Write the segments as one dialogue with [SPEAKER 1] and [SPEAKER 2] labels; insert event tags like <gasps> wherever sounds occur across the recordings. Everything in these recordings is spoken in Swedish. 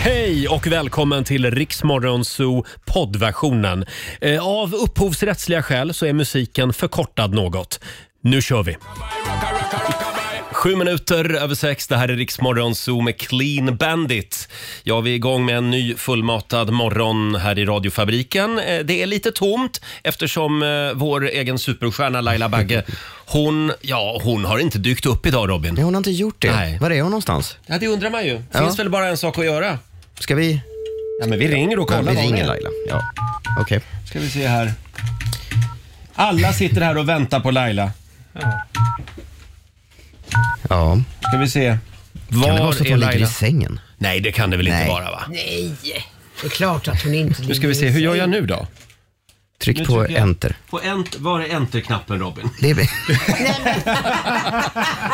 [SPEAKER 1] Hej och välkommen till Riksmorgon Zoo poddversionen. Eh, Av upphovsrättsliga skäl så är musiken förkortad något. Nu kör vi! Sju minuter över sex, det här är Riksmorgon Zoo med Clean Bandit. Ja, vi är igång med en ny fullmatad morgon här i radiofabriken. Eh, Det är lite tomt eftersom eh, vår egen superstjärna Laila Bagge, hon, ja, hon har inte dykt upp idag Robin.
[SPEAKER 2] Nej, hon har inte gjort det.
[SPEAKER 1] Nej.
[SPEAKER 2] Var är hon någonstans?
[SPEAKER 1] Ja, det undrar man ju. Finns
[SPEAKER 2] Ja.
[SPEAKER 1] väl bara en sak att göra?
[SPEAKER 2] Ska vi?
[SPEAKER 1] Ja, men vi ringer och kollar.
[SPEAKER 2] vi
[SPEAKER 1] vad hon
[SPEAKER 2] ringer
[SPEAKER 1] är.
[SPEAKER 2] Laila. Ja. Okej.
[SPEAKER 1] Ska vi se här. Alla sitter här och väntar på Laila.
[SPEAKER 2] Ja.
[SPEAKER 1] Ska vi se. Var
[SPEAKER 2] Kan det vara så att
[SPEAKER 1] är
[SPEAKER 2] hon ligger i
[SPEAKER 1] Laila?
[SPEAKER 2] sängen?
[SPEAKER 1] Nej, det kan det väl inte
[SPEAKER 2] Nej.
[SPEAKER 1] vara va?
[SPEAKER 3] Nej, det är klart att hon inte
[SPEAKER 1] Nu ska vi se, hur gör jag nu då?
[SPEAKER 2] Tryck
[SPEAKER 1] Nu
[SPEAKER 2] på
[SPEAKER 1] trycker jag.
[SPEAKER 2] enter.
[SPEAKER 1] På ent- var är enter-knappen
[SPEAKER 2] <laughs>
[SPEAKER 1] Robin?
[SPEAKER 2] Det är...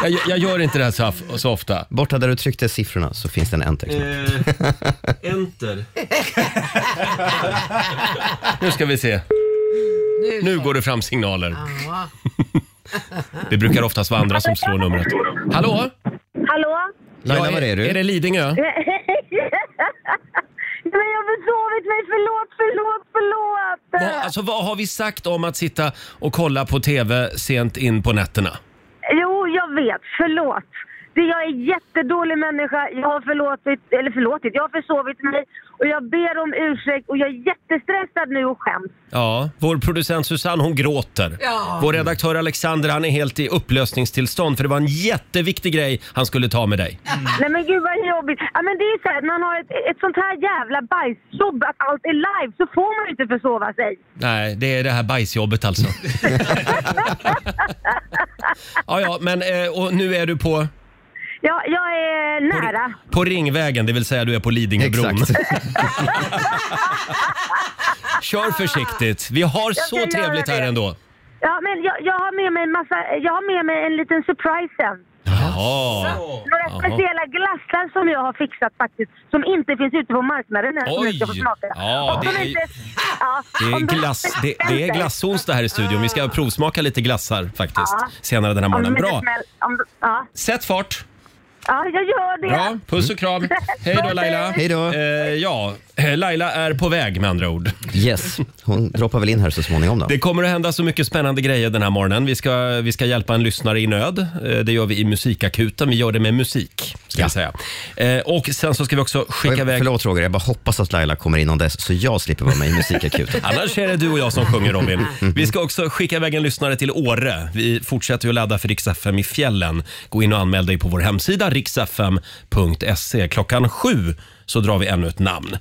[SPEAKER 1] <laughs> Jag, jag gör inte det här så, så ofta. Eh.
[SPEAKER 2] Borta där du tryckte siffrorna så finns det en enter-knapp.
[SPEAKER 1] enter. nu ska vi se. Nu går det fram signaler.
[SPEAKER 3] Ja.
[SPEAKER 1] Det brukar oftast vara andra som slår numret. Hallå?
[SPEAKER 4] Hallå?
[SPEAKER 2] Laila,
[SPEAKER 1] Ja,
[SPEAKER 2] var är du?
[SPEAKER 1] Är det
[SPEAKER 4] <laughs>
[SPEAKER 1] Lidingö?
[SPEAKER 4] Men jag har besovit mig, förlåt, förlåt, förlåt!
[SPEAKER 1] Vad, alltså, vad har vi sagt om att sitta och kolla på TV sent in på nätterna?
[SPEAKER 4] Jo, jag vet, förlåt. Det- Jag är en jättedålig människa, jag har förlåtit, eller förlåtit, jag har försovit mig och jag ber om ursäkt och jag är jättestressad nu och skäms.
[SPEAKER 1] Ja, vår producent Susanne hon gråter.
[SPEAKER 3] Ja.
[SPEAKER 1] Vår redaktör Alexander han är helt i upplösningstillstånd för det var en jätteviktig grej han skulle ta med dig.
[SPEAKER 4] Nej men gud vad jobbigt. Ja men det är så här, man har ett, ett sånt här jävla bajsjobb att allt är live så får man ju inte försova sig.
[SPEAKER 1] Nej, det är det här bajsjobbet alltså. ja, ja, men eh, och nu är du på,
[SPEAKER 4] Ja, jag är nära.
[SPEAKER 1] på Ringvägen, det vill säga du är på Lidingöbron. <laughs>
[SPEAKER 2] Exakt.
[SPEAKER 1] Kör försiktigt. Vi har
[SPEAKER 4] ska
[SPEAKER 1] så
[SPEAKER 4] göra
[SPEAKER 1] trevligt här
[SPEAKER 4] det.
[SPEAKER 1] ändå.
[SPEAKER 4] Ja men jag, jag har med mig en massa, jag har med mig en liten surprise sen.
[SPEAKER 1] Jaha.
[SPEAKER 4] Några
[SPEAKER 1] Jaha.
[SPEAKER 4] speciella glassar som jag har fixat faktiskt, som inte finns ute på marknaden än. som
[SPEAKER 1] Oj.
[SPEAKER 4] jag ska få smaka.
[SPEAKER 1] Ja,
[SPEAKER 4] Och som
[SPEAKER 1] det är-
[SPEAKER 4] inte- ja,
[SPEAKER 1] Det är,
[SPEAKER 4] om de- Ah.
[SPEAKER 1] glass, det, det är glassonsdag här i studion. Vi ska provsmaka lite glassar faktiskt
[SPEAKER 4] Ja.
[SPEAKER 1] senare den här
[SPEAKER 4] om de inte
[SPEAKER 1] morgonen. Bra.
[SPEAKER 4] smäll- om de- Ja,
[SPEAKER 1] Sätt fart.
[SPEAKER 4] ja, jag gör det.
[SPEAKER 1] Bra. Puss och
[SPEAKER 4] <laughs>
[SPEAKER 1] kram. Hej då Laila.
[SPEAKER 2] Hej då.
[SPEAKER 1] Eh, ja, eh, Laila är på väg med andra ord.
[SPEAKER 2] Yes. Hon droppar väl in här så småningom då.
[SPEAKER 1] Det kommer att hända så mycket spännande grejer den här morgonen. Vi ska, vi ska hjälpa en lyssnare i nöd. Eh, Det gör vi i musikakuten. Vi gör det med musik. Ska
[SPEAKER 2] Ja.
[SPEAKER 1] vi säga. Eh, Och sen så ska vi också skicka iväg...
[SPEAKER 2] Förlåt Roger, jag bara hoppas att Laila kommer innan dess så jag slipper vara med i musikakuten.
[SPEAKER 1] Annars är det du och jag som sjunger Robin.
[SPEAKER 2] Mm.
[SPEAKER 1] Vi ska också skicka iväg en lyssnare till Åre. Vi fortsätter ju att ladda för Rix FM i fjällen. Gå in och anmäl dig på vår hemsida riksfm.se. Klockan sju så drar vi ännu ett namn.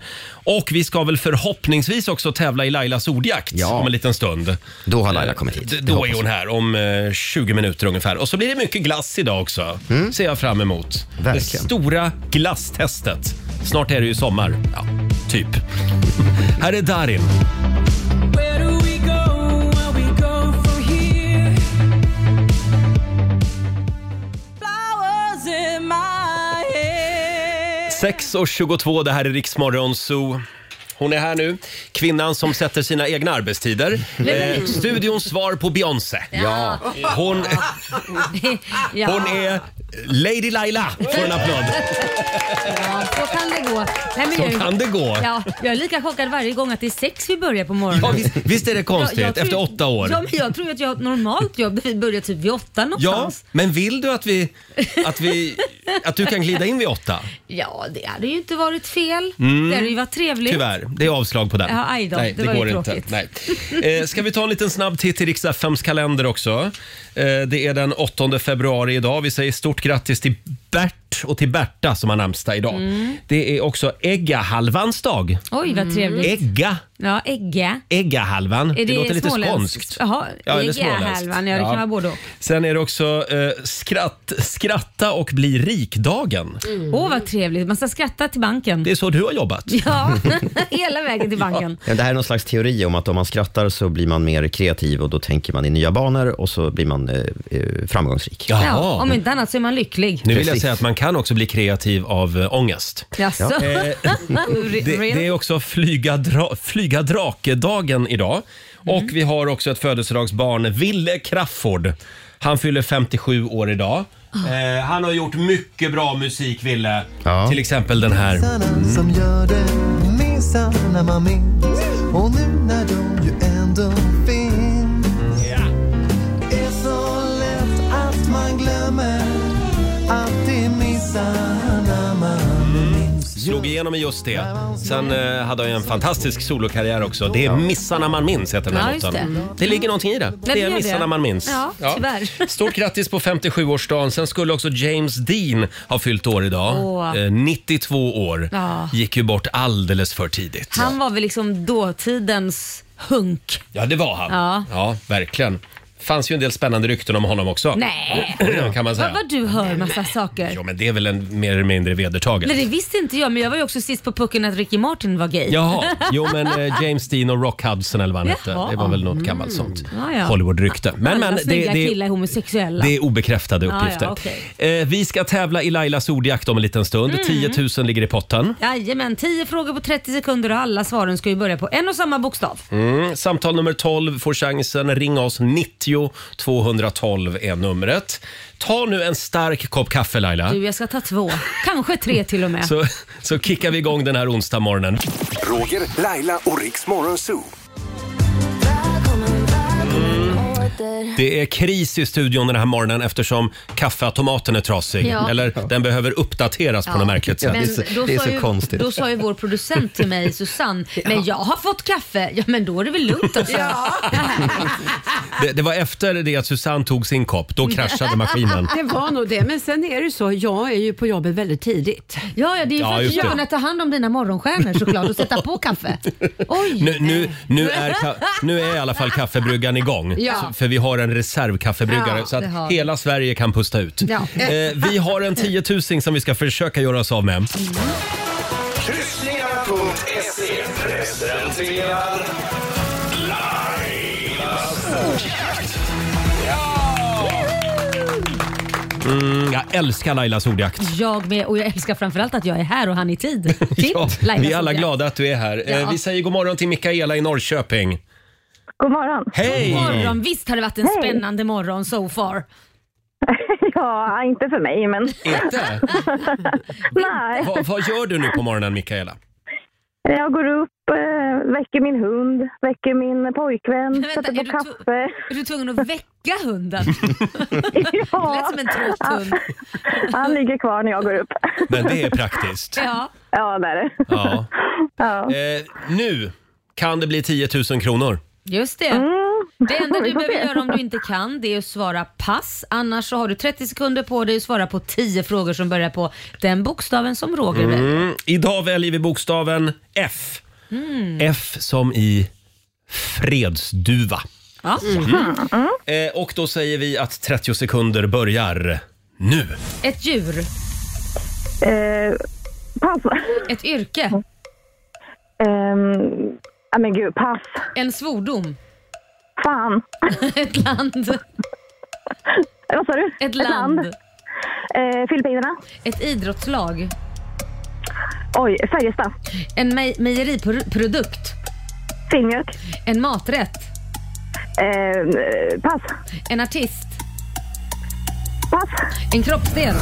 [SPEAKER 1] Och vi ska väl förhoppningsvis också tävla i Lailas ordjakt
[SPEAKER 2] Ja.
[SPEAKER 1] om en liten stund. Eh,
[SPEAKER 2] Då har Laila kommit hit.
[SPEAKER 1] D-
[SPEAKER 2] Det
[SPEAKER 1] Då
[SPEAKER 2] hoppas
[SPEAKER 1] är hon här om eh, 20 minuter ungefär. Och så blir det mycket glass idag också. Ser jag fram emot. Det
[SPEAKER 2] Mm. Verkligen.
[SPEAKER 1] stora glasstestet. Snart är det ju sommar. Ja, typ. <laughs> här är Darin.
[SPEAKER 5] Where do we go? Where we go from here? Flowers in my hair.
[SPEAKER 1] 6.22, det här är Riksmorgon Zoo. Hon är här nu, kvinnan som sätter sina egna arbetstider. Eh, studions svar på Beyoncé. Ja.
[SPEAKER 4] <laughs>
[SPEAKER 1] Hon,
[SPEAKER 6] Ja,
[SPEAKER 1] hon är Lady Laila. Får en applåd.
[SPEAKER 6] ja, så kan det gå. Nej, men jag,
[SPEAKER 1] Så
[SPEAKER 6] är-
[SPEAKER 1] kan det gå.
[SPEAKER 6] Ja, jag är lika chockad varje gång att det är sex vi börjar på morgonen.
[SPEAKER 1] Ja, visst, visst är det
[SPEAKER 6] Jag- jag
[SPEAKER 1] konstigt?
[SPEAKER 6] tror-
[SPEAKER 1] Efter åtta år.
[SPEAKER 6] Ja, men jag tror att jag har ett normalt jobb där vi börjar typ vid åtta
[SPEAKER 1] Ja,
[SPEAKER 6] någonstans.
[SPEAKER 1] men vill du att vi, att vi, att du kan glida in vid åtta?
[SPEAKER 6] Ja, det hade ju inte varit fel. Det hade ju varit trevligt.
[SPEAKER 1] Tyvärr, det är avslag på den.
[SPEAKER 6] Ja, aj då,
[SPEAKER 1] Nej, det,
[SPEAKER 6] det var ju
[SPEAKER 1] går inte.
[SPEAKER 6] tråkigt.
[SPEAKER 1] Nej. Eh, ska vi ta en liten snabb titt i riks FMs kalender också? Eh, det är den 8 februari idag. Vi säger stort grattis till Bert och till Berta som har namnsdag idag. Det är också äggahalvans dag.
[SPEAKER 6] Mm. Oj, vad trevligt.
[SPEAKER 1] Ägga,
[SPEAKER 6] Ja, ägga.
[SPEAKER 1] äggahalvan. Mm. Det,
[SPEAKER 6] Är
[SPEAKER 1] låter lite
[SPEAKER 6] småländskt?
[SPEAKER 1] skånskt.
[SPEAKER 6] Jaha,
[SPEAKER 1] Ja, eller
[SPEAKER 6] ägga
[SPEAKER 1] småländskt.
[SPEAKER 6] halvan. Ja, det kan vara både och.
[SPEAKER 1] Sen är det också eh, skratt, skratta och bli rik-dagen.
[SPEAKER 6] Åh, vad trevligt. Man ska skratta till banken.
[SPEAKER 1] Det är så du har jobbat.
[SPEAKER 6] Ja, <laughs> hela vägen till banken.
[SPEAKER 2] Ja, Det här är någon slags teori om att om man skrattar så blir man mer kreativ och då tänker man i nya banor och så blir man eh, eh, framgångsrik.
[SPEAKER 1] Jaha.
[SPEAKER 6] Ja, om inte annat så är man lycklig.
[SPEAKER 1] Nu vill jag
[SPEAKER 2] Precis.
[SPEAKER 1] säga att man kan också bli kreativ av eh, ångest.
[SPEAKER 6] Jaså?
[SPEAKER 1] Eh, Det, det är också flyga, dra, flyga drake-dagen idag. Och vi har också ett födelsedagsbarn, Ville Crafoord. Han fyller 57 år idag. Eh, han har gjort mycket bra musik, Ville.
[SPEAKER 2] Ja.
[SPEAKER 1] Till exempel den här.
[SPEAKER 7] som gör det minsann när man minns Och nu när de ju ändå finns Är så lätt att man glömmer att det är minsann när man minns
[SPEAKER 1] Slog igenom i just det. Sen eh, hade han ju en fantastisk solokarriär också. Det är Missarna man minns heter den här
[SPEAKER 6] Ja, just
[SPEAKER 1] låten. Det.
[SPEAKER 6] det.
[SPEAKER 1] ligger någonting i det. det
[SPEAKER 6] gör
[SPEAKER 1] är
[SPEAKER 6] det.
[SPEAKER 1] Missarna man minns.
[SPEAKER 6] Ja, tyvärr.
[SPEAKER 1] <laughs> Stort grattis på 57-årsdagen. Sen skulle också James Dean ha fyllt år idag.
[SPEAKER 6] Åh.
[SPEAKER 1] Eh, 92 år.
[SPEAKER 6] Ja.
[SPEAKER 1] Gick ju bort alldeles för tidigt.
[SPEAKER 6] Han var väl liksom dåtidens hunk.
[SPEAKER 1] Ja, det var han.
[SPEAKER 6] Ja.
[SPEAKER 1] verkligen. fanns ju en del spännande rykten om honom också.
[SPEAKER 6] Nej.
[SPEAKER 1] kan man säga.
[SPEAKER 6] Vad, vad du hör massa saker.
[SPEAKER 1] Ja, men det är väl en mer eller mindre vedertaget.
[SPEAKER 6] Nej, det visste inte jag, men jag var ju också sist på pucken att Ricky Martin var gay.
[SPEAKER 1] Jaha, jo men
[SPEAKER 6] <laughs>
[SPEAKER 1] eh, James Dean och Rock Hudson eller vad han hette.
[SPEAKER 6] Jaha.
[SPEAKER 1] Det
[SPEAKER 6] Mm.
[SPEAKER 1] var väl något gammalt sånt.
[SPEAKER 6] Ja, ja.
[SPEAKER 1] Hollywood-rykte. Men,
[SPEAKER 6] Alla
[SPEAKER 1] men det,
[SPEAKER 6] snygga killar
[SPEAKER 1] det,
[SPEAKER 6] är homosexuella.
[SPEAKER 1] det är obekräftade
[SPEAKER 6] ja,
[SPEAKER 1] uppgifter.
[SPEAKER 6] okej. Mm.
[SPEAKER 1] eh, vi ska tävla i Lailas ordjakt om en liten stund. 10 000 ligger i potten.
[SPEAKER 6] Jajamän, 10 frågor på 30 sekunder och alla svaren ska ju börja på en och samma bokstav.
[SPEAKER 1] Mm. Samtal nummer 12 får chansen. Ring oss. 90 212 är numret. Ta nu en stark kopp kaffe Laila.
[SPEAKER 6] Du, jag ska ta två. Kanske tre till och med.
[SPEAKER 1] Så, så kickar vi igång den här onsdag morgonen.
[SPEAKER 8] Roger, Laila och Riks Morgonzoo.
[SPEAKER 1] Det är kris i studion den här morgonen eftersom kaffeautomaten är trasig.
[SPEAKER 6] Ja.
[SPEAKER 1] Eller den behöver uppdateras på något märkligt sätt.
[SPEAKER 2] det är så-
[SPEAKER 6] då
[SPEAKER 2] det är
[SPEAKER 6] sa
[SPEAKER 2] så
[SPEAKER 6] ju,
[SPEAKER 2] konstigt.
[SPEAKER 6] Då sa ju vår producent till mig, Susanne, men jag har fått kaffe. Ja, men då är det väl lugnt alltså.
[SPEAKER 1] Det, det var efter det att Susanne tog sin kopp. Då kraschade maskinen.
[SPEAKER 3] <laughs> Det var nog det, men sen är det så, jag är ju på jobbet väldigt tidigt.
[SPEAKER 6] Ja, ja, det är ju
[SPEAKER 1] Ja,
[SPEAKER 6] för att du
[SPEAKER 1] just
[SPEAKER 6] ska
[SPEAKER 1] det.
[SPEAKER 6] kunna ta hand om dina morgonstjärnor såklart och sätta på kaffe. <laughs> Oj!
[SPEAKER 1] Nu, nu, nu, är, ka- nu är i alla fall kaffebryggan igång.
[SPEAKER 3] Ja.
[SPEAKER 1] Så- För vi har en reservkaffebryggare
[SPEAKER 6] Ja,
[SPEAKER 1] så
[SPEAKER 6] det
[SPEAKER 1] att
[SPEAKER 6] har
[SPEAKER 1] hela Sverige kan pusta ut.
[SPEAKER 6] Ja.
[SPEAKER 1] Eh, vi har en tiotusing som vi ska försöka göra oss av med.
[SPEAKER 8] Kryssningar.se presenterar
[SPEAKER 1] Mm, jag älskar Lailas ordjakt.
[SPEAKER 6] Jag med, och jag älskar framförallt att jag är här och han i tid. Till
[SPEAKER 1] Ja,
[SPEAKER 6] Laila
[SPEAKER 1] vi är alla
[SPEAKER 6] Sodia.
[SPEAKER 1] glada att du är här. Eh,
[SPEAKER 6] Ja.
[SPEAKER 1] Vi säger god morgon till Mikaela i Norrköping.
[SPEAKER 4] God morgon.
[SPEAKER 1] Hej!
[SPEAKER 6] Morgon, visst har det varit en spännande morgon
[SPEAKER 4] <laughs>
[SPEAKER 6] so far?
[SPEAKER 4] Ja, inte för mig men
[SPEAKER 1] Inte?
[SPEAKER 4] nej.
[SPEAKER 1] Vad, vad gör du nu på morgonen Mikaela?
[SPEAKER 4] Jag går upp, eh, väcker min hund, väcker min pojkvän,
[SPEAKER 6] vänta,
[SPEAKER 4] sätter
[SPEAKER 6] är
[SPEAKER 4] på
[SPEAKER 6] du
[SPEAKER 4] kaffe.
[SPEAKER 6] Är du tvungen att väcka hunden? Det lät
[SPEAKER 4] Ja,
[SPEAKER 6] som en trött hund.
[SPEAKER 4] han ligger kvar när jag går upp.
[SPEAKER 1] Men det är praktiskt.
[SPEAKER 6] Ja.
[SPEAKER 4] Ja, där är det.
[SPEAKER 1] Ja.
[SPEAKER 4] Ja.
[SPEAKER 1] Eh, nu kan det bli 10 000 kronor.
[SPEAKER 6] Just det.
[SPEAKER 4] Mm.
[SPEAKER 6] Det enda du behöver göra om du inte kan det är att svara pass. Annars så har du 30 sekunder på dig att svara på 10 frågor som börjar på den bokstaven som Roger väljer.
[SPEAKER 1] Mm, idag väljer vi bokstaven F.
[SPEAKER 6] Mm.
[SPEAKER 4] Mm.
[SPEAKER 1] F som i fredsduva.
[SPEAKER 6] Ja.
[SPEAKER 4] Mm.
[SPEAKER 1] Eh, och då säger vi att 30 sekunder börjar nu.
[SPEAKER 6] Ett djur,
[SPEAKER 4] Eh, pass.
[SPEAKER 6] ett yrke,
[SPEAKER 4] Ehm, ja, men gud, pass.
[SPEAKER 6] en svordom,
[SPEAKER 4] Fan.
[SPEAKER 6] <laughs> ett land,
[SPEAKER 4] Eh, Vad sa du?
[SPEAKER 6] ett land,
[SPEAKER 4] Eh, Filippinerna.
[SPEAKER 6] ett idrottslag,
[SPEAKER 4] Oj, Färjestad.
[SPEAKER 6] en mej- mejeriprodukt,
[SPEAKER 4] Filmjölk.
[SPEAKER 6] en maträtt,
[SPEAKER 4] Eh, eh, pass.
[SPEAKER 6] en artist,
[SPEAKER 4] Pass.
[SPEAKER 6] en kroppsdel.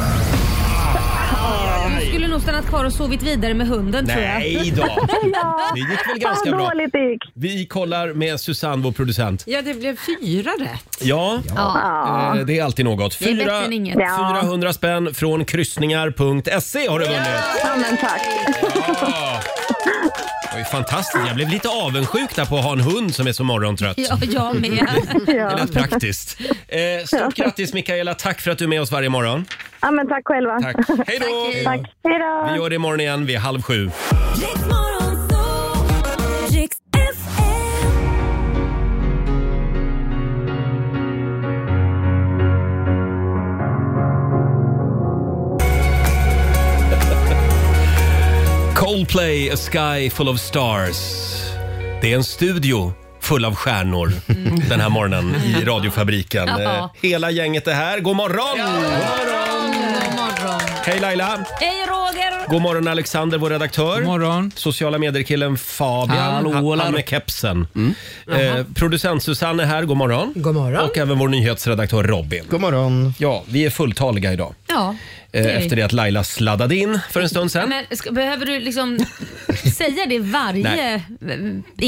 [SPEAKER 6] Du skulle nog stannat kvar och sovit vidare med hunden tror jag.
[SPEAKER 1] Ah, Nej då!
[SPEAKER 4] <laughs> Ja,
[SPEAKER 1] Det gick väl
[SPEAKER 4] fan
[SPEAKER 1] ganska bra.
[SPEAKER 4] dåligt det gick.
[SPEAKER 1] Vi kollar med Susanne, vår producent.
[SPEAKER 3] <laughs> Ja, det blev fyra rätt.
[SPEAKER 1] Ja,
[SPEAKER 6] Ja.
[SPEAKER 1] eh, det är alltid något.
[SPEAKER 6] Det är bättre än inget.
[SPEAKER 4] Ja.
[SPEAKER 1] 400 spänn från kryssningar.se har du vunnit.
[SPEAKER 4] Ja, men tack.
[SPEAKER 1] Det var ju fantastiskt. Jag blev lite avundsjuk där på att ha en hund som är så morgontrött.
[SPEAKER 6] Ja, jag med.
[SPEAKER 1] Det
[SPEAKER 4] Ja.
[SPEAKER 1] lät praktiskt. Eh, stort grattis Mikaela, tack för att du är med oss varje morgon.
[SPEAKER 4] ja, men tack själva.
[SPEAKER 1] Tack. Hej då!
[SPEAKER 4] Tack. Hej då.
[SPEAKER 1] Vi gör det imorgon igen vid halv sju. Coldplay, A Sky Full of Stars. Det är en studio full av stjärnor den här morgonen i radiofabriken.
[SPEAKER 6] Mm. Ja.
[SPEAKER 1] Eh, Hela gänget är här. God morgon!
[SPEAKER 6] God morgon.
[SPEAKER 1] Hej Laila!
[SPEAKER 6] Hej Roger!
[SPEAKER 1] God morgon Alexander, vår redaktör. God
[SPEAKER 9] morgon.
[SPEAKER 1] Sociala medier-killen Fabian.
[SPEAKER 9] Hallå,
[SPEAKER 1] Han-
[SPEAKER 9] hallå.
[SPEAKER 1] Han med kepsen.
[SPEAKER 6] Mm.
[SPEAKER 1] Eh, producent Susanne är här, god morgon.
[SPEAKER 3] God morgon.
[SPEAKER 1] Och även vår nyhetsredaktör Robin.
[SPEAKER 2] God morgon.
[SPEAKER 1] Ja, vi är fulltaliga idag.
[SPEAKER 6] Ja,
[SPEAKER 1] Eh,
[SPEAKER 6] det är
[SPEAKER 1] efter
[SPEAKER 6] vi.
[SPEAKER 1] det att Laila sladdade in för en stund sedan.
[SPEAKER 6] Men ska, behöver du liksom säga det varje eh,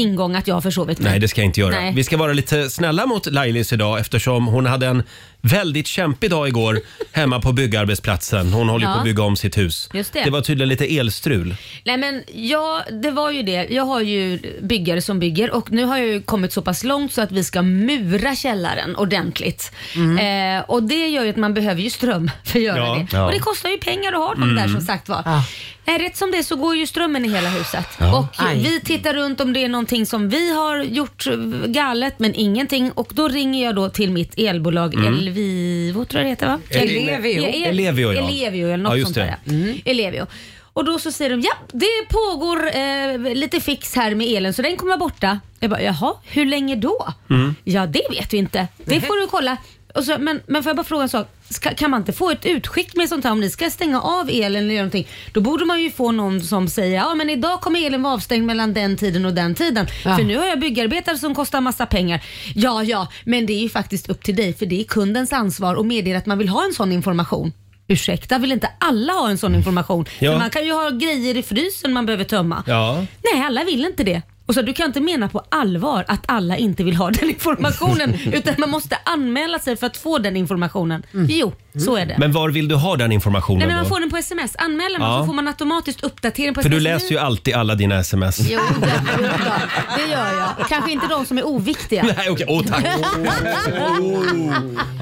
[SPEAKER 6] ingång att jag har försovit mig?
[SPEAKER 1] Nej, det ska jag inte göra.
[SPEAKER 6] Nej.
[SPEAKER 1] Vi ska vara lite snälla mot Lailis idag eftersom hon hade en väldigt kämpig dag
[SPEAKER 6] <laughs>
[SPEAKER 1] igår hemma på byggarbetsplatsen. Hon håller ju på
[SPEAKER 6] Ja.
[SPEAKER 1] att bygga om sitt hus.
[SPEAKER 6] Just det.
[SPEAKER 1] det var tydligen lite elstrul.
[SPEAKER 6] Nej men ja, det var ju det. Jag har ju byggare som bygger och nu har jag ju kommit så pass långt så att vi ska mura källaren ordentligt. Eh, och det gör ju att man behöver ju ström för att göra
[SPEAKER 1] Ja.
[SPEAKER 6] det.
[SPEAKER 2] Ja.
[SPEAKER 6] Och det kostar ju pengar att ha dem där som sagt var.
[SPEAKER 3] Ja.
[SPEAKER 6] Nej, rätt som det är så går ju strömmen i hela huset. Och
[SPEAKER 3] Aj.
[SPEAKER 6] vi tittar runt om det är någonting som vi har gjort eh, galet men ingenting. Och då ringer jag då till mitt elbolag Elvivo tror jag det heter va?
[SPEAKER 3] Elevio.
[SPEAKER 6] Ja, El-
[SPEAKER 1] Elevio, ja.
[SPEAKER 6] Elevio eller något
[SPEAKER 1] Ja, just
[SPEAKER 6] sånt
[SPEAKER 1] det.
[SPEAKER 6] där. ja. Mm. Elevio. Och då så säger de, ja det pågår eh, lite fix här med elen så den kommer vara borta. Jag bara, jaha, hur länge då?
[SPEAKER 1] Mm.
[SPEAKER 6] Ja det vet vi inte, det får du kolla. Och så, men, men får jag bara fråga en sak, ska, kan man inte få ett utskick med sånt här om ni ska stänga av elen eller göra någonting? Då borde man ju få någon som säger, ja men idag kommer elen vara avstängd mellan den tiden och den tiden.
[SPEAKER 3] Ja.
[SPEAKER 6] För nu har jag byggarbetare som kostar massa pengar. Ja, ja, men det är ju faktiskt upp till dig för det är kundens ansvar att meddela att man vill ha en sån information. Ursäkta, vill inte alla ha en sån information?
[SPEAKER 1] Ja.
[SPEAKER 6] För man kan ju ha grejer i frysen man behöver tömma.
[SPEAKER 1] Ja.
[SPEAKER 6] Nej, alla vill inte det. Och så, du kan inte mena på allvar att alla inte vill ha
[SPEAKER 1] <laughs>
[SPEAKER 6] den informationen utan man måste anmäla sig för att få den informationen. Jo, så är det.
[SPEAKER 1] Mm. Men var vill du ha den informationen
[SPEAKER 6] Nej, men man
[SPEAKER 1] då?
[SPEAKER 6] får den på sms. Anmäler man
[SPEAKER 1] Ja.
[SPEAKER 6] så får man automatiskt uppdatering på
[SPEAKER 1] För du
[SPEAKER 6] sms.
[SPEAKER 1] läser ju alltid alla dina sms.
[SPEAKER 6] Jo, det, jo då, det gör jag. Kanske inte de som är oviktiga.
[SPEAKER 1] <laughs> Nej, okej. Åh,
[SPEAKER 6] <laughs>
[SPEAKER 1] tack.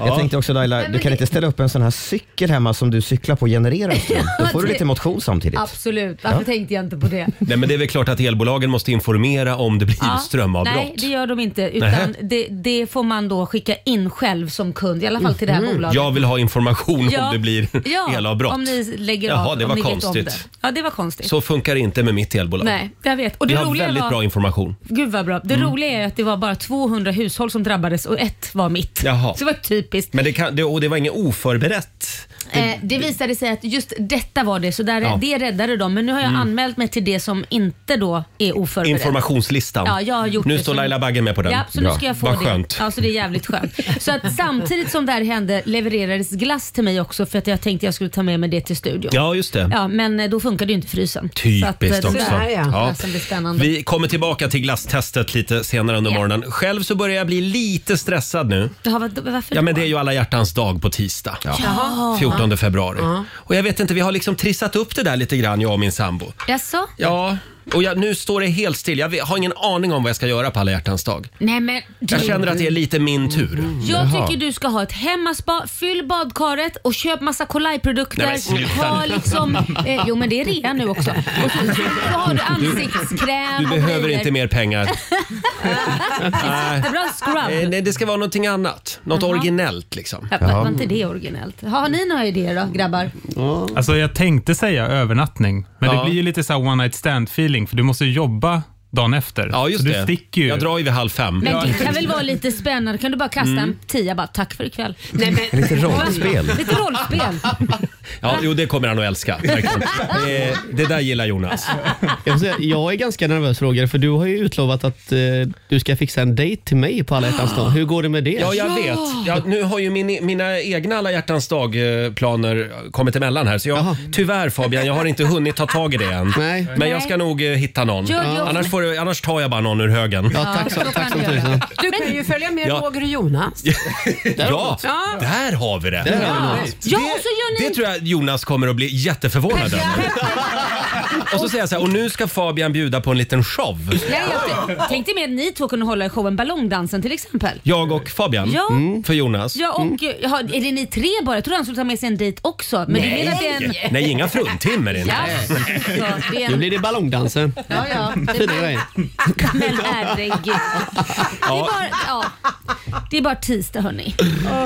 [SPEAKER 2] Jag tänkte också Laila,
[SPEAKER 6] men
[SPEAKER 2] du kan
[SPEAKER 6] det-
[SPEAKER 2] inte ställa upp en sån här cykel hemma som du cyklar på och genererar ström. Då får
[SPEAKER 6] <laughs>
[SPEAKER 2] du
[SPEAKER 6] det-
[SPEAKER 2] lite motion samtidigt.
[SPEAKER 6] Absolut, varför tänkte jag inte på det?
[SPEAKER 1] Nej, men det är väl klart att elbolagen måste informera om det blir
[SPEAKER 6] Ja.
[SPEAKER 1] strömavbrott.
[SPEAKER 6] Nej, det gör de inte. Utan
[SPEAKER 1] Nähä.
[SPEAKER 6] det, det får man då skicka in själv som kund, i alla fall till det här bolaget.
[SPEAKER 1] Jag vill ha information
[SPEAKER 6] Ja,
[SPEAKER 1] om det blir
[SPEAKER 6] ja,
[SPEAKER 1] <laughs> elavbrott.
[SPEAKER 6] Om ni lägger
[SPEAKER 1] Jaha,
[SPEAKER 6] av.
[SPEAKER 1] det
[SPEAKER 6] om
[SPEAKER 1] var
[SPEAKER 6] ni vet om
[SPEAKER 1] konstigt.
[SPEAKER 6] det. Ja, det var konstigt.
[SPEAKER 1] Så funkar det inte med mitt elbolag.
[SPEAKER 6] Nej, jag vet. Och
[SPEAKER 1] Vi
[SPEAKER 6] det
[SPEAKER 1] har
[SPEAKER 6] roliga
[SPEAKER 1] väldigt
[SPEAKER 6] var,
[SPEAKER 1] bra Mm. information.
[SPEAKER 6] Gud vad bra. Det roliga är ju att det var bara 200 hushåll som drabbades och ett var mitt.
[SPEAKER 1] Jaha.
[SPEAKER 6] Så det var typiskt.
[SPEAKER 1] Men det, kan, det, och det var inget oförberett.
[SPEAKER 6] Eh, det visade sig att just detta var det, så där,
[SPEAKER 1] Ja. Mm.
[SPEAKER 6] det räddade dem. Men nu har jag anmält mig till det som inte då är oförberett.
[SPEAKER 1] Informationslistan.
[SPEAKER 6] Ja, jag har gjort
[SPEAKER 1] nu
[SPEAKER 6] det
[SPEAKER 1] står
[SPEAKER 6] som-
[SPEAKER 1] Laila Bagge med på den.
[SPEAKER 6] Ja, så nu ska jag få
[SPEAKER 1] Vad
[SPEAKER 6] det.
[SPEAKER 1] skönt.
[SPEAKER 6] Ja, så det är jävligt skönt. Så att samtidigt som det här hände levererades glass till mig också för att jag tänkte jag skulle ta med mig det till studion.
[SPEAKER 1] Ja, just det.
[SPEAKER 6] Ja, men eh, då funkade ju inte frysen. Så att, eh,
[SPEAKER 1] Typiskt
[SPEAKER 6] det
[SPEAKER 1] också.
[SPEAKER 6] där-
[SPEAKER 3] Sådär, ja.
[SPEAKER 6] Det där som blir spännande.
[SPEAKER 1] Vi kommer tillbaka till glasstestet lite senare under
[SPEAKER 6] Ja.
[SPEAKER 1] morgonen. Själv så börjar jag bli lite stressad nu.
[SPEAKER 6] Det har varit, varför
[SPEAKER 1] Ja, men
[SPEAKER 6] då?
[SPEAKER 1] det är ju alla hjärtans dag på tisdag. 14 februari. Och jag vet inte, vi har liksom trissat upp det där lite grann, jag och min sambo.
[SPEAKER 6] Jaså?
[SPEAKER 1] Ja, och jag, nu står det helt still. Jag har ingen aning om vad jag ska göra på alla hjärtans dag.
[SPEAKER 6] Nej men du, Mm.
[SPEAKER 1] Jag känner att det är lite min tur.
[SPEAKER 6] jag tycker du ska ha ett hemmaspa, fyll badkaret och köp massa
[SPEAKER 1] Nej,
[SPEAKER 6] kolajprodukter.
[SPEAKER 1] men sluta
[SPEAKER 6] ha
[SPEAKER 1] nu.
[SPEAKER 6] liksom, eh, jo men det är rea nu
[SPEAKER 1] <laughs>
[SPEAKER 6] också. Och så, så har du ansiktskräm
[SPEAKER 1] Du
[SPEAKER 6] och
[SPEAKER 1] behöver
[SPEAKER 6] grejer.
[SPEAKER 1] inte mer pengar.
[SPEAKER 6] <laughs> Bra
[SPEAKER 1] Eh,
[SPEAKER 6] scrub.
[SPEAKER 1] Nej, det ska vara någonting annat. Något originellt liksom.
[SPEAKER 6] Ja, Var var inte det originellt? Har ni några idéer då grabbar?
[SPEAKER 9] Alltså jag tänkte säga övernattning, men
[SPEAKER 1] Ja.
[SPEAKER 9] det blir ju lite så här one night stand feeling för du måste ju jobba dagen efter.
[SPEAKER 1] Ja, just
[SPEAKER 9] så
[SPEAKER 1] det.
[SPEAKER 9] du sticker ju.
[SPEAKER 1] Jag drar ju vid halv fem.
[SPEAKER 6] Men det kan väl vara lite spännande? Kan du bara kasta
[SPEAKER 1] Mm.
[SPEAKER 6] en tia bara, tack för ikväll.
[SPEAKER 3] Nej, men,
[SPEAKER 2] Lite rollspel.
[SPEAKER 1] <laughs>
[SPEAKER 6] Lite rollspel.
[SPEAKER 1] Ja, jo, det kommer han att älska.
[SPEAKER 6] <laughs>
[SPEAKER 1] verkligen. Eh, Det där gillar
[SPEAKER 6] Alltså,
[SPEAKER 1] Jonas.
[SPEAKER 10] Jag, vill säga, jag är ganska nervös Roger, för du har ju utlovat att eh, du ska fixa en dejt till mig på alla hjärtans dag. Hur går det med det?
[SPEAKER 1] Ja, jag vet. Ja, nu har ju min, mina egna alla hjärtans dag-planer kommit emellan här. Så jag,
[SPEAKER 10] Jaha.
[SPEAKER 1] tyvärr Fabian, jag har inte hunnit ta tag i det än.
[SPEAKER 10] Nej.
[SPEAKER 1] Men jag ska nog eh, hitta någon.
[SPEAKER 6] Gör det.
[SPEAKER 1] Annars, får, jag- annars tar jag bara någon ur högen.
[SPEAKER 10] Ja, tack så,
[SPEAKER 6] så kan
[SPEAKER 10] tack så
[SPEAKER 6] du göra.
[SPEAKER 10] tusan.
[SPEAKER 3] du kan ju följa med
[SPEAKER 1] Ja.
[SPEAKER 3] Roger och Jonas.
[SPEAKER 1] Ja,
[SPEAKER 3] Ja.
[SPEAKER 1] där har vi det.
[SPEAKER 10] Där har vi något.
[SPEAKER 6] Ja, och så gör ni...
[SPEAKER 1] Det tror jag Jonas kommer att bli jätteförvånad över. Och så säger jag så här, och nu ska Fabian bjuda på en liten show.
[SPEAKER 6] Nej, jag t- tänkte mer att ni två kunde hålla i showen Ballongdansen till exempel.
[SPEAKER 1] Jag och Fabian. Mm.
[SPEAKER 6] Ja.
[SPEAKER 1] För Jonas. Mm.
[SPEAKER 6] Ja, och jaha, är det ni tre bara? Jag trodde han skulle ta med sig en dejt också. Men det är mer att det är en...
[SPEAKER 1] Nej, inga fruntimmer inte.
[SPEAKER 6] Ja,
[SPEAKER 1] <laughs>
[SPEAKER 6] så det är
[SPEAKER 10] Nu
[SPEAKER 6] en...
[SPEAKER 10] blir det ballongdansen.
[SPEAKER 6] Ja, ja.
[SPEAKER 10] Fina grejer.
[SPEAKER 6] Men herregud. Det är bara, ja. Det är bara tisdag hörni.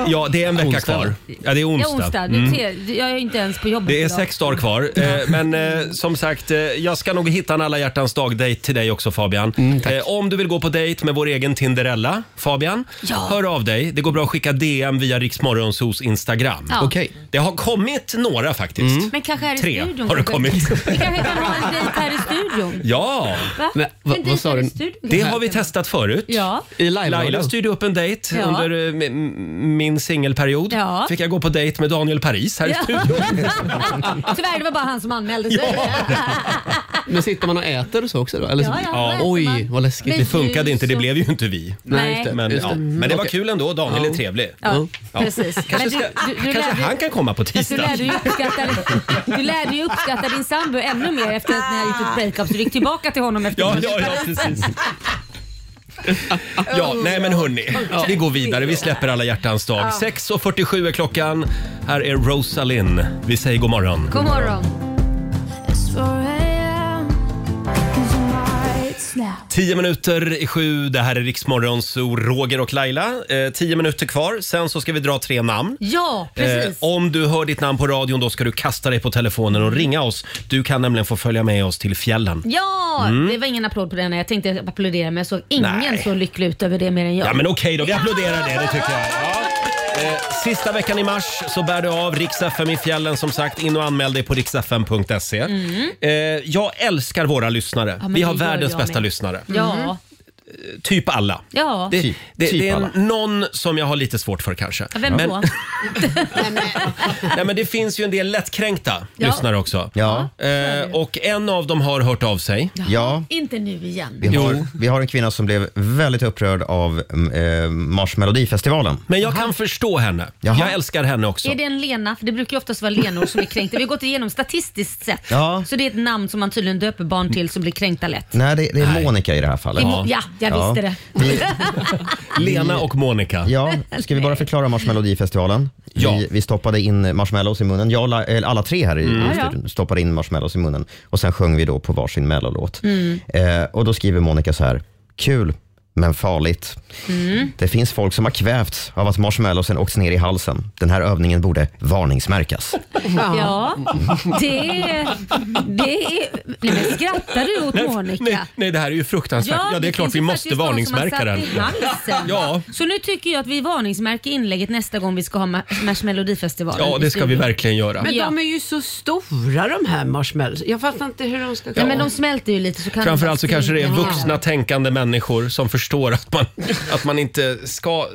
[SPEAKER 1] Ja, det är en vecka kvar. Ja, det är onsdag.
[SPEAKER 6] Ja, onsdag. Du
[SPEAKER 1] Mm.
[SPEAKER 6] ser, jag är ju inte ens på jobbet
[SPEAKER 1] Det är
[SPEAKER 6] idag.
[SPEAKER 1] sex dagar kvar. Eh, Men eh, som sagt, eh, jag ska nog hitta en alla hjärtans dag-dejt till dig också Fabian.
[SPEAKER 6] Mm,
[SPEAKER 1] Eh, om du vill gå på dejt med vår egen Tinderella, Fabian,
[SPEAKER 6] Ja.
[SPEAKER 1] hör av dig. Det går bra att skicka DM via Riksmorgonsos Instagram.
[SPEAKER 6] Ja. Mm. Okej.
[SPEAKER 1] Det har kommit några faktiskt.
[SPEAKER 6] Men kanske här i
[SPEAKER 1] mm. Tre
[SPEAKER 6] studion.
[SPEAKER 1] har det
[SPEAKER 6] kanske.
[SPEAKER 1] kommit.
[SPEAKER 6] Vi kanske kan ha en dejt här i studion.
[SPEAKER 1] Ja!
[SPEAKER 6] Va? Men va- En vad sa dejt du? i studion
[SPEAKER 1] Det
[SPEAKER 6] kanske?
[SPEAKER 1] har vi testat förut.
[SPEAKER 6] <laughs> Ja.
[SPEAKER 1] I Laila styrde upp en dejt
[SPEAKER 6] Ja.
[SPEAKER 1] under eh, m- m- min singelperiod.
[SPEAKER 6] Ja.
[SPEAKER 1] Fick jag gå på dejt med Daniel Paris här i
[SPEAKER 6] Ja.
[SPEAKER 1] studion.
[SPEAKER 10] <laughs>
[SPEAKER 6] <laughs> Tyvärr, det var bara han som anmälde sig.
[SPEAKER 10] Men sitter man och äter och så också då? Eller?
[SPEAKER 6] Ja, ja, vad äter
[SPEAKER 10] Oj,
[SPEAKER 6] man?
[SPEAKER 10] vad läskigt.
[SPEAKER 6] Med
[SPEAKER 1] Det funkade
[SPEAKER 6] ljus
[SPEAKER 1] inte, det
[SPEAKER 6] och-
[SPEAKER 1] blev ju inte vi.
[SPEAKER 6] Nej, just det,
[SPEAKER 1] Men,
[SPEAKER 10] just
[SPEAKER 1] ja.
[SPEAKER 10] det. Mm.
[SPEAKER 1] men det var
[SPEAKER 10] Okej.
[SPEAKER 1] kul ändå, Daniel är trevlig.
[SPEAKER 6] Ja,
[SPEAKER 1] Ja.
[SPEAKER 6] precis.
[SPEAKER 1] Kanske,
[SPEAKER 6] Men
[SPEAKER 1] ska,
[SPEAKER 6] du- du- du
[SPEAKER 1] kanske
[SPEAKER 6] lärde-
[SPEAKER 1] han kan komma på
[SPEAKER 6] Fast Du
[SPEAKER 1] tisdag.
[SPEAKER 6] lärde, ju uppskatta, du lärde ju uppskatta din sambo ännu mer efter att ni hade gjort ett breakup. Så du gick tillbaka till honom efter
[SPEAKER 1] Ja, ja, ja, precis. Ja, nej men hörni, vi går vidare. Vi släpper alla hjärtans dag. 6.47 är klockan. Här är Rosalind. Vi säger god morgon.
[SPEAKER 6] God morgon.
[SPEAKER 1] 10 minuter i sju. Det här är Riksmorgon, så Roger och Laila. 10 minuter kvar. Sen så ska vi dra tre namn.
[SPEAKER 6] Ja, precis.
[SPEAKER 1] Eh, om du hör ditt namn på radion då ska du kasta dig på telefonen och ringa oss. Du kan nämligen få följa med oss till fjällen.
[SPEAKER 6] Ja,
[SPEAKER 1] Mm.
[SPEAKER 6] det var ingen applåd på den. Jag tänkte applådera men jag såg ingen
[SPEAKER 1] Nej.
[SPEAKER 6] så lycklig ut över det mer än jag.
[SPEAKER 1] Ja men okej då, vi applåderar det, det tycker jag. Ja. Eh, Sista veckan i mars så bär du av Rix FM i fjällen som sagt. In och anmäl dig på riksfm.se.
[SPEAKER 6] Mm.
[SPEAKER 1] Eh, jag älskar våra lyssnare.
[SPEAKER 6] Ja, men
[SPEAKER 1] vi har
[SPEAKER 6] det gör
[SPEAKER 1] världens
[SPEAKER 6] jag
[SPEAKER 1] bästa
[SPEAKER 6] med.
[SPEAKER 1] lyssnare.
[SPEAKER 6] Ja.
[SPEAKER 1] Eh, Typ alla.
[SPEAKER 6] Ja.
[SPEAKER 1] Det,
[SPEAKER 6] Typ-
[SPEAKER 1] det,
[SPEAKER 6] typ
[SPEAKER 1] det är
[SPEAKER 6] alla.
[SPEAKER 1] någon som jag har lite svårt för kanske.
[SPEAKER 6] Vem
[SPEAKER 1] men, <laughs>
[SPEAKER 6] då?
[SPEAKER 1] nej, men det finns ju en del lättkränkta
[SPEAKER 6] Ja.
[SPEAKER 1] lyssnare också.
[SPEAKER 2] Ja.
[SPEAKER 1] Eh, och en av dem har hört av sig.
[SPEAKER 2] Ja.
[SPEAKER 6] Inte nu igen.
[SPEAKER 2] Vi har, vi har en kvinna som blev väldigt upprörd av mm, eh, Marsmelodifestivalen.
[SPEAKER 1] Men jag kan förstå henne. Jag älskar henne också.
[SPEAKER 6] Är det en Lena? För det brukar ju oftast vara Lenor som är kränkta. Vi har gått igenom statistiskt sett.
[SPEAKER 2] Ja.
[SPEAKER 6] Så det är ett namn som man tydligen döper barn till som blir kränkta lätt.
[SPEAKER 2] Nej, det, det är Monica i det här fallet.
[SPEAKER 6] Det är Mo- ja, jag visste det.
[SPEAKER 1] Lena och Monica.
[SPEAKER 2] Ja, ska vi bara förklara Marshmallowfestivalen? Ja. Vi, vi stoppade in marshmallows i munnen. Jag, och La- eller alla tre här i
[SPEAKER 6] Mm. Ja, ja.
[SPEAKER 2] studion stoppade in marshmallows i munnen och sen sjöng vi då på varsin mellolåt.
[SPEAKER 6] Mm.
[SPEAKER 2] Eh, och då skriver Monica så här, kul men farligt.
[SPEAKER 6] Mm.
[SPEAKER 2] Det finns folk som har kvävts av att marshmallowsen åkt ner i halsen. Den här övningen borde
[SPEAKER 6] <laughs>
[SPEAKER 2] varningsmärkas.
[SPEAKER 6] Ja, det är... Det är nej men skrattar du åt
[SPEAKER 1] Nej,
[SPEAKER 6] Monica?
[SPEAKER 1] nej, nej, det här är ju fruktansvärt. Ja, det är
[SPEAKER 6] finns
[SPEAKER 1] klart vi
[SPEAKER 6] ju
[SPEAKER 1] måste
[SPEAKER 6] faktiskt någon
[SPEAKER 1] varningsmärka
[SPEAKER 6] som har
[SPEAKER 1] den.
[SPEAKER 6] satt i halsen.
[SPEAKER 1] Ja.
[SPEAKER 6] Så nu tycker jag att vi varningsmärker inlägget nästa gång vi ska ha Ma- Marshmelodifestivalen.
[SPEAKER 1] ja, det ska vi verkligen göra.
[SPEAKER 3] Men de är ju så stora de här marshmallows. Jag fattar inte hur de ska
[SPEAKER 6] Nej, men de smälter ju lite så kan
[SPEAKER 1] Framförallt så
[SPEAKER 6] de bara
[SPEAKER 1] kanske det är
[SPEAKER 6] springa.
[SPEAKER 1] vuxna tänkande människor som förstår att <laughs> man, att man inte ska...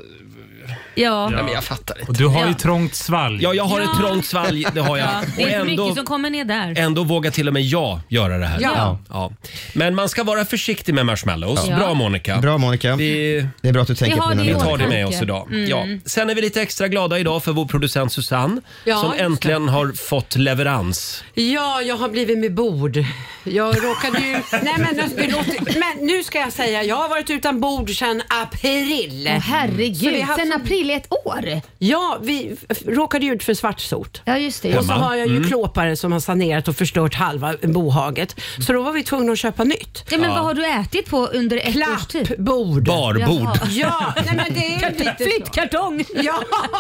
[SPEAKER 6] Ja.
[SPEAKER 1] Nej, men jag fattar inte.
[SPEAKER 9] Och du har ju
[SPEAKER 1] Ja.
[SPEAKER 9] trångt svalg.
[SPEAKER 1] Ja, jag har ett trångt svalg, det har jag.
[SPEAKER 6] Ja, det
[SPEAKER 1] Och
[SPEAKER 6] är inte
[SPEAKER 1] ändå,
[SPEAKER 6] mycket som kommer ner där.
[SPEAKER 1] ändå vågar till och med jag göra det här.
[SPEAKER 6] Ja.
[SPEAKER 1] Ja. Men man ska vara försiktig med marshmallows.
[SPEAKER 6] Ja.
[SPEAKER 1] Bra Monica.
[SPEAKER 2] Bra Monica.
[SPEAKER 1] Det
[SPEAKER 2] är bra att du tänker
[SPEAKER 6] Vi
[SPEAKER 2] på
[SPEAKER 6] har
[SPEAKER 2] dina
[SPEAKER 6] det i
[SPEAKER 1] Vi
[SPEAKER 2] medlemmar.
[SPEAKER 1] tar det med oss
[SPEAKER 6] Tanke.
[SPEAKER 1] idag.
[SPEAKER 6] Mm.
[SPEAKER 1] Ja. Sen är vi lite extra glada idag för vår producent Susanne
[SPEAKER 3] Ja,
[SPEAKER 1] som
[SPEAKER 3] just det.
[SPEAKER 1] äntligen har fått leverans.
[SPEAKER 3] Ja, jag har blivit med bord. Jag råkade
[SPEAKER 6] <laughs>
[SPEAKER 3] ju... Nej, men, nu- det låter... men nu ska jag säga, jag har varit utan bord sedan april.
[SPEAKER 6] Åh, herregud,
[SPEAKER 3] Så vi har haft-
[SPEAKER 6] sen april är ett år.
[SPEAKER 3] Ja, vi f- råkade ju ut för svartsot.
[SPEAKER 6] Ja, just
[SPEAKER 3] Och så har jag ju
[SPEAKER 6] Mm.
[SPEAKER 3] klåpare som har sanerat och förstört halva bohaget. Så då var vi tvungna att köpa nytt.
[SPEAKER 6] Ja, men vad har du ätit på under ett års tid?
[SPEAKER 3] Klappbord.
[SPEAKER 1] Barbord. <laughs>
[SPEAKER 3] Ja, nej, men det är lite så.
[SPEAKER 6] <laughs> Flyttkartong.
[SPEAKER 3] Ja,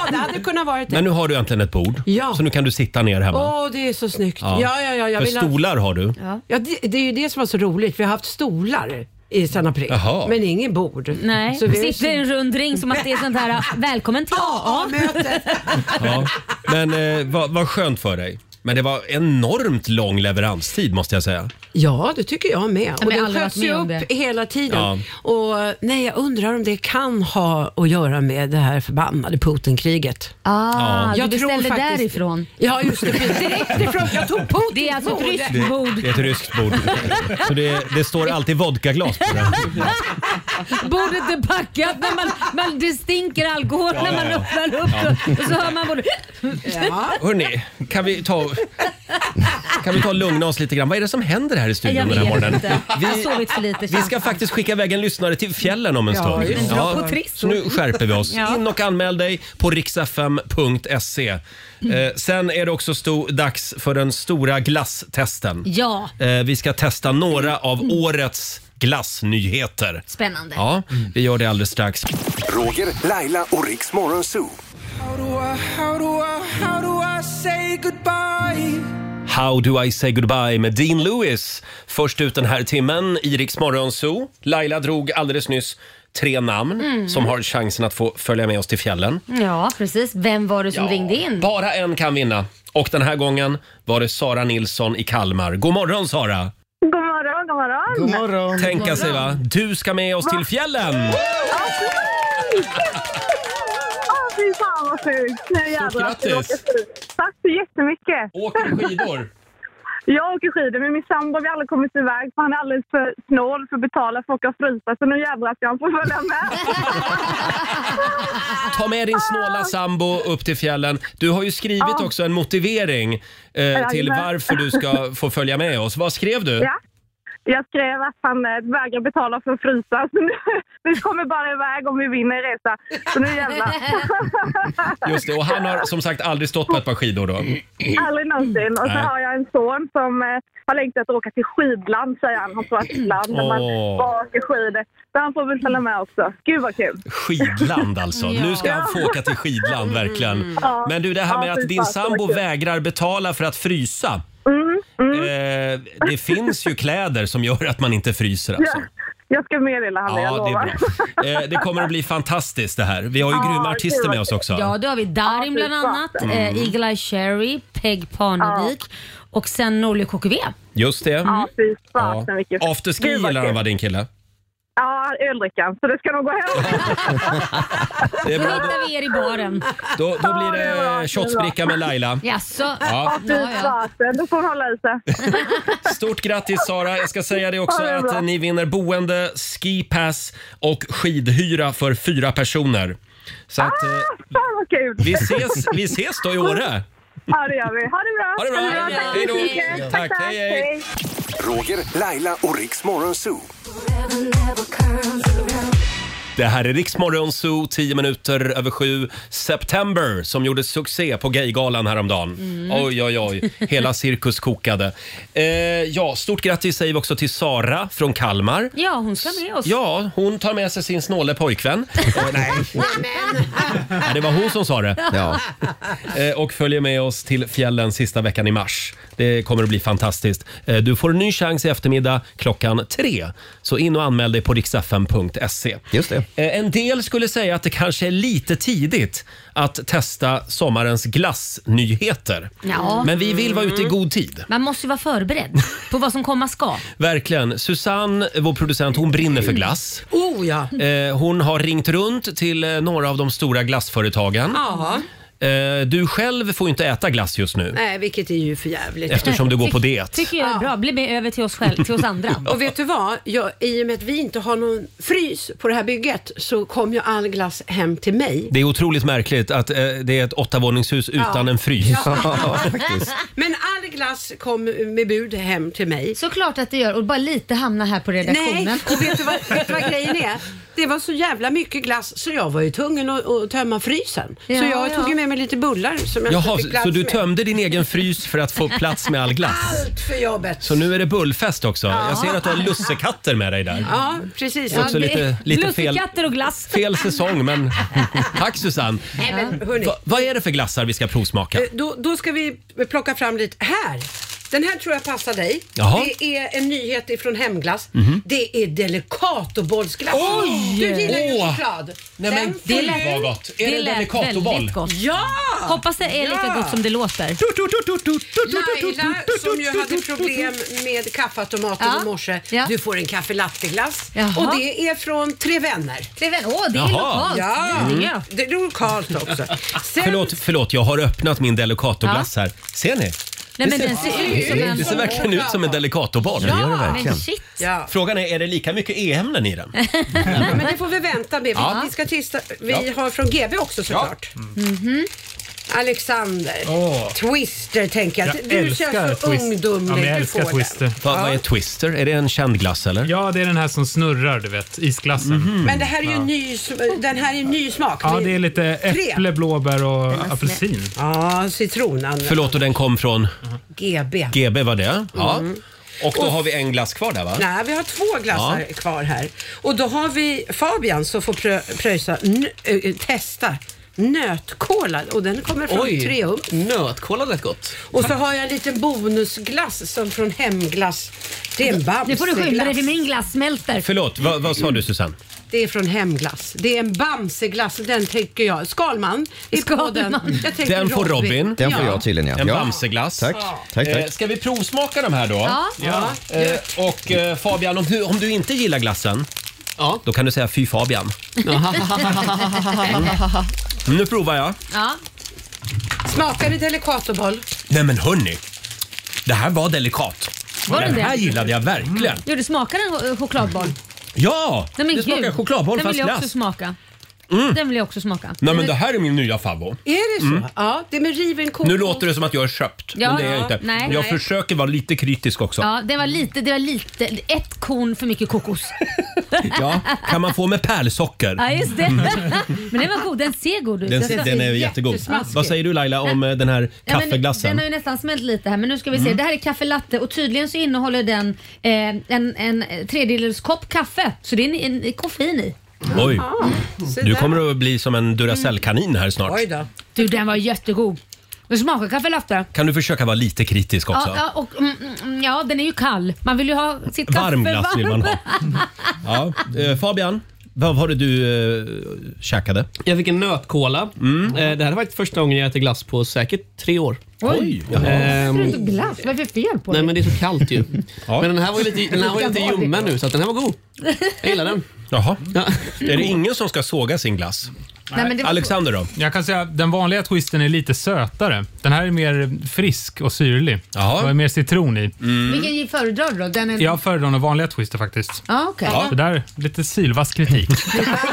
[SPEAKER 3] det hade kunnat vara det.
[SPEAKER 1] Men nu har du äntligen ett bord, så nu kan du sitta ner hemma.
[SPEAKER 3] Åh, det är så snyggt. Ja, ja, ja. jag
[SPEAKER 1] För
[SPEAKER 3] vill ha-
[SPEAKER 1] stolar har du.
[SPEAKER 3] Ja. det, det är ju det som var så roligt. Vi har haft stolar i San april,
[SPEAKER 1] Jaha.
[SPEAKER 3] men ingen bord.
[SPEAKER 6] Nej,
[SPEAKER 3] Så vi har ju
[SPEAKER 6] sitter i en rund ring som att det är sånt här välkommen till AA.
[SPEAKER 1] Ja. Men eh, vad, vad skönt för dig. Men det var enormt lång leveranstid måste jag säga.
[SPEAKER 3] Ja, det tycker jag med.
[SPEAKER 6] men
[SPEAKER 3] Och
[SPEAKER 6] jag har
[SPEAKER 3] den
[SPEAKER 6] aldrig varit
[SPEAKER 3] sköts ju
[SPEAKER 6] med om
[SPEAKER 3] upp
[SPEAKER 6] det.
[SPEAKER 3] hela tiden.
[SPEAKER 1] Ja.
[SPEAKER 3] Och nej, jag undrar om det kan ha att göra med det här förbannade Putinkriget.
[SPEAKER 6] Ah,
[SPEAKER 3] Jag
[SPEAKER 6] du beställde
[SPEAKER 3] tror faktiskt-
[SPEAKER 6] därifrån.
[SPEAKER 3] Ja, just det. Direkt ifrån. Jag tog Putins
[SPEAKER 6] Det är alltså ett
[SPEAKER 3] bord.
[SPEAKER 6] ryskt
[SPEAKER 1] Det,
[SPEAKER 6] bord.
[SPEAKER 1] det är ett ryskt bord. Så det, det står alltid vodkaglas på det.
[SPEAKER 6] <laughs> Bordet är packat, när man, man, det stinker alkohol
[SPEAKER 1] Ja,
[SPEAKER 6] när man
[SPEAKER 1] ja, ja.
[SPEAKER 6] öppnar upp
[SPEAKER 1] Ja.
[SPEAKER 6] och så hör man bordet.
[SPEAKER 1] Hörni, kan vi ta... Kan vi ta och lugna oss lite grann? Vad är det som händer här i studion
[SPEAKER 6] Jag
[SPEAKER 1] den här
[SPEAKER 6] vet
[SPEAKER 1] morgonen?
[SPEAKER 6] inte. Jag har sovit för lite.
[SPEAKER 1] Vi ska faktiskt skicka iväg en lyssnare till fjällen om en
[SPEAKER 6] Ja,
[SPEAKER 1] stund.
[SPEAKER 6] just det. Dra på trissor.
[SPEAKER 1] så nu skärper vi oss.
[SPEAKER 6] Ja.
[SPEAKER 1] In och anmäl dig på riksfm.se. Eh, sen är det också sto- dags för den stora glasstesten.
[SPEAKER 6] Ja.
[SPEAKER 1] Eh, vi ska testa några av årets glassnyheter.
[SPEAKER 6] Spännande.
[SPEAKER 1] Ja, vi gör det alldeles strax.
[SPEAKER 8] Roger, Laila och Riks Morgonzoo.
[SPEAKER 5] How do I, how do I, how do I say goodbye?
[SPEAKER 1] How do I say goodbye med Dean Lewis. Först ut den här timmen i Rix Morgon Zoo. Laila drog alldeles nyss tre namn
[SPEAKER 6] Mm.
[SPEAKER 1] som har chansen att få följa med oss till fjällen.
[SPEAKER 6] Ja, precis. Vem var det som ringde in?
[SPEAKER 1] Bara en kan vinna. Och den här gången var det Sara Nilsson i Kalmar. God morgon Sara!
[SPEAKER 4] God morgon, god morgon. God morgon.
[SPEAKER 1] Tänka sig va? Du ska med oss till fjällen!
[SPEAKER 4] Åh, fy fan vad sjukt. Nu jävlar ska vi åka
[SPEAKER 1] grattis.
[SPEAKER 4] skidor. Tack så jättemycket.
[SPEAKER 1] Åker du skidor?
[SPEAKER 4] Jag åker skidor, men min sambo har vi aldrig kommit iväg för han är alldeles för snål för att betala för att åka och frysa. Så nu jävlar ska han få följa med.
[SPEAKER 1] Ta med din snåla sambo upp till fjällen. Du har ju skrivit
[SPEAKER 4] Ja.
[SPEAKER 1] också en motivering eh, till
[SPEAKER 4] Jajamän.
[SPEAKER 1] varför du ska få följa med oss. Vad skrev du?
[SPEAKER 4] Ja. Jag skrev att han eh, vägrar betala för att frysa. Så nu, <laughs> vi kommer bara iväg om vi vinner resa. Så nu jävlar.
[SPEAKER 1] <laughs> Just det, och han har som sagt aldrig stått på ett par skidor då.
[SPEAKER 4] Aldrig någonsin. Och så
[SPEAKER 1] Mm. Nej.
[SPEAKER 4] har jag en son som eh, har längtat att åka till skidland, säger han. Han tror att det är ett land där man
[SPEAKER 1] Åh.
[SPEAKER 4] bara åker skidor. Så han får väl följa med också. Gud vad kul!
[SPEAKER 1] Skidland alltså.
[SPEAKER 4] Ja. Mm.
[SPEAKER 1] Nu ska han få åka till skidland verkligen.
[SPEAKER 4] Ja.
[SPEAKER 1] Men du, det här
[SPEAKER 4] Ja,
[SPEAKER 1] med
[SPEAKER 4] fy
[SPEAKER 1] att din
[SPEAKER 4] fan, så
[SPEAKER 1] sambo
[SPEAKER 4] kul.
[SPEAKER 1] vägrar betala för att frysa.
[SPEAKER 4] Mm, mm.
[SPEAKER 1] Eh, det finns ju kläder som gör att man inte fryser alltså.
[SPEAKER 4] Ja, jag ska meddela honom, jag
[SPEAKER 1] Ja, det är
[SPEAKER 4] lovar. <laughs>
[SPEAKER 1] bra. Eh, det kommer att bli fantastiskt det här. Vi har ju grymma artister med oss också.
[SPEAKER 6] Ja, då har vi Darin bland annat,
[SPEAKER 1] Mm.
[SPEAKER 6] eh, Eagle-Eye Cherry, Peg Parnevik och sen Norlie KKV.
[SPEAKER 1] Just det.
[SPEAKER 4] Ja, fy fasen
[SPEAKER 1] Ja.
[SPEAKER 4] vilken...
[SPEAKER 1] Afterski
[SPEAKER 4] Gud, vad
[SPEAKER 1] gillar han
[SPEAKER 4] kul.
[SPEAKER 1] va, din kille?
[SPEAKER 4] Ja, öldrickan. Så det ska nog gå hem.
[SPEAKER 1] <laughs> Det är
[SPEAKER 6] Då
[SPEAKER 1] bra.
[SPEAKER 6] hittar vi er i baren.
[SPEAKER 1] Då, då blir det shotsbricka med Laila.
[SPEAKER 6] <laughs> Jaså?
[SPEAKER 1] Ja.
[SPEAKER 4] Fy fasen, då får hon hålla i sig.
[SPEAKER 1] Stort grattis Sara! Jag ska säga det också
[SPEAKER 4] Ja, det är
[SPEAKER 1] att
[SPEAKER 4] bra.
[SPEAKER 1] eh, ni vinner boende, skipass och skidhyra för fyra personer. Så att eh,
[SPEAKER 4] Fan vad kul! <laughs>
[SPEAKER 1] vi ses, vi ses då i Åre!
[SPEAKER 4] Ja, det gör vi. Ha det bra!
[SPEAKER 1] Ha det bra.
[SPEAKER 4] Tack
[SPEAKER 1] Hej
[SPEAKER 4] så
[SPEAKER 1] då.
[SPEAKER 4] mycket.
[SPEAKER 1] Tack, hej, hej.
[SPEAKER 8] Roger, Laila och Riks Morgonzoo.
[SPEAKER 1] Det här är Riksmorgon Zoo, 10 minuter över sju. September som gjorde succé på Gaygalan häromdagen.
[SPEAKER 11] Mm.
[SPEAKER 1] Oj, oj, oj. Hela cirkus kokade. Eh, ja, stort grattis säger vi också till Sara från Kalmar.
[SPEAKER 6] Ja, hon ska med oss.
[SPEAKER 1] Ja, hon tar med sig sin snåle pojkvän. Eh, nej. Ja, det var hon som sa det.
[SPEAKER 6] Ja.
[SPEAKER 1] Eh, och följer med oss till fjällen sista veckan i mars. Det kommer att bli fantastiskt. Eh, du får en ny chans i eftermiddag klockan tre. Så in och anmäl dig på riksfm.se. Just det. Eh, en del skulle säga att det kanske är lite tidigt att testa sommarens glassnyheter.
[SPEAKER 6] Ja.
[SPEAKER 1] Men vi vill vara ute i
[SPEAKER 6] Mm.
[SPEAKER 1] god tid.
[SPEAKER 6] Man måste ju vara förberedd på vad som komma ska.
[SPEAKER 1] Verkligen. Susanne, vår producent, hon brinner för glass.
[SPEAKER 12] Oh ja.
[SPEAKER 1] Eh, hon har ringt runt till eh, några av de stora glassföretagen.
[SPEAKER 12] Jaha.
[SPEAKER 1] Eh, du själv får ju inte äta glass just nu.
[SPEAKER 12] Nej, vilket är ju för jävligt.
[SPEAKER 1] Eftersom du går på diet.
[SPEAKER 6] Tycker jag är bra. Bli med över till oss, själv, till oss andra.
[SPEAKER 12] <laughs> Och vet du vad? Jag, I och med att vi inte har någon frys på det här bygget så kom ju all glass hem till mig.
[SPEAKER 1] Det är otroligt märkligt att eh, det är ett åttavåningshus
[SPEAKER 12] Ja.
[SPEAKER 1] utan en frys. <laughs>
[SPEAKER 12] Ja. Men all glass kom med bud hem till mig.
[SPEAKER 6] Såklart att det gör och bara lite hamnar här på redaktionen.
[SPEAKER 12] Nej, och vet du, vad, vet du vad grejen är? Det var så jävla mycket glass så jag var ju tvungen att, att tömma frysen.
[SPEAKER 6] Ja,
[SPEAKER 12] så jag
[SPEAKER 6] ja.
[SPEAKER 12] tog ju med mig lite bullar som jag
[SPEAKER 1] Jaha,
[SPEAKER 12] inte fick plats
[SPEAKER 1] så du
[SPEAKER 12] med.
[SPEAKER 1] tömde din egen frys för att få plats med all glass?
[SPEAKER 12] Allt för jobbet.
[SPEAKER 1] Så nu är det bullfest också.
[SPEAKER 12] Ja.
[SPEAKER 1] Jag ser att du har lussekatter med dig där.
[SPEAKER 12] Ja, precis.
[SPEAKER 1] Också
[SPEAKER 12] ja,
[SPEAKER 1] lite, lite fel,
[SPEAKER 6] och glass.
[SPEAKER 1] fel säsong, men <laughs> tack Susanne.
[SPEAKER 12] Nej, men hörni.
[SPEAKER 1] Va, vad är det för glassar vi ska provsmaka?
[SPEAKER 12] Eh, Då, då ska vi plocka fram lite. Här! Den här tror jag passar dig.
[SPEAKER 1] Jaha.
[SPEAKER 12] Det är en nyhet ifrån Hemglass.
[SPEAKER 1] Mhm.
[SPEAKER 12] Det är Delicatobollsglass.
[SPEAKER 1] Oj!
[SPEAKER 12] Du gillar ju
[SPEAKER 1] Åh!
[SPEAKER 12] choklad.
[SPEAKER 1] Nej, men
[SPEAKER 12] Den får
[SPEAKER 1] det
[SPEAKER 12] du-
[SPEAKER 1] lät- Vad gott. Är det
[SPEAKER 6] lät
[SPEAKER 1] Delicatoboll?
[SPEAKER 6] väldigt gott.
[SPEAKER 12] Ja!
[SPEAKER 6] Hoppas det är lika
[SPEAKER 12] Ja!
[SPEAKER 6] gott som det låter.
[SPEAKER 12] Laila som ju hade problem med kaffeautomaten
[SPEAKER 6] Ja.
[SPEAKER 12] i morse.
[SPEAKER 6] Ja.
[SPEAKER 12] Du får en kaffelatteglass.
[SPEAKER 6] Jaha.
[SPEAKER 12] Och det är från Tre Vänner.
[SPEAKER 6] Tre Vänner, åh
[SPEAKER 1] det är Jaha. lokalt.
[SPEAKER 12] Ja,
[SPEAKER 1] Mm.
[SPEAKER 12] det är lokalt
[SPEAKER 1] <laughs>
[SPEAKER 12] också.
[SPEAKER 1] Förlåt, förlåt, jag har öppnat min Delicatoglass här. Ser ni?
[SPEAKER 12] Nej, men
[SPEAKER 1] ser-
[SPEAKER 12] den ser ut som en-
[SPEAKER 1] Det ser verkligen ut som en Delicatoboll.
[SPEAKER 12] Ja, Ja, det gör det verkligen. men shit. Ja.
[SPEAKER 1] Frågan är, är det lika mycket e-ämnen i den?
[SPEAKER 12] Nej, men det får vi vänta med. Vi,
[SPEAKER 1] Ja.
[SPEAKER 12] vi ska tysta. Vi
[SPEAKER 1] Ja.
[SPEAKER 12] har från GB också såklart. Mhm. Alexander.
[SPEAKER 1] Åh.
[SPEAKER 12] Twister tänker jag.
[SPEAKER 1] Jag
[SPEAKER 12] du känns så
[SPEAKER 9] älskar twist.
[SPEAKER 12] ungdomlig.
[SPEAKER 9] Ja, men jag
[SPEAKER 12] Du
[SPEAKER 9] älskar
[SPEAKER 12] får
[SPEAKER 9] Twister.
[SPEAKER 12] den.
[SPEAKER 1] Va, Vad är Twister? Är det en känd glass eller? Mhm.
[SPEAKER 9] Ja, det är den här som snurrar, du vet. Isglassen.
[SPEAKER 12] Men det här är ju en ny, sm- den här är en ny smak.
[SPEAKER 9] Mm. Ja, det är lite äpple, blåbär och apelsin.
[SPEAKER 12] Ja, citron. Anna.
[SPEAKER 1] Förlåt, och den kom från
[SPEAKER 12] GB.
[SPEAKER 1] GB var det? Ja.
[SPEAKER 12] Mm.
[SPEAKER 1] Och då
[SPEAKER 12] Och-
[SPEAKER 1] har vi en glass kvar där va?
[SPEAKER 12] Nej, vi har två glassar
[SPEAKER 1] Ja.
[SPEAKER 12] kvar här. Och då har vi Fabian som får prö- pröjsa, n- ö, testa nötkola och den kommer från
[SPEAKER 11] Oj,
[SPEAKER 12] Triumf.
[SPEAKER 11] nötkola lät gott.
[SPEAKER 12] Och så har jag en liten bonusglass som från Hemglass. Det är en bamseglass.
[SPEAKER 6] Nu får du skynda dig, för
[SPEAKER 12] min glass smälter.
[SPEAKER 1] Förlåt, vad, vad sa du Susanne?
[SPEAKER 12] Det är från Hemglass. Det är en bamseglass och den tänker jag. Skalman är på den. Jag tänker
[SPEAKER 1] Den får Robin.
[SPEAKER 2] Den får jag tydligen, ja.
[SPEAKER 1] En
[SPEAKER 2] Ja.
[SPEAKER 1] bamseglass.
[SPEAKER 2] Tack, tack, tack.
[SPEAKER 1] Eh, Ska vi provsmaka de här då?
[SPEAKER 12] Ja. Ja.
[SPEAKER 1] Eh, Och eh, Fabian, om du, om du inte gillar glassen, då kan du säga fy Fabian. Nu provar jag.
[SPEAKER 12] <laughs> ja. Smakar det delikatoboll?
[SPEAKER 1] Nej men hörni, det här var delikat.
[SPEAKER 6] Var det
[SPEAKER 1] den
[SPEAKER 6] det? Mm.
[SPEAKER 1] här gillade jag verkligen.
[SPEAKER 6] Jo, det smakar en ch- chokladboll.
[SPEAKER 1] Ja!
[SPEAKER 6] Nej, men
[SPEAKER 1] det smakar
[SPEAKER 6] gud.
[SPEAKER 1] chokladboll
[SPEAKER 6] Den
[SPEAKER 1] fast
[SPEAKER 6] vill jag också
[SPEAKER 1] glass.
[SPEAKER 6] smaka.
[SPEAKER 1] Mm.
[SPEAKER 6] Den vill jag också smaka.
[SPEAKER 1] Nej men det här är min nya favvo.
[SPEAKER 12] Är det så?
[SPEAKER 1] Mm.
[SPEAKER 12] Ja, det är med riven kokos.
[SPEAKER 1] Nu låter det som att jag är köpt,
[SPEAKER 6] Ja,
[SPEAKER 1] men det är jag
[SPEAKER 6] ja.
[SPEAKER 1] inte.
[SPEAKER 6] Nej.
[SPEAKER 1] jag
[SPEAKER 6] Nej.
[SPEAKER 1] försöker vara lite kritisk också.
[SPEAKER 6] Ja, det var lite, det var lite, ett korn för
[SPEAKER 1] <laughs>
[SPEAKER 6] mycket kokos.
[SPEAKER 1] Ja, kan man få med pärlsocker?
[SPEAKER 6] Ja, just det. <laughs> Men den var god. Den ser god ut.
[SPEAKER 1] Mm. Den, den är jättegod. Vad säger du Laila om eh, den här
[SPEAKER 6] Ja, men
[SPEAKER 1] kaffeglassen?
[SPEAKER 6] Den har ju nästan smält lite här men nu ska vi se.
[SPEAKER 1] Mm.
[SPEAKER 6] Det här är kaffe latte och tydligen så innehåller den eh, en, en tredjedels kopp kaffe. Så det är en, en koffein i.
[SPEAKER 1] Oj,
[SPEAKER 6] se
[SPEAKER 1] du
[SPEAKER 6] där.
[SPEAKER 1] kommer att bli som en Duracell-kanin här snart.
[SPEAKER 12] Mm. då.
[SPEAKER 6] Du den var jättegod. Den smakar kaffe latte.
[SPEAKER 1] Kan du försöka vara lite kritisk också?
[SPEAKER 6] Ja, ja, och, mm, mm, ja, den är ju kall. Man vill ju ha sitt kaffe
[SPEAKER 1] Varm glass vill man ha.
[SPEAKER 6] varm.
[SPEAKER 1] Ja, eh, Fabian, vad var det du eh, käkade? Mm.
[SPEAKER 10] Jag fick en nötkola. Eh, Det här är faktiskt första gången jag äter glass på säkert tre år.
[SPEAKER 6] Oj.
[SPEAKER 10] Ehm,
[SPEAKER 6] Varför är det inte glass? Vad är det för fel på
[SPEAKER 10] nej men
[SPEAKER 6] dig?
[SPEAKER 10] det är så kallt ju. Men den här var ju lite, den här var ju lite
[SPEAKER 6] Lika vanligt.
[SPEAKER 10] ljummen nu så att den här var god. Jag gillar den.
[SPEAKER 1] Jaha. <laughs> Är det ingen som ska såga sin glass?
[SPEAKER 6] Nej, men det var-
[SPEAKER 1] Alexander då?
[SPEAKER 9] Jag kan säga att den vanliga twisten är lite sötare. Den här är mer frisk och syrlig. Jaha. Och är mer citron i.
[SPEAKER 6] <laughs> Mm. Vilken föredrar du då? Den är...
[SPEAKER 9] Jag föredrar den vanliga twisten faktiskt.
[SPEAKER 6] Ja, okej.
[SPEAKER 9] Så där, lite sylvass kritik.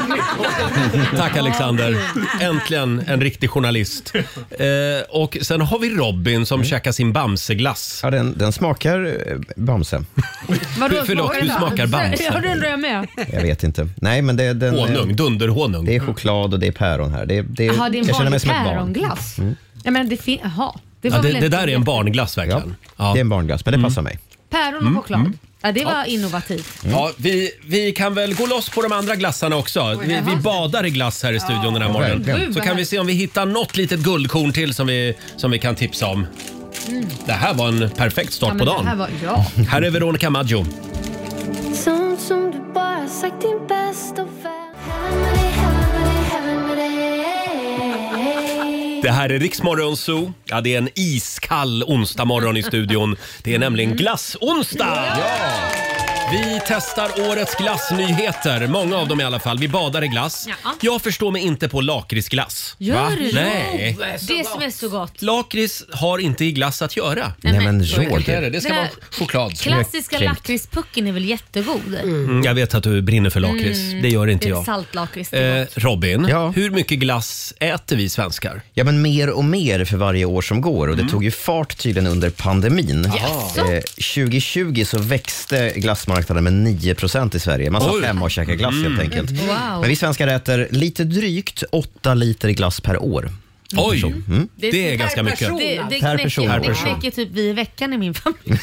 [SPEAKER 1] <laughs> Tack Alexander. Äntligen en riktig journalist. Eh, och sen har vi Robin som käkar sin bamseglass.
[SPEAKER 2] Mm. Ja, den, den smakar eh, Bamse.
[SPEAKER 6] <laughs> Vadå,
[SPEAKER 1] Förlåt,
[SPEAKER 6] smakar
[SPEAKER 1] du
[SPEAKER 6] den då?
[SPEAKER 1] smakar Bamse.
[SPEAKER 6] Ja, det undrar jag med.
[SPEAKER 2] Jag vet inte. Nej, men det, den,
[SPEAKER 1] Honung, dunderhonung.
[SPEAKER 2] Det är choklad och det är päron här. Det, det,
[SPEAKER 6] Jaha, det är en
[SPEAKER 2] jag känner mig
[SPEAKER 6] vanlig
[SPEAKER 2] som ett barn.
[SPEAKER 6] päronglass.
[SPEAKER 2] Mm.
[SPEAKER 6] Ja, men det fin- Jaha. Det var
[SPEAKER 2] Ja,
[SPEAKER 6] väl inte-
[SPEAKER 1] barnglass verkligen.
[SPEAKER 2] Det är en barnglass, men det passar mig.
[SPEAKER 6] Päron och
[SPEAKER 1] Mm,
[SPEAKER 6] choklad.
[SPEAKER 1] mm.
[SPEAKER 6] Ja, det var innovativt.
[SPEAKER 2] Mm.
[SPEAKER 1] Ja, vi, vi kan väl gå loss på de andra glassarna också. Vi, vi badar i glass här i studion den här morgonen.
[SPEAKER 6] verkligen.
[SPEAKER 1] Så kan vi se om vi hittar något litet guldkorn till som vi, som vi kan tipsa om.
[SPEAKER 6] Mm.
[SPEAKER 1] Det här var en perfekt
[SPEAKER 6] Ja,
[SPEAKER 1] start
[SPEAKER 6] men
[SPEAKER 1] på
[SPEAKER 6] Det här
[SPEAKER 1] dagen.
[SPEAKER 6] var, ja.
[SPEAKER 1] Här är Veronica Maggio.
[SPEAKER 5] Sånt som du bara sagt din bästa vän. Heaven med dig, heaven med dig, heaven med dig.
[SPEAKER 1] Det här är Riksmorgon Zoo. Ja, det är en iskall onsdag morgon i studion. Det är nämligen glassonsdag! Vi testar årets glassnyheter, många av dem i alla fall. Vi badar i glass.
[SPEAKER 6] Ja.
[SPEAKER 1] Jag förstår mig inte på lakritsglass.
[SPEAKER 6] Gör du det?
[SPEAKER 1] Nej.
[SPEAKER 6] Det är som är så gott.
[SPEAKER 1] Lakrits har inte i glass att göra.
[SPEAKER 6] Nej, men
[SPEAKER 2] Så Roger. enkelt
[SPEAKER 1] Det,
[SPEAKER 2] är
[SPEAKER 1] det.
[SPEAKER 2] det.
[SPEAKER 1] det ska
[SPEAKER 6] Det
[SPEAKER 1] vara
[SPEAKER 6] här-
[SPEAKER 1] choklad.
[SPEAKER 6] Klassiska lakritspucken är väl jättegod?
[SPEAKER 1] Mm, jag vet att du brinner för lakrits.
[SPEAKER 6] Mm.
[SPEAKER 1] Det gör inte jag.
[SPEAKER 6] Saltlakrits. det är
[SPEAKER 1] Eh,
[SPEAKER 6] gott.
[SPEAKER 1] Robin, hur mycket glass äter vi
[SPEAKER 6] <laughs>
[SPEAKER 1] svenskar?
[SPEAKER 2] Ja, men mer och mer för varje år som går
[SPEAKER 1] Mm.
[SPEAKER 2] och det tog ju fart tydligen under pandemin.
[SPEAKER 1] Jaha.
[SPEAKER 2] Eh, 2020 så växte glassmarknaden med 9 i Sverige. Man
[SPEAKER 1] Oj.
[SPEAKER 2] satt hemma och käkade glass
[SPEAKER 1] Mm.
[SPEAKER 2] helt enkelt.
[SPEAKER 1] Wow.
[SPEAKER 2] Men vi svenskar äter lite drygt 8 liter glass per år.
[SPEAKER 1] Oj.
[SPEAKER 2] Mm.
[SPEAKER 6] per person, alltså. Det,
[SPEAKER 1] alltså.
[SPEAKER 6] det,
[SPEAKER 2] Per
[SPEAKER 6] knäcker,
[SPEAKER 2] person.
[SPEAKER 6] det knäcker typ vi i veckan i min familj.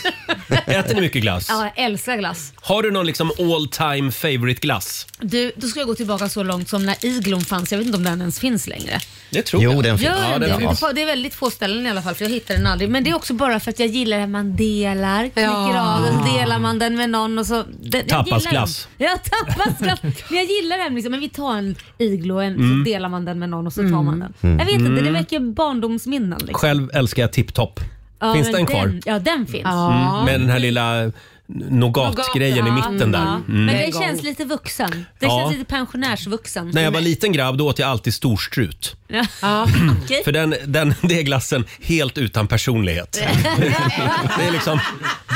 [SPEAKER 1] Äter ni mycket glass?
[SPEAKER 6] Ja, jag älskar glass.
[SPEAKER 1] Har du någon liksom all time favorite glass?
[SPEAKER 6] Du, då ska jag gå tillbaka så långt som när Iglon fanns. Jag vet inte om den ens finns längre.
[SPEAKER 1] Det tror
[SPEAKER 2] Jo, den finns.
[SPEAKER 6] Gör den det?
[SPEAKER 2] finns.
[SPEAKER 6] Det är väldigt få ställen i alla fall för jag hittar den aldrig. Men det är också bara för att jag gillar att man delar, knycker
[SPEAKER 5] Ja.
[SPEAKER 6] av den, delar man den med någon och så. Den, jag gillar
[SPEAKER 5] Tapasglass.
[SPEAKER 6] den. Ja, tapasglass. Men jag gillar den liksom. Men vi tar en iglo och en,
[SPEAKER 1] Mm.
[SPEAKER 6] så delar man den med någon och så tar man den.
[SPEAKER 1] Mm.
[SPEAKER 6] Jag vet inte, det
[SPEAKER 1] Mm.
[SPEAKER 6] väcker barndomsminnen. Liksom.
[SPEAKER 1] Själv älskar jag tipptopp.
[SPEAKER 6] Ja,
[SPEAKER 1] Finns
[SPEAKER 6] men
[SPEAKER 1] den kvar?
[SPEAKER 6] Ja, den finns.
[SPEAKER 1] Mm, med den här lilla nougat-grejen i mitten där.
[SPEAKER 6] Ja.
[SPEAKER 1] Mm.
[SPEAKER 6] Men den känns lite vuxen. Den
[SPEAKER 1] Ja.
[SPEAKER 6] känns lite pensionärsvuxen.
[SPEAKER 1] När jag var liten grabb då åt jag alltid storstrut. <laughs>
[SPEAKER 6] Ja. Okej.
[SPEAKER 1] För den, den, <laughs> det är glassen helt utan personlighet. Det är liksom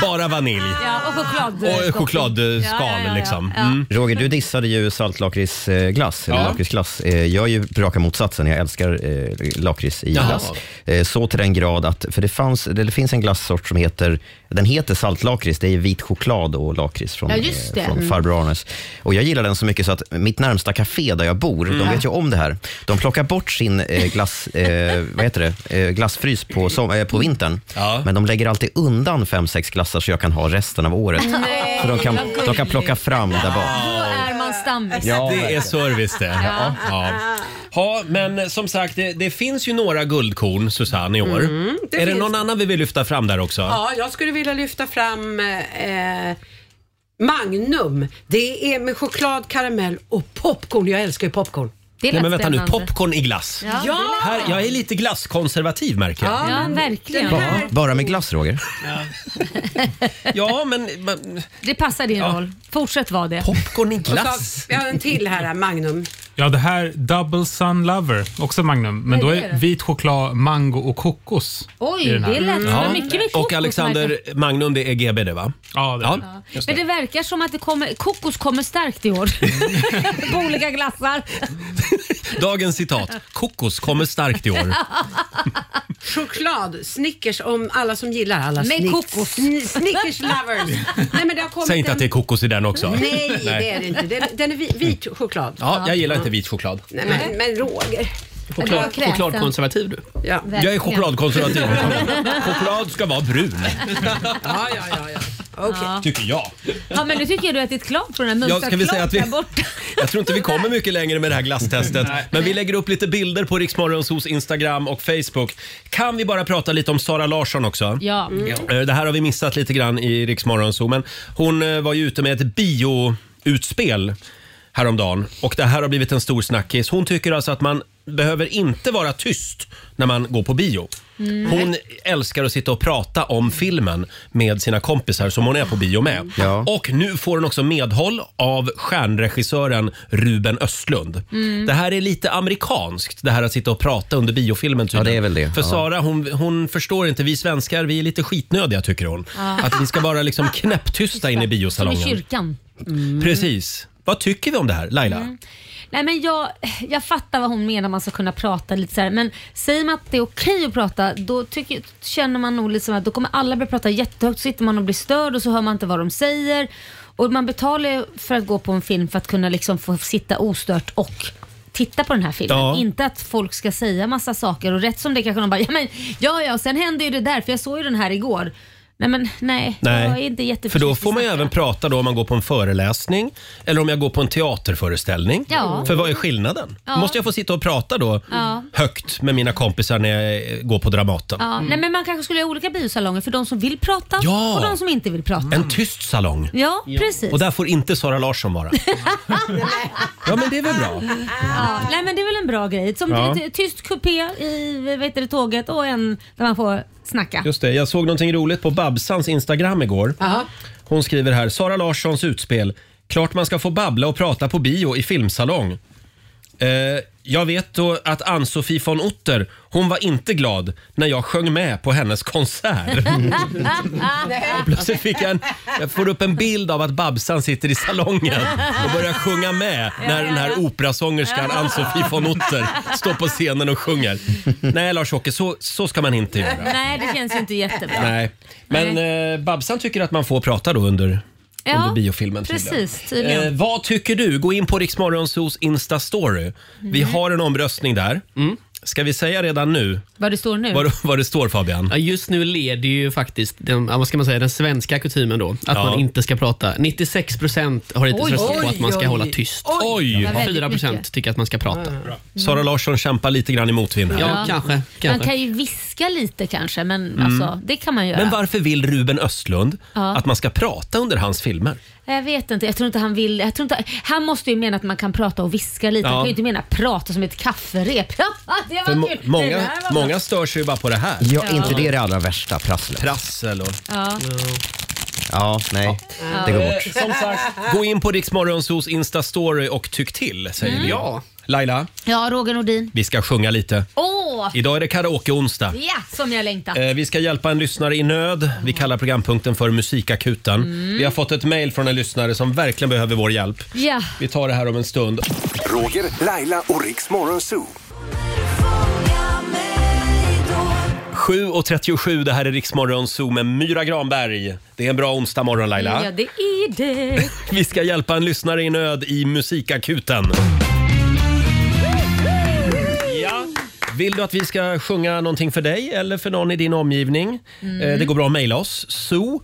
[SPEAKER 1] bara vanilj.
[SPEAKER 6] <laughs> Ja, och choklad.
[SPEAKER 1] Och chokladskal
[SPEAKER 6] Ja, ja, ja,
[SPEAKER 1] liksom.
[SPEAKER 6] ja.
[SPEAKER 1] Mm.
[SPEAKER 2] Roger, du dissade ju saltlakritsglass. eller
[SPEAKER 1] Ja.
[SPEAKER 2] lakritsglass. Eh, Jag är ju raka motsatsen. Jag älskar eh, lakrits i
[SPEAKER 1] Jaha.
[SPEAKER 2] glass. Eh, Så till den grad att, för det, fanns, eller det finns en glassort som heter, den heter saltlakrits. Det är vit choklad och lakrits från,
[SPEAKER 5] Ja, just
[SPEAKER 2] eh,
[SPEAKER 5] det.
[SPEAKER 2] från
[SPEAKER 5] Mm.
[SPEAKER 2] farbror Arnes. Och jag gillar den så mycket så att mitt närmsta café där jag bor, de
[SPEAKER 5] Mm.
[SPEAKER 2] vet ju om det här. De plockar bort sin eh, <laughs> glass, eh, vad heter det? Eh, glassfrys på, som, eh, på vintern. Men de lägger alltid undan fem sex kassar så jag kan ha resten av året.
[SPEAKER 6] Nej,
[SPEAKER 2] så de kan,
[SPEAKER 6] vad gulligt.
[SPEAKER 2] de kan plocka fram där bak.
[SPEAKER 6] Då är man stammis.
[SPEAKER 1] det är service det. Ja.
[SPEAKER 6] Ja.
[SPEAKER 1] Ja. men som sagt, det, det finns ju några guldkorn, Susanne, i år.
[SPEAKER 12] Mm, det
[SPEAKER 1] är det
[SPEAKER 12] finns
[SPEAKER 1] någon
[SPEAKER 12] det.
[SPEAKER 1] annan vi vill lyfta fram där också?
[SPEAKER 12] Ja, jag skulle vilja lyfta fram eh, eh, Magnum. Det är med choklad, karamell och popcorn. Jag älskar ju popcorn.
[SPEAKER 1] Nej, men vänta nu, popcorn i glass.
[SPEAKER 12] Ja, det lät
[SPEAKER 1] Här, jag är lite glasskonservativ märker jag.
[SPEAKER 6] Ja, verkligen.
[SPEAKER 2] Bara, bara med glass, Roger?
[SPEAKER 1] <laughs> Ja, men... men
[SPEAKER 6] Det passar din roll. Fortsätt vara det.
[SPEAKER 1] Popcorn i
[SPEAKER 12] Och så, vi har en till här, Magnum.
[SPEAKER 9] Ja, det här Double Sun Lover, också Magnum. Men
[SPEAKER 12] Nej,
[SPEAKER 9] då
[SPEAKER 12] det
[SPEAKER 9] är
[SPEAKER 12] är det.
[SPEAKER 9] vit choklad, mango och kokos.
[SPEAKER 6] Oj,
[SPEAKER 9] i den här.
[SPEAKER 6] det lät som Ja. mycket med kokos,
[SPEAKER 1] Och Alexander Magnum, det är GB det va?
[SPEAKER 9] Ja,
[SPEAKER 1] det är Just
[SPEAKER 6] Men det verkar som att det kommer, kokos kommer starkt
[SPEAKER 1] <laughs>
[SPEAKER 6] i år. På olika glassar.
[SPEAKER 1] det. Dagens citat. Kokos kommer starkt i
[SPEAKER 12] <laughs>
[SPEAKER 1] år.
[SPEAKER 12] Choklad, Snickers om alla som gillar alla
[SPEAKER 6] Med
[SPEAKER 12] Snickers.
[SPEAKER 6] kokos.
[SPEAKER 12] Sn- Snickers lovers. Nej, men det har kommit
[SPEAKER 1] Säg inte
[SPEAKER 12] en...
[SPEAKER 1] att det är kokos i den också.
[SPEAKER 12] Nej, det är det inte. Den, den är vi- vit choklad.
[SPEAKER 1] Ja, jag gillar inte vit choklad.
[SPEAKER 12] Nej, men, men Roger.
[SPEAKER 1] Choklad, chokladkonservativ du.
[SPEAKER 12] Ja.
[SPEAKER 1] Jag är
[SPEAKER 12] <laughs>
[SPEAKER 1] chokladkonservativ. Choklad ska vara brun,
[SPEAKER 12] Ja, ja, ja. ja.
[SPEAKER 6] Ja.
[SPEAKER 1] tycker jag.
[SPEAKER 6] ja, men nu tycker jag du ätit klart på den här
[SPEAKER 1] Ja, ska vi säga att vi-
[SPEAKER 6] mumsaklart där borta.
[SPEAKER 1] Jag tror inte vi kommer mycket längre med det här glasstestet. Men vi lägger upp lite bilder på Riksmorgonsos Instagram och Facebook. Kan vi bara prata lite om Sara Larsson också?
[SPEAKER 6] Ja. Mm.
[SPEAKER 1] Eh, Det här har vi missat lite grann i Riksmorgonso, men hon eh, var ju ute med ett bioutspel häromdagen och det här har blivit en stor snackis. Hon tycker alltså att man behöver inte vara tyst när man går på bio.
[SPEAKER 11] Mm.
[SPEAKER 1] Hon älskar att sitta och prata om filmen med sina kompisar som hon är på bio med. Och nu får hon också medhåll av stjärnregissören Ruben Östlund.
[SPEAKER 11] Mm.
[SPEAKER 1] Det här är lite amerikanskt, det här att sitta och prata under biofilmen tydligen. Ja, det är väl det. För
[SPEAKER 11] Ja.
[SPEAKER 1] Sara, hon, hon förstår inte. Vi svenskar, vi är lite skitnödiga tycker hon.
[SPEAKER 6] Ja.
[SPEAKER 1] Att vi ska vara liksom knäpptysta inne i
[SPEAKER 6] Som i
[SPEAKER 1] biosalongen.
[SPEAKER 6] kyrkan.
[SPEAKER 1] Precis. Vad tycker vi om det här, Laila?
[SPEAKER 6] Mm. Nej men jag, jag fattar vad hon menar man ska kunna prata lite så här. men säger man att det är okej att prata då tycker, känner man nog liksom att då kommer alla börja prata jättehögt så sitter man och blir störd och så hör man inte vad de säger. Och man betalar ju för att gå på en film för att kunna liksom få sitta ostört och titta på den här filmen.
[SPEAKER 13] Ja.
[SPEAKER 6] Inte att folk ska säga massa saker och rätt som det kanske de bara ja men ja ja och sen hände ju det där för jag såg ju den här igår. Nej men nej, jag är inte
[SPEAKER 1] för
[SPEAKER 6] jätteförtjust
[SPEAKER 1] då
[SPEAKER 6] i
[SPEAKER 1] får man ju även prata då om man går på en föreläsning eller om jag går på en teaterföreställning.
[SPEAKER 6] Ja.
[SPEAKER 1] För vad är skillnaden?
[SPEAKER 6] Ja.
[SPEAKER 1] Måste jag få sitta och prata då
[SPEAKER 6] Ja.
[SPEAKER 1] högt med mina kompisar när jag eh, går på Dramaten?
[SPEAKER 6] Ja, nej, men man kanske skulle ha olika biosalonger för de som vill prata
[SPEAKER 1] Ja.
[SPEAKER 6] och de som inte vill prata.
[SPEAKER 1] En tyst salong.
[SPEAKER 6] Ja, precis.
[SPEAKER 1] Och där får inte Sara Larsson
[SPEAKER 6] <laughs>
[SPEAKER 1] vara. ja, men det är väl bra.
[SPEAKER 6] ja, Ah. nej, men det är väl en bra grej. Som
[SPEAKER 1] Ja.
[SPEAKER 6] det är ett tyst kupé i vad heter det, tåget och en där man får snacka.
[SPEAKER 1] Just det, jag såg någonting roligt på Babsans Instagram igår. Hon skriver här, Sara Larssons utspel. Klart man ska få babbla och prata på bio i filmsalong. Eh, jag vet då att Ann-Sofie von Otter, hon var inte glad när jag sjöng med på hennes
[SPEAKER 6] <laughs>
[SPEAKER 1] konsert. Plötsligt fick jag, en, jag får upp en bild av att Babsan sitter i salongen och börjar sjunga med när den här operasångerskan Ann-Sofie von Otter står på scenen och sjunger. Nej, Lars-Åke, så, så ska man inte göra.
[SPEAKER 6] Nej, det känns ju inte jättebra.
[SPEAKER 1] Nej, men eh, Babsan tycker att man får prata då under,
[SPEAKER 6] Ja,
[SPEAKER 1] under biofilmen.
[SPEAKER 6] precis, tydligen.
[SPEAKER 1] Eh, vad tycker du? Gå in på Riksmorgonsos Insta-story. Vi
[SPEAKER 6] Mm.
[SPEAKER 1] har en omröstning där.
[SPEAKER 10] Mm.
[SPEAKER 1] Ska vi säga redan nu
[SPEAKER 6] Vad det står nu.
[SPEAKER 1] vad, vad det står Fabian?
[SPEAKER 10] Ja, just nu leder ju faktiskt den, ja, vad ska man säga, den svenska kutymen då, att man inte ska prata. 96 procent har hittills
[SPEAKER 1] Oj,
[SPEAKER 10] röstat på
[SPEAKER 1] oj,
[SPEAKER 10] att man ska
[SPEAKER 1] oj.
[SPEAKER 10] hålla tyst.
[SPEAKER 1] Oj. Det var väldigt
[SPEAKER 10] 4 procent
[SPEAKER 6] mycket.
[SPEAKER 10] tycker att man ska prata.
[SPEAKER 1] Sara Larsson kämpar lite grann i motvind här.
[SPEAKER 10] Ja, kanske.
[SPEAKER 6] Man kan ju viska lite kanske, men alltså, det kan man göra.
[SPEAKER 1] Mm. Men varför vill Ruben Östlund
[SPEAKER 6] Ja.
[SPEAKER 1] att man ska prata under hans filmer?
[SPEAKER 6] Jag vet inte, jag tror inte han vill. Jag tror inte, han måste ju mena att man kan prata och viska lite.
[SPEAKER 1] Ja.
[SPEAKER 6] Han kan ju inte mena prata som ett kafferep. <laughs> det var
[SPEAKER 1] För må-
[SPEAKER 6] kul. Det
[SPEAKER 1] många,
[SPEAKER 6] där var-
[SPEAKER 1] många stör sig ju bara på det här.
[SPEAKER 2] Ja, inte det är det allra värsta, prasslet.
[SPEAKER 1] Prassel och...
[SPEAKER 6] Ja. Eh,
[SPEAKER 2] Ja, nej. Det går bort.
[SPEAKER 1] Som sagt, gå in på Riksmorgonsos Insta-story och tyck till, säger
[SPEAKER 6] Mm.
[SPEAKER 1] vi.
[SPEAKER 6] Ja.
[SPEAKER 1] Laila,
[SPEAKER 6] Ja, Roger Nordin.
[SPEAKER 1] vi ska sjunga lite.
[SPEAKER 6] Åh!
[SPEAKER 1] Idag är det karaoke-onsdag.
[SPEAKER 6] Ja, som jag längtat.
[SPEAKER 1] Eh, Vi ska hjälpa en lyssnare i nöd. Vi kallar programpunkten för Musikakuten.
[SPEAKER 6] Mm.
[SPEAKER 1] Vi har fått ett mejl från en lyssnare som verkligen behöver vår hjälp.
[SPEAKER 6] Ja.
[SPEAKER 1] Vi tar det här om en stund.
[SPEAKER 8] Roger, Laila och Riks Morgonzoo.
[SPEAKER 1] 7.37, det här är Riksmorgon Zoo med Myra Granberg. Det är en bra onsdag morgon Laila.
[SPEAKER 6] Ja, det är det.
[SPEAKER 1] Vi ska hjälpa en lyssnare i nöd i Musikakuten. Ja. Vill du att vi ska sjunga någonting för dig eller för någon i din omgivning?
[SPEAKER 6] Mm.
[SPEAKER 1] Eh, Det går bra att mejla oss. so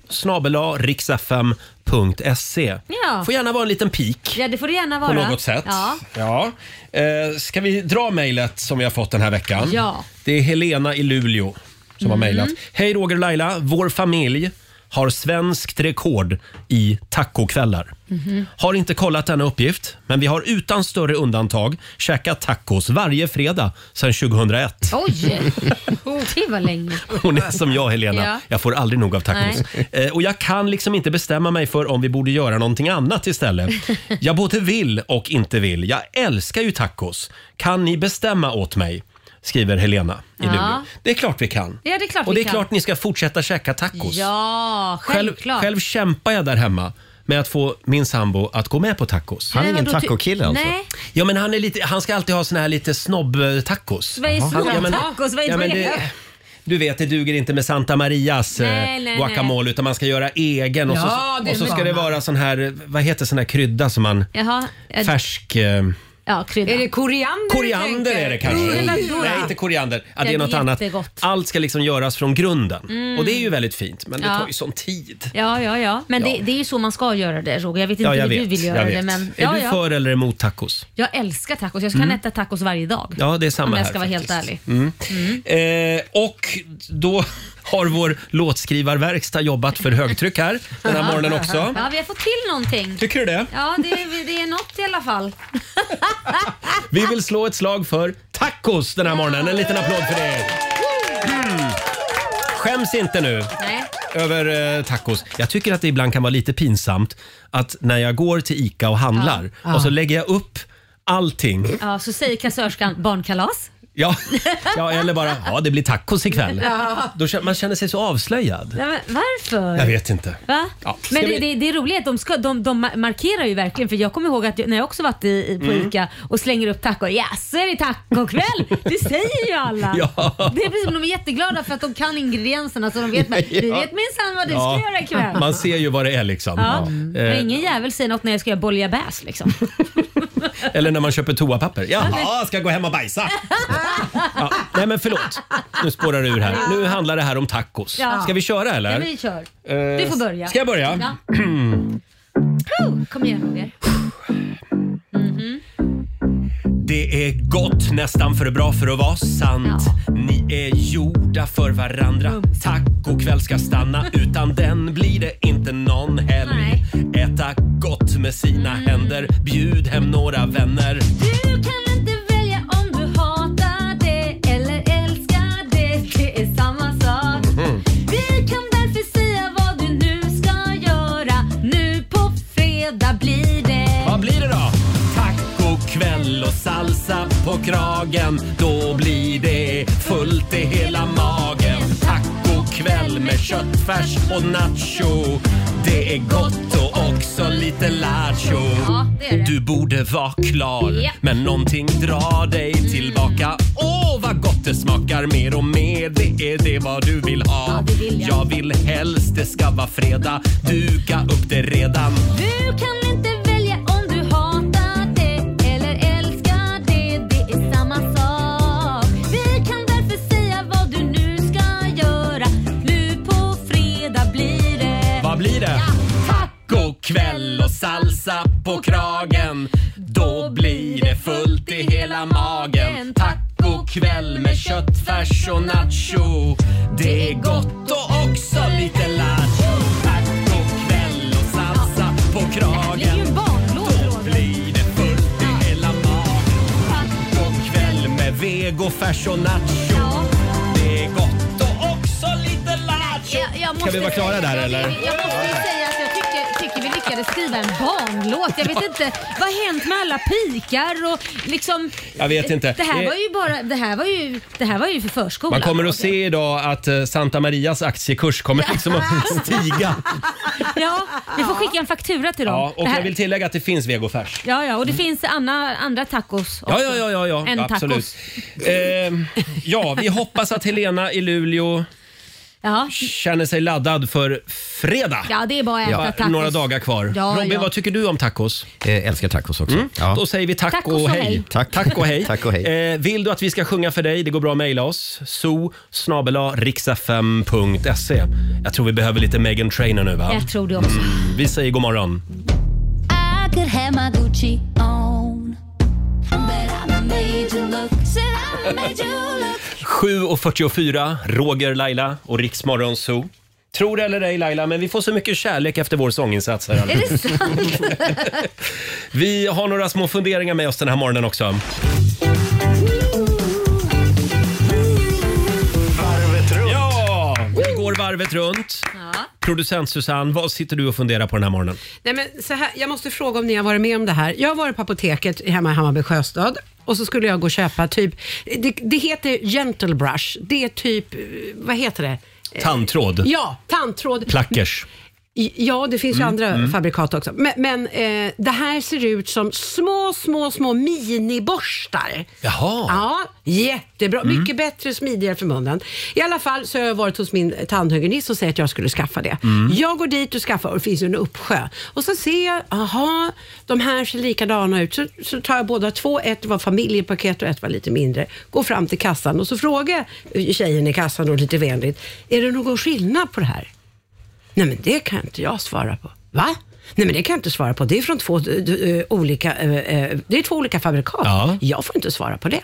[SPEAKER 1] riksfm.se
[SPEAKER 6] Ja.
[SPEAKER 1] Får gärna vara en liten pik
[SPEAKER 6] Ja, det får det gärna
[SPEAKER 1] på
[SPEAKER 6] vara.
[SPEAKER 1] något sätt.
[SPEAKER 6] Ja.
[SPEAKER 1] Ja. Eh, Ska vi dra mejlet som vi har fått den här veckan?
[SPEAKER 6] Ja.
[SPEAKER 1] Det är Helena i Luleå som har
[SPEAKER 6] Mm.
[SPEAKER 1] mejlat. Hej Roger och Laila, vår familj har svenskt rekord i tacokvällar.
[SPEAKER 6] Mhm.
[SPEAKER 1] Har inte kollat denna uppgift, men vi har utan större undantag käkat tacos varje fredag sedan 2001.
[SPEAKER 6] Oj!
[SPEAKER 1] <laughs>
[SPEAKER 6] Oh, Det var länge.
[SPEAKER 1] Hon är som jag Helena,
[SPEAKER 6] Ja.
[SPEAKER 1] jag får aldrig nog av tacos. Eh, och jag kan liksom inte bestämma mig för om vi borde göra någonting annat
[SPEAKER 6] <laughs>
[SPEAKER 1] istället. Jag både vill och inte vill. Jag älskar ju tacos. Kan ni bestämma åt mig? Skriver Helena i
[SPEAKER 6] Ja.
[SPEAKER 1] Luleå. Det är klart vi kan.
[SPEAKER 6] Ja, det är klart
[SPEAKER 1] och det
[SPEAKER 6] vi
[SPEAKER 1] är
[SPEAKER 6] kan.
[SPEAKER 1] klart ni ska fortsätta käka tacos.
[SPEAKER 6] Ja,
[SPEAKER 1] själv,
[SPEAKER 6] självklart.
[SPEAKER 1] själv kämpar jag där hemma med att få min sambo att gå med på tacos.
[SPEAKER 6] Han är Men ingen vadå, ty- tacokille alltså? Nej.
[SPEAKER 1] Ja, men han, är lite, han ska alltid ha såna här lite snobb-tacos.
[SPEAKER 6] Vad är
[SPEAKER 1] Han- ja, men-
[SPEAKER 6] tacos? Vad är
[SPEAKER 1] ja, men
[SPEAKER 6] det?
[SPEAKER 1] det- Du vet, det duger inte med Santa Marias eh,
[SPEAKER 6] Nej, nej,
[SPEAKER 1] guacamole utan man ska göra egen och
[SPEAKER 6] Ja,
[SPEAKER 1] så,
[SPEAKER 6] det
[SPEAKER 1] och så
[SPEAKER 6] är
[SPEAKER 1] ska
[SPEAKER 6] bra.
[SPEAKER 1] det vara sån här, vad heter sån här krydda som man...
[SPEAKER 6] Jaha. eh,
[SPEAKER 1] Färsk... Eh,
[SPEAKER 6] Ja, krydda. Är det
[SPEAKER 12] koriander
[SPEAKER 1] koriander är det kanske. Nej, inte koriander. Ja, det är något annat.
[SPEAKER 6] Jättegott.
[SPEAKER 1] Allt ska liksom göras från grunden.
[SPEAKER 6] Mm.
[SPEAKER 1] Och det är ju väldigt fint, men det
[SPEAKER 6] Ja.
[SPEAKER 1] tar ju sån tid.
[SPEAKER 6] Ja, ja, ja. Men Det, det är ju så man ska göra det Roger. Jag vet inte hur du vill göra
[SPEAKER 1] jag
[SPEAKER 6] det
[SPEAKER 1] vet.
[SPEAKER 6] men...
[SPEAKER 1] Är
[SPEAKER 6] Ja,
[SPEAKER 1] du
[SPEAKER 6] ja.
[SPEAKER 1] för eller emot tacos?
[SPEAKER 6] Jag älskar tacos. Jag kan
[SPEAKER 1] Mm.
[SPEAKER 6] äta tacos varje dag.
[SPEAKER 1] Ja, det är samma
[SPEAKER 6] Om jag
[SPEAKER 1] här
[SPEAKER 6] ska vara helt ärlig.
[SPEAKER 1] Mm. Eh, och då har vår låtskrivarverkstad jobbat för högtryck här den här
[SPEAKER 6] Ja.
[SPEAKER 1] morgonen också.
[SPEAKER 6] Ja, vi har fått till någonting.
[SPEAKER 1] Tycker du det?
[SPEAKER 6] Ja, det, är- det är något i alla fall.
[SPEAKER 1] Vi vill slå ett slag för tacos den här morgonen. En liten applåd för det. Mm. Skäms inte nu
[SPEAKER 6] Nej.
[SPEAKER 1] över eh, tacos. Jag tycker att det ibland kan vara lite pinsamt att när jag går till ICA och handlar
[SPEAKER 6] Ja.
[SPEAKER 1] och så lägger jag upp allting.
[SPEAKER 6] Ja, så säger kassörskan barnkalas.
[SPEAKER 1] Ja, ja eller bara ja, det blir tacos ikväll.
[SPEAKER 6] Ja.
[SPEAKER 1] Då känner, man känner sig så avslöjad.
[SPEAKER 6] Nej, men varför?
[SPEAKER 1] Jag vet inte.
[SPEAKER 6] Va?
[SPEAKER 1] Ja.
[SPEAKER 6] Men
[SPEAKER 1] Ska
[SPEAKER 6] det,
[SPEAKER 1] vi-
[SPEAKER 6] det, det är roligt att de, ska, de, de markerar ju verkligen för jag kommer ihåg att jag, när jag också varit i, i, på
[SPEAKER 1] Mm.
[SPEAKER 6] ICA och slänger upp taco. Jaså är
[SPEAKER 1] <laughs>
[SPEAKER 6] det tacokväll? Det säger ju alla.
[SPEAKER 1] Ja.
[SPEAKER 6] Det är precis som de är jätteglada för att de kan ingredienserna så
[SPEAKER 1] <laughs>
[SPEAKER 6] de vet, men, vi
[SPEAKER 1] Ja.
[SPEAKER 6] vet minsann vad du
[SPEAKER 1] Ja.
[SPEAKER 6] ska göra ikväll.
[SPEAKER 1] Man ser ju vad det är liksom.
[SPEAKER 6] Ja. Mm.
[SPEAKER 1] Eh,
[SPEAKER 6] Men ingen jävel säger något när jag ska göra bouillabaisse liksom.
[SPEAKER 1] Eller när man köper toapapper. <laughs> Jaha, ska jag gå hem och bajsa? Ja. Nej men förlåt, <laughs> nu spårar det ur här. Nu handlar det här om tacos.
[SPEAKER 6] Ja.
[SPEAKER 1] Ska vi köra eller?
[SPEAKER 6] Ja, vi kör.
[SPEAKER 1] Eh,
[SPEAKER 6] Du får börja.
[SPEAKER 1] Ska jag börja?
[SPEAKER 6] Ja. Puh, Kom igen Roger.
[SPEAKER 1] <clears throat> Det är gott, nästan för bra för att vara sant. Ni är gjorda för varandra. Tack och kväll ska stanna. Utan den blir det inte någon helg. Äta gott med sina
[SPEAKER 6] Mm.
[SPEAKER 1] händer. Bjud hem några vänner.
[SPEAKER 6] Du kan inte välja om du hatar det eller älskar det. Det är samma sak. Vi kan därför säga vad du nu ska göra. Nu på fredag blir det...
[SPEAKER 1] Vad blir det då? Tacokväll och salsa på kragen. Då blir det fullt i hela magen. Tacokväll med köttfärs och nacho. Det är gott och också lite lattjo.
[SPEAKER 6] Ja, det är det.
[SPEAKER 1] Du borde vara klar,
[SPEAKER 6] Ja. Mm.
[SPEAKER 1] men någonting drar dig tillbaka. Åh, vad gott det smakar mer och mer. Det är det vad du vill ha.
[SPEAKER 6] Ja, det vill jag.
[SPEAKER 1] jag vill helst det ska vara fredag. Duka upp det redan.
[SPEAKER 6] Du kan inte välja om du hatar det eller älskar det. Det är samma sak. Vi kan därför säga vad du nu ska göra. Nu på fredag blir det...
[SPEAKER 1] Vad blir det? Tacokväll och salsa på kragen. Då blir det fullt i hela magen. Tacokväll med köttfärs och nacho. Det är gott och också lite lattjo. Tacokväll och salsa på kragen. Då blir det fullt i hela magen. Tacokväll med vegofärs och nacho. Det är gott och också lite lattjo.
[SPEAKER 6] Jag, jag
[SPEAKER 1] Ska vi vara klara där eller?
[SPEAKER 6] Jag måste ju säga att jag tycker, tycker vi lyckades skriva en barnlåt. Jag vet inte vad har hänt med alla pikar och liksom...
[SPEAKER 1] Jag vet inte.
[SPEAKER 6] Det här
[SPEAKER 1] Det-
[SPEAKER 6] var ju bara... Det här var ju, det här var ju för förskolan.
[SPEAKER 1] Man kommer att se idag att eh, Santa Marias aktiekurs kommer liksom att stiga.
[SPEAKER 6] Ah, Ja, vi får skicka en faktura till dem.
[SPEAKER 1] Ja, och
[SPEAKER 6] det här,
[SPEAKER 1] jag vill tillägga att det finns vegofärs.
[SPEAKER 6] ja, ja, och det finns andra, andra tacos
[SPEAKER 1] Ja,
[SPEAKER 6] också.
[SPEAKER 1] ja, ja, ja, ja.
[SPEAKER 6] En
[SPEAKER 1] absolut.
[SPEAKER 6] tacos.
[SPEAKER 1] Ehm, ja, vi hoppas att Helena i Luleå
[SPEAKER 6] Ja.
[SPEAKER 1] Känner sig laddad för fredag.
[SPEAKER 6] ja, det är bara att äta
[SPEAKER 1] Bara
[SPEAKER 6] tacos.
[SPEAKER 1] Några dagar kvar.
[SPEAKER 6] Ja,
[SPEAKER 1] Robin,
[SPEAKER 6] ja.
[SPEAKER 1] vad tycker du om tacos?
[SPEAKER 2] Eh,
[SPEAKER 1] Mm.
[SPEAKER 2] älskar tacos också.
[SPEAKER 1] Då säger vi tack
[SPEAKER 6] Tacos
[SPEAKER 1] och
[SPEAKER 6] och
[SPEAKER 1] hej.
[SPEAKER 6] hej.
[SPEAKER 2] Tack.
[SPEAKER 1] Tack och hej.
[SPEAKER 2] <laughs> Tack och hej.
[SPEAKER 1] Eh, vill du att vi ska sjunga för dig? Det går bra att mejla oss. so riksfm.se Jag tror vi behöver lite Megan Trainor nu va?
[SPEAKER 6] Jag tror det också.
[SPEAKER 1] Mm, vi säger god morgon.
[SPEAKER 5] I could have my Gucci on. But I made you look. Said I made you look.
[SPEAKER 1] 7.44, Roger, Laila och Riksmorgon Zoo. Tror det eller ej Laila, men vi får så mycket kärlek efter vår sånginsats. Här.
[SPEAKER 6] Är det sant?
[SPEAKER 1] <laughs> Vi har några små funderingar med oss den här morgonen också.
[SPEAKER 8] Varvet runt.
[SPEAKER 1] Ja, vi går varvet runt. Producent Susanne, vad sitter du och funderar på den här morgonen?
[SPEAKER 12] Nej, men så här, jag måste fråga om ni har varit med om det här. Jag har varit på apoteket hemma i Hammarby Sjöstad och så skulle jag gå och köpa typ, det, det heter gentle brush. Det är typ, eh, vad heter det? Eh,
[SPEAKER 1] Tandtråd.
[SPEAKER 12] Ja, tandtråd.
[SPEAKER 1] Plackers.
[SPEAKER 12] I- Ja, det finns ju
[SPEAKER 1] Mm,
[SPEAKER 12] andra
[SPEAKER 1] mm.
[SPEAKER 12] fabrikat också. Men, men eh, det här ser ut som små, små, små miniborstar.
[SPEAKER 1] Jaha.
[SPEAKER 12] Ja, jättebra.
[SPEAKER 1] Mm.
[SPEAKER 12] Mycket bättre, smidigare för munnen. I alla fall så har jag varit hos min tandhygienist och säger att jag skulle skaffa det.
[SPEAKER 4] Mm.
[SPEAKER 12] Jag går dit och skaffar och det finns ju en uppsjö. Och så ser jag, aha, de här ser likadana ut. Så, så tar jag båda två. Ett var familjepaket och ett var lite mindre. Går fram till kassan och så frågar jag tjejen i kassan då lite vänligt. Är det någon skillnad på det här? Nej, men det kan inte jag svara på. Va? Nej, men det kan jag inte svara på. Det är från två d- d- eh, olika, eh, eh, det är två olika fabrikat. Jag får inte svara på det.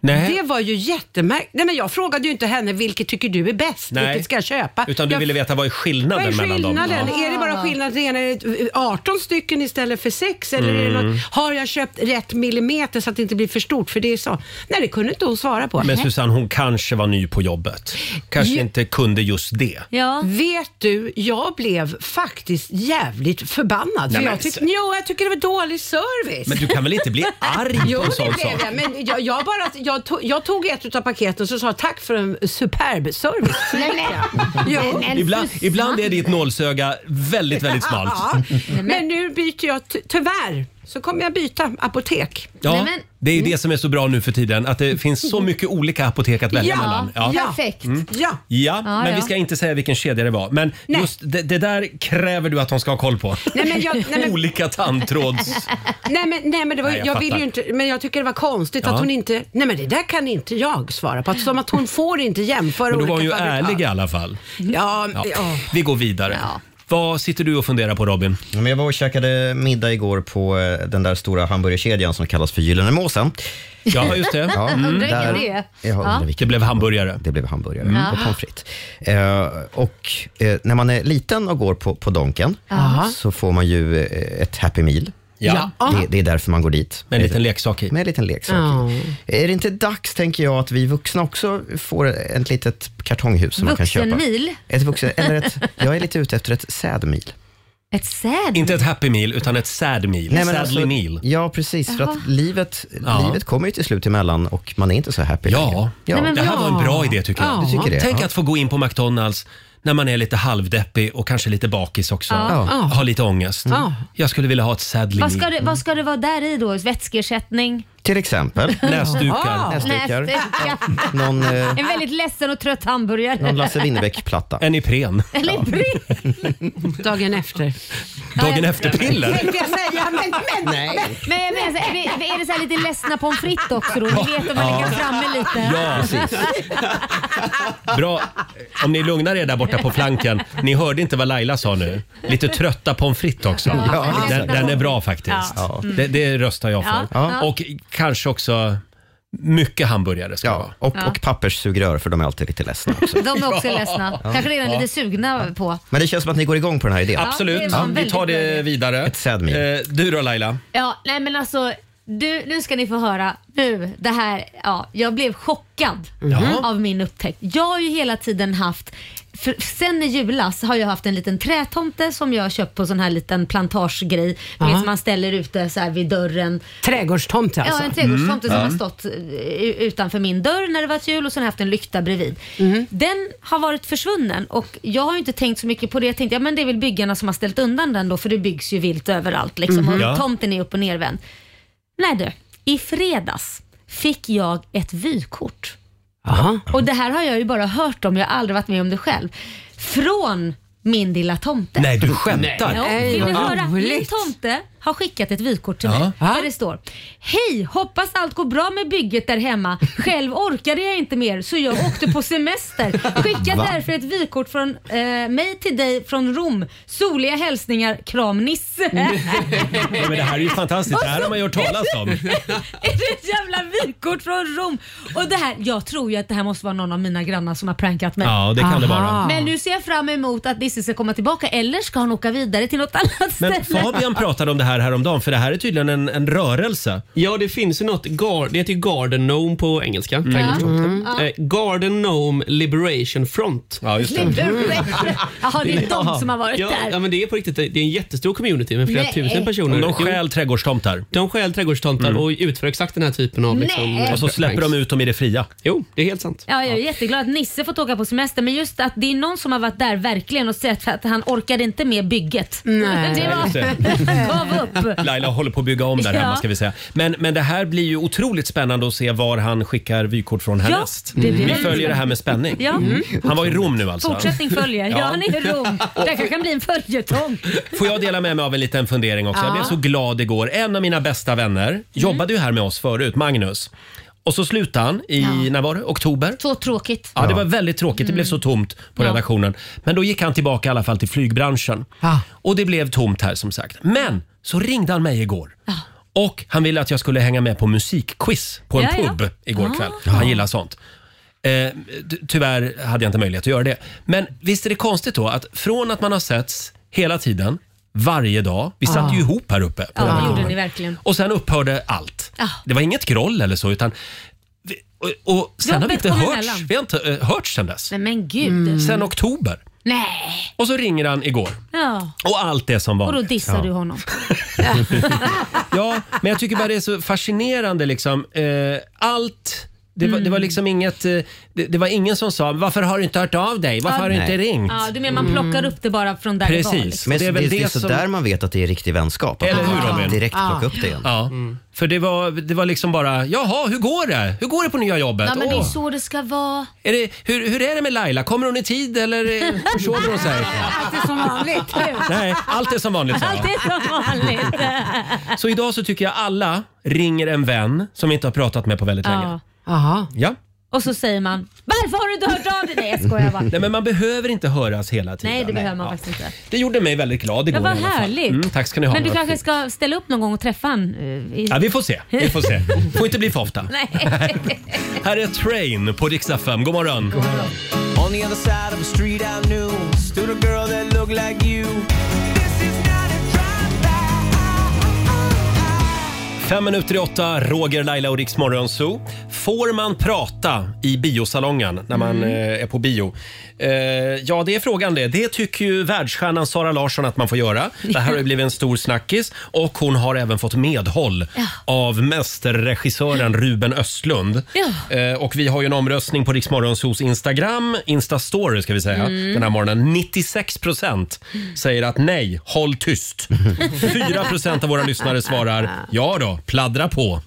[SPEAKER 1] Nej.
[SPEAKER 12] Det var ju jättemärkligt. Nej, men jag frågade ju inte henne, vilket tycker du är bäst?
[SPEAKER 1] Nej.
[SPEAKER 12] Vilket ska jag köpa?
[SPEAKER 1] Utan du
[SPEAKER 12] jag
[SPEAKER 1] ville veta vad är
[SPEAKER 12] vad
[SPEAKER 1] skillnaden
[SPEAKER 12] är
[SPEAKER 1] mellan dem?
[SPEAKER 12] skillnaden?
[SPEAKER 1] Ja.
[SPEAKER 12] Är det bara skillnad att det ena är 18 stycken istället för 6? Eller är det
[SPEAKER 1] Mm.
[SPEAKER 12] något, har jag köpt rätt millimeter så att det inte blir för stort? För det är så. Nej, det kunde inte hon svara på.
[SPEAKER 1] Men Susanne, hon kanske var ny på jobbet. Kanske
[SPEAKER 12] Ja.
[SPEAKER 1] inte kunde just det.
[SPEAKER 12] Vet du, jag blev faktiskt jävligt förbannad.
[SPEAKER 1] Nej,
[SPEAKER 12] för
[SPEAKER 1] men-
[SPEAKER 12] jag, tyck- jo, jag tycker det var dålig service.
[SPEAKER 1] Men du kan väl inte
[SPEAKER 12] <laughs>
[SPEAKER 1] bli arg på
[SPEAKER 12] Jo,
[SPEAKER 1] en
[SPEAKER 12] det
[SPEAKER 1] sån
[SPEAKER 12] blev
[SPEAKER 1] sak?
[SPEAKER 12] jag. Men jag, jag, bara, jag, tog, jag tog ett av paketen och sa tack för en superb service. Jo.
[SPEAKER 1] Ibland, ibland är ditt nålsöga väldigt, väldigt smalt. Mm.
[SPEAKER 12] Ja, men nu byter jag, ty- tyvärr, så kommer jag byta apotek.
[SPEAKER 1] Ja, det är ju det som är så bra nu för tiden, att det finns så mycket olika apotek att välja
[SPEAKER 12] Mm. Ja,
[SPEAKER 1] mellan.
[SPEAKER 12] ja. Perfekt.
[SPEAKER 1] Mm.
[SPEAKER 12] Ja.
[SPEAKER 1] Ja,
[SPEAKER 12] Ja,
[SPEAKER 1] men
[SPEAKER 12] ja.
[SPEAKER 1] vi ska inte säga vilken kedja det var. Men
[SPEAKER 12] Nej.
[SPEAKER 1] just det, det där kräver du att de ska ha koll på.
[SPEAKER 12] Nej, men jag- nej,
[SPEAKER 1] <laughs>
[SPEAKER 12] men-
[SPEAKER 1] Olika tandtråds...
[SPEAKER 12] <laughs> Nej men, nej, men det var,
[SPEAKER 1] Nej, jag
[SPEAKER 12] jag, vill
[SPEAKER 1] fattar.
[SPEAKER 12] ju inte, men jag tycker det var konstigt
[SPEAKER 1] Ja.
[SPEAKER 12] att hon inte, nej men det där kan inte jag svara på. Att, som att hon får inte jämföra
[SPEAKER 1] Men då
[SPEAKER 12] olika
[SPEAKER 1] var hon ju
[SPEAKER 12] fabrikat.
[SPEAKER 1] ärlig i alla fall.
[SPEAKER 12] Ja,
[SPEAKER 1] Ja.
[SPEAKER 12] ja.
[SPEAKER 1] Vi går vidare. Vad sitter du och funderar på Robin?
[SPEAKER 2] Ja, men jag var och käkade middag igår på eh, den där stora hamburgerkedjan som kallas för Gyllene Måsen.
[SPEAKER 1] Ja,
[SPEAKER 2] <laughs>
[SPEAKER 1] just det. Mm. Undrar vilken det är. Ja.
[SPEAKER 2] Det
[SPEAKER 1] blev hamburgare.
[SPEAKER 2] Det blev hamburgare
[SPEAKER 1] Mm.
[SPEAKER 2] och pommes frites. Eh, och eh, när man är liten och går på, på Donken
[SPEAKER 1] Aha.
[SPEAKER 2] så får man ju eh, ett Happy Meal.
[SPEAKER 1] Ja. Ja.
[SPEAKER 2] Det, det är därför man går dit.
[SPEAKER 1] Med en liten leksak i.
[SPEAKER 2] Med en liten leksak i. Är det inte dags, tänker jag, att vi vuxna också får ett litet kartonghus som man kan köpa?
[SPEAKER 6] Vuxenmil?
[SPEAKER 2] Ett vuxen, eller ett, jag är lite ute efter ett sad meal.
[SPEAKER 6] Ett säd?
[SPEAKER 1] Inte ett happy meal, utan ett sad meal.
[SPEAKER 2] Nej, men
[SPEAKER 1] Sadly
[SPEAKER 2] alltså,
[SPEAKER 1] meal.
[SPEAKER 2] Ja, precis. För
[SPEAKER 6] Jaha.
[SPEAKER 2] att livet,
[SPEAKER 1] Ja.
[SPEAKER 2] livet kommer ju till slut emellan och man är inte så happy ja.
[SPEAKER 1] Ja, det här var en bra idé tycker jag.
[SPEAKER 2] Du tycker det?
[SPEAKER 1] Tänk
[SPEAKER 2] Ja.
[SPEAKER 1] att få gå in på McDonalds när man är lite halvdeppig och kanske lite bakis också.
[SPEAKER 6] Ja. Ja.
[SPEAKER 1] Har lite ångest.
[SPEAKER 6] Ja.
[SPEAKER 1] Jag skulle vilja ha ett sadly
[SPEAKER 6] Vad ska,
[SPEAKER 1] meal.
[SPEAKER 6] det, vad ska det vara där i då? Vätskeersättning?
[SPEAKER 2] Till exempel.
[SPEAKER 1] Näsdukar.
[SPEAKER 2] Näsdukar.
[SPEAKER 6] Näsdukar.
[SPEAKER 2] Någon, eh,
[SPEAKER 6] <laughs> En väldigt ledsen och trött hamburgare.
[SPEAKER 2] någon Lasse Winnerbäck-platta.
[SPEAKER 1] En Ipren.
[SPEAKER 6] Eller Ipren.
[SPEAKER 12] Dagen efter.
[SPEAKER 1] Dagen efter-piller.
[SPEAKER 6] Tänkte
[SPEAKER 12] jag säga, men... men
[SPEAKER 6] Nej. Men, men, alltså, är, det, är det så här lite ledsna pommes frites också då? Ni vet om man
[SPEAKER 1] Ja.
[SPEAKER 6] lägger framme lite.
[SPEAKER 1] Ja, precis. Bra. Om ni lugnar er där borta på flanken. Ni hörde inte vad Laila sa nu. Lite trötta pommes frites också.
[SPEAKER 2] Ja, exakt.
[SPEAKER 1] den, den är bra faktiskt.
[SPEAKER 2] Ja. Mm.
[SPEAKER 1] Det, det röstar jag för.
[SPEAKER 2] Ja.
[SPEAKER 1] Och kanske också mycket hamburgare ska det vara.
[SPEAKER 2] Och,
[SPEAKER 6] Ja.
[SPEAKER 2] och papperssugrör, för de är alltid lite ledsna också.
[SPEAKER 6] <laughs> De är också
[SPEAKER 1] Ja.
[SPEAKER 6] ledsna.
[SPEAKER 2] Ja.
[SPEAKER 6] Kanske redan
[SPEAKER 2] Ja.
[SPEAKER 6] lite sugna på.
[SPEAKER 2] Men det känns som att ni går igång på den här idén.
[SPEAKER 6] Ja, Absolut. det var en
[SPEAKER 1] Vi tar
[SPEAKER 6] väldigt
[SPEAKER 1] det vidare. Ett
[SPEAKER 2] sad
[SPEAKER 1] eh, du då Laila?
[SPEAKER 6] Ja, nej men alltså. Du, nu ska ni få höra. Nu, det här, ja, jag blev chockad
[SPEAKER 1] Jaha.
[SPEAKER 6] Mm. av min upptäckt. Jag har ju hela tiden haft, för, sen i julas har jag haft en liten trätomte som jag har köpt på sån här liten plantagegrej. Du vet,
[SPEAKER 12] Jaha.
[SPEAKER 6] som man ställer ute så här vid dörren.
[SPEAKER 12] Trädgårdstomte alltså.
[SPEAKER 6] Ja, en trädgårdstomte som
[SPEAKER 12] Mm.
[SPEAKER 6] har stått eh, u- utanför min dörr när det var jul och sen haft en lykta bredvid. Den har varit försvunnen och jag har ju inte tänkt så mycket på det. Jag tänkte, ja men det är väl byggarna som har ställt undan den då för det byggs ju vilt överallt liksom
[SPEAKER 5] Mhm.
[SPEAKER 6] och
[SPEAKER 5] Ja.
[SPEAKER 6] tomten är upp och nervänd. Nej du, i fredags fick jag ett vykort <laughs>
[SPEAKER 12] Aha.
[SPEAKER 6] Och det här har jag ju bara hört om, jag har aldrig varit med om det själv. Från min lilla tomte.
[SPEAKER 11] Nej, du skämtar.
[SPEAKER 6] Ja,
[SPEAKER 11] Nej,
[SPEAKER 6] vill du
[SPEAKER 11] vad
[SPEAKER 6] höra? Min
[SPEAKER 11] roligt.
[SPEAKER 6] tomte har skickat ett vykort till
[SPEAKER 11] Ja.
[SPEAKER 6] mig där det står Hej! Hoppas allt går bra med bygget där hemma. Själv orkade jag inte mer så jag åkte på semester. Skicka
[SPEAKER 11] Va?
[SPEAKER 6] därför ett vykort från eh, mig till dig från Rom. Soliga hälsningar, kram Nisse.
[SPEAKER 1] Mm. Nej, men det här är ju fantastiskt. Det här har man ju hört talas om.
[SPEAKER 6] <laughs> Är det ett jävla vykort från Rom? Och det här, jag tror ju att det här måste vara någon av mina grannar som har prankat mig.
[SPEAKER 1] Ja, det kan det Aha. vara.
[SPEAKER 6] Men nu ser jag fram emot att Nisse ska komma tillbaka eller ska han åka vidare till något annat ställe?
[SPEAKER 1] Men Fabian pratade om det här häromdagen för det här är tydligen en, en rörelse.
[SPEAKER 10] Ja, det finns ju något, gar- det heter ju Garden Gnome på engelska. trädgårdstomten.
[SPEAKER 6] Mm. Ja.
[SPEAKER 10] Eh, Garden Gnome Liberation Front.
[SPEAKER 1] Ja, just Mm.
[SPEAKER 6] Jaha, det är de
[SPEAKER 10] Jaha.
[SPEAKER 6] som har varit
[SPEAKER 10] ja,
[SPEAKER 6] där.
[SPEAKER 10] Ja, men det är på riktigt. Det är en jättestor community med flera
[SPEAKER 6] Nej.
[SPEAKER 10] tusen personer.
[SPEAKER 1] De
[SPEAKER 10] stjäl
[SPEAKER 1] trädgårdstomtar. Mm.
[SPEAKER 10] De stjäl trädgårdstomtar och utför exakt den här typen av... Liksom,
[SPEAKER 6] Nej. Och så släpper de
[SPEAKER 1] ut dem i det fria.
[SPEAKER 10] Jo, det är helt sant.
[SPEAKER 6] Ja, jag är jätteglad att Nisse fått åka på semester men just att det är någon som har varit där verkligen och sett att han orkade inte med bygget.
[SPEAKER 1] Nej.
[SPEAKER 6] Det
[SPEAKER 1] Just
[SPEAKER 6] var, <laughs>
[SPEAKER 1] det.
[SPEAKER 6] gav upp.
[SPEAKER 1] Laila håller på att bygga om där
[SPEAKER 6] Ja.
[SPEAKER 1] hemma ska vi säga. Men, men det här blir ju otroligt spännande att se var han skickar vykort från
[SPEAKER 6] Ja,
[SPEAKER 1] härnäst.
[SPEAKER 6] det blir
[SPEAKER 1] Vi
[SPEAKER 6] väldigt
[SPEAKER 1] följer det här med spänning.
[SPEAKER 6] Ja. Mm.
[SPEAKER 1] Han var i Rom nu alltså.
[SPEAKER 6] Fortsättning följer. Ja,
[SPEAKER 1] Ja.
[SPEAKER 6] han är i
[SPEAKER 1] <laughs>
[SPEAKER 6] Rom. Det kanske kan bli en följetong.
[SPEAKER 1] Får jag dela med mig av en liten fundering också? Jag
[SPEAKER 6] Ja.
[SPEAKER 1] blev så glad igår. En av mina bästa vänner jobbade ju här med oss förut, Magnus. Och så slutade han i, när var det? Oktober?
[SPEAKER 6] Så tråkigt.
[SPEAKER 1] Ja, det var väldigt tråkigt. Det blev så tomt på
[SPEAKER 6] Ja.
[SPEAKER 1] redaktionen. Men då gick han tillbaka i alla fall till flygbranschen. Och det blev tomt här som sagt. Men så ringde han mig igår. Och han ville att jag skulle hänga med på musikquiz på en
[SPEAKER 11] Ja, ja.
[SPEAKER 1] pub igår
[SPEAKER 11] Ah.
[SPEAKER 1] kväll. Han gillar sånt. Eh, ty- tyvärr hade jag inte möjlighet att göra det. Men visst är det konstigt då att från att man har setts hela tiden, varje dag. Vi satt ju ihop här uppe. På
[SPEAKER 6] Ja, det
[SPEAKER 1] redaktionen.
[SPEAKER 6] Ah. gjorde ni verkligen.
[SPEAKER 1] Och sen upphörde allt.
[SPEAKER 6] Ja.
[SPEAKER 1] Det var inget groll eller så utan vi- och, och sen har vi
[SPEAKER 6] Jobbet
[SPEAKER 1] inte
[SPEAKER 6] kom
[SPEAKER 1] hörts.
[SPEAKER 6] emellan. Mm.
[SPEAKER 1] Vi har inte eh, hörts sen dess.
[SPEAKER 6] Men, men gud.
[SPEAKER 2] Mm.
[SPEAKER 1] Sen oktober.
[SPEAKER 6] Nej.
[SPEAKER 1] Och så ringer han igår.
[SPEAKER 6] Ja.
[SPEAKER 1] Och allt det som var.
[SPEAKER 6] Och då dissar
[SPEAKER 1] ja.
[SPEAKER 6] du honom.
[SPEAKER 1] Ja, men jag tycker bara det är så fascinerande liksom. Eh, allt. Det var, det var liksom inget, eh, det, det var ingen som sa “Varför har du inte hört av dig? Varför
[SPEAKER 6] Ja,
[SPEAKER 1] har du inte ringt?”
[SPEAKER 6] Ja, du menar man plockar upp det bara från där det var? liksom.
[SPEAKER 2] Mm. Men det är,
[SPEAKER 1] väl
[SPEAKER 2] det
[SPEAKER 1] det
[SPEAKER 2] är sådär
[SPEAKER 1] som-
[SPEAKER 2] man vet att det är riktig vänskap. Att
[SPEAKER 1] Eller
[SPEAKER 2] man
[SPEAKER 1] hur,
[SPEAKER 2] kan
[SPEAKER 1] Robin?
[SPEAKER 2] Direkt
[SPEAKER 6] Ja.
[SPEAKER 2] plocka upp det igen.
[SPEAKER 1] Ja, för det var, det var liksom bara “Jaha, hur går det? Hur går det på nya jobbet?”
[SPEAKER 6] Ja, men det är
[SPEAKER 1] Åh,
[SPEAKER 6] så det ska vara.
[SPEAKER 1] är det, hur, hur är det med Laila? Kommer hon i tid eller eh, försover hon sig?
[SPEAKER 6] Allt är som vanligt.
[SPEAKER 1] Nej, allt är som vanligt sa jag.
[SPEAKER 6] Allt är som vanligt.
[SPEAKER 1] Så idag så tycker jag alla ringer en vän som vi inte har pratat med på väldigt länge.
[SPEAKER 6] Ja. Aha.
[SPEAKER 1] Ja.
[SPEAKER 6] Och så säger man “Varför har du inte hört av dig?” Nej, jag skojar bara.
[SPEAKER 1] Nej, men man behöver inte höras hela tiden.
[SPEAKER 6] Nej, det behöver man faktiskt inte.
[SPEAKER 1] Det gjorde mig väldigt glad igår
[SPEAKER 6] Ja, vad
[SPEAKER 1] i alla fall.
[SPEAKER 6] härligt.
[SPEAKER 1] Mm, tack ska ni ha.
[SPEAKER 6] Men du
[SPEAKER 1] Det var
[SPEAKER 6] kanske
[SPEAKER 1] fint.
[SPEAKER 6] ska ställa upp någon gång och träffa han? eh, i-
[SPEAKER 1] Ja, vi får se. Vi får se. Får inte bli för ofta.
[SPEAKER 6] <laughs> Nej.
[SPEAKER 1] Här är Train på riksdag 5. God morgon.
[SPEAKER 7] On the other side of the street I knew stood a girl that looked like you.
[SPEAKER 1] Fem minuter i åtta, Roger, Laila och Riks Morgonzoo. Får man prata i biosalongen när man
[SPEAKER 11] Mm.
[SPEAKER 1] eh, är på bio? Eh, ja, det är frågan det. Det tycker ju världsstjärnan Sara Larsson att man får göra. Det
[SPEAKER 11] <laughs>
[SPEAKER 1] här har ju blivit en stor snackis och hon har även fått medhåll
[SPEAKER 11] Ja.
[SPEAKER 1] av mästerregissören Ruben Östlund.
[SPEAKER 11] Ja.
[SPEAKER 1] Eh, och vi har ju en omröstning på Riks Morgonzoos Instagram, Instastory ska vi säga,
[SPEAKER 11] Mm.
[SPEAKER 1] den här morgonen. 96 procent säger att nej, håll tyst. 4 procent av våra lyssnare svarar ja då, pladdra på.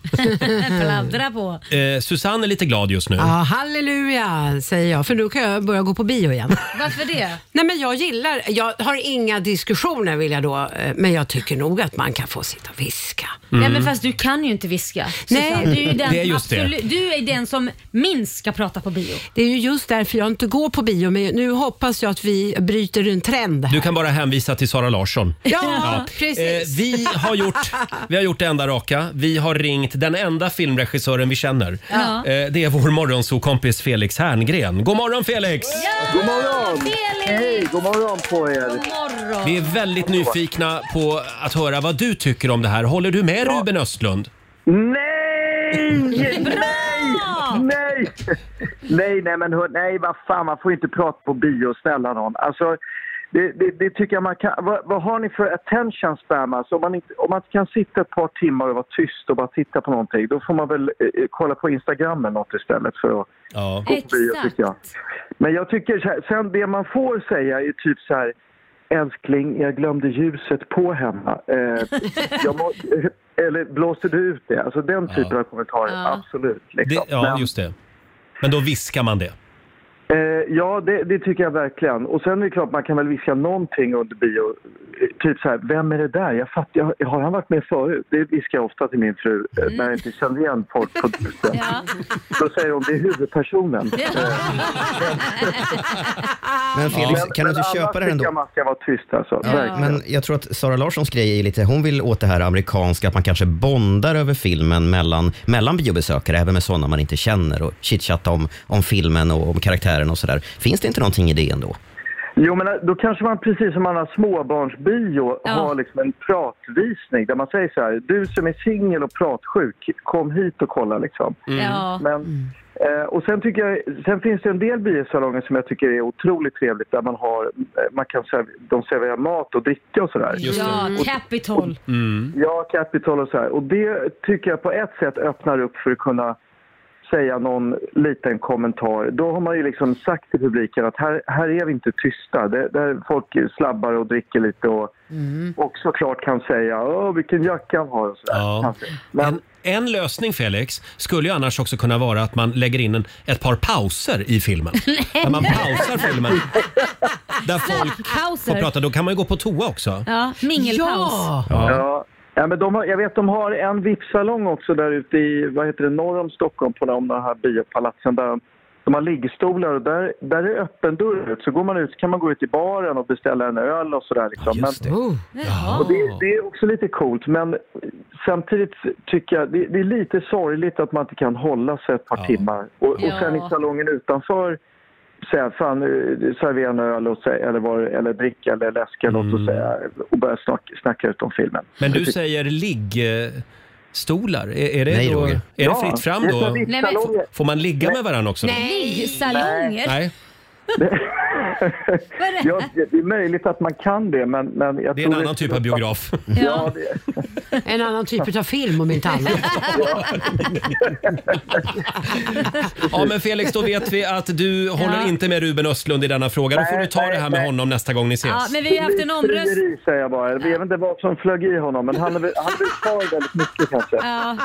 [SPEAKER 6] Pladdra på.
[SPEAKER 1] Eh, Susanne är lite glad just nu.
[SPEAKER 12] Ja, halleluja säger jag, för nu kan jag börja gå på bio igen.
[SPEAKER 6] Varför det?
[SPEAKER 12] Nej, men jag gillar, jag har inga diskussioner vill jag då, eh, men jag tycker nog att man kan få sitta och viska.
[SPEAKER 6] Mm. Nej, men fast du kan ju inte viska. Susanne.
[SPEAKER 12] Nej.
[SPEAKER 6] du är ju den
[SPEAKER 12] Det är
[SPEAKER 6] som
[SPEAKER 12] just det.
[SPEAKER 6] absolut- Du är den som minst ska prata på bio.
[SPEAKER 12] Det är ju just därför jag inte går på bio, men nu hoppas jag att vi bryter en trend här.
[SPEAKER 1] Du kan bara hänvisa till Sara Larsson. <laughs>
[SPEAKER 12] Ja, <laughs> precis.
[SPEAKER 1] Eh, vi, har
[SPEAKER 12] <laughs>
[SPEAKER 1] gjort, vi har gjort det enda raka. Vi har ringt den enda filmregissören vi känner.
[SPEAKER 11] Ja.
[SPEAKER 1] Eh, det är vår morgonsokompis Felix Herngren. God morgon Felix!
[SPEAKER 11] God morgon!
[SPEAKER 13] Hej, god morgon på er! God
[SPEAKER 6] morgon!
[SPEAKER 1] Vi är
[SPEAKER 5] <laughs>
[SPEAKER 1] väldigt nyfikna på att höra vad du tycker om det här. Håller du med Ruben Östlund?
[SPEAKER 13] Nej!
[SPEAKER 6] Bra!
[SPEAKER 13] Nej! Nej, nej, men hör, nej, vad fan, man får inte prata på bio, snälla någon. Alltså, det, det, det tycker jag man kan... Vad, vad har ni för attention spam? Alltså, om, man inte, om man inte kan sitta ett par timmar och vara tyst och bara titta på någonting, då får man väl eh, kolla på Instagram eller något istället för att
[SPEAKER 1] ja.
[SPEAKER 13] gå på bio, tycker jag. Men jag tycker så här, sen det man får säga är typ så här, älskling, jag glömde ljuset på hemma. Eh, jag må, eller blåste du ut det? Alltså den typen av kommentarer, absolut. Liksom.
[SPEAKER 1] Det, ja,
[SPEAKER 13] Men-
[SPEAKER 1] just det. Men då viskar man det.
[SPEAKER 13] Eh, ja, det, det tycker jag verkligen. Och sen är det klart man kan väl viska någonting under bio. Eh, Typ så här, vem är det där? Jag fattar, jag, har han varit med förut? Det viskar jag ofta till min fru eh, när jag inte känner igen folk på bussen. Då säger hon, det är huvudpersonen. Eh,
[SPEAKER 2] Men Felix, kan du inte köpa det här ändå?
[SPEAKER 13] Men annars tycker jag man ska vara tyst alltså.
[SPEAKER 2] Ja, men jag tror att Sara Larssons grej är lite, hon vill åt det här amerikanska, att man kanske bondar över filmen mellan, mellan biobesökare, även med sådana man inte känner och chitchatta om, om filmen och om karaktären och sådär. Finns det inte någonting i det ändå?
[SPEAKER 13] Jo, men eh, då kanske man precis som alla småbarnsbio har liksom en pratvisning där man säger så här, du som är singel och pratsjuk, kom hit och kolla liksom.
[SPEAKER 11] Mm. Ja.
[SPEAKER 13] Men, eh, och sen, tycker jag, sen finns det en del biosalonger som jag tycker är otroligt trevligt där man, har, eh, man kan serv, de serverar mat och dricka och sådär.
[SPEAKER 6] Ja, Mm. Capitol.
[SPEAKER 13] Ja, Capital och så här. Och det tycker jag på ett sätt öppnar upp för att kunna säga någon liten kommentar. Då har man ju liksom sagt till publiken att här, här är vi inte tysta. Det, där folk slabbar och dricker lite och, och såklart kan säga Åh, vilken jacka han har och sådär.
[SPEAKER 1] Ja. En, en lösning Felix skulle ju annars också kunna vara att man lägger in en, ett par pauser i
[SPEAKER 6] <laughs>
[SPEAKER 1] filmen. Där man pausar filmen. Där folk får
[SPEAKER 6] Pauser.
[SPEAKER 1] prata. Då kan man ju gå på toa också.
[SPEAKER 6] Ja, mingelpaus.
[SPEAKER 1] Ja.
[SPEAKER 13] Ja. Ja, men de har, jag vet de har en VIP-salong också där ute i, vad heter det, norr om Stockholm på de de här biopalatsen där de har liggstolar och där, där är öppen dörr ut. Så går man ut så kan man gå ut i baren och beställa en öl och sådär. Liksom. men, och det, det är också lite coolt men samtidigt tycker jag det, det är lite sorgligt att man inte kan hålla sig ett par timmar. Och, och sen i
[SPEAKER 11] Ja.
[SPEAKER 13] salongen utanför säga fan eh, servera en öl och säga, eller, var, eller dricka eller läsk eller något och,
[SPEAKER 1] Mm.
[SPEAKER 13] säga, och börja snacka, snacka ut om filmen.
[SPEAKER 1] Men
[SPEAKER 13] Jag
[SPEAKER 1] du
[SPEAKER 13] tycker-
[SPEAKER 1] säger liggstolar. Är, är det,
[SPEAKER 13] Nej,
[SPEAKER 1] då,
[SPEAKER 13] Roger.
[SPEAKER 1] är det
[SPEAKER 13] Ja,
[SPEAKER 1] fritt fram
[SPEAKER 13] det är
[SPEAKER 1] då?
[SPEAKER 13] så vitt Nej, men- salonger.
[SPEAKER 1] Får man ligga med varandra
[SPEAKER 13] <laughs>
[SPEAKER 1] också? då?
[SPEAKER 6] Nej, salonger.
[SPEAKER 1] Nej.
[SPEAKER 13] <laughs> Ja, det det är möjligt att man kan det, men... men jag
[SPEAKER 1] Det är
[SPEAKER 13] tror
[SPEAKER 1] en annan typ av biograf.
[SPEAKER 13] Ja, det,
[SPEAKER 12] En annan typ av film om inte
[SPEAKER 1] <laughs>
[SPEAKER 12] annat.
[SPEAKER 1] Ja men Felix, då vet vi att du håller
[SPEAKER 6] Ja.
[SPEAKER 1] inte med Ruben Östlund i denna fråga. Då får
[SPEAKER 13] Nej,
[SPEAKER 1] du ta det här med honom nästa gång ni ses.
[SPEAKER 6] Ja, men vi har haft en omröstning.
[SPEAKER 13] Frieri, säger jag bara. Jag vet inte vad som flög i honom, men han är väl han är väl kvar väldigt mycket kanske.
[SPEAKER 6] Ja.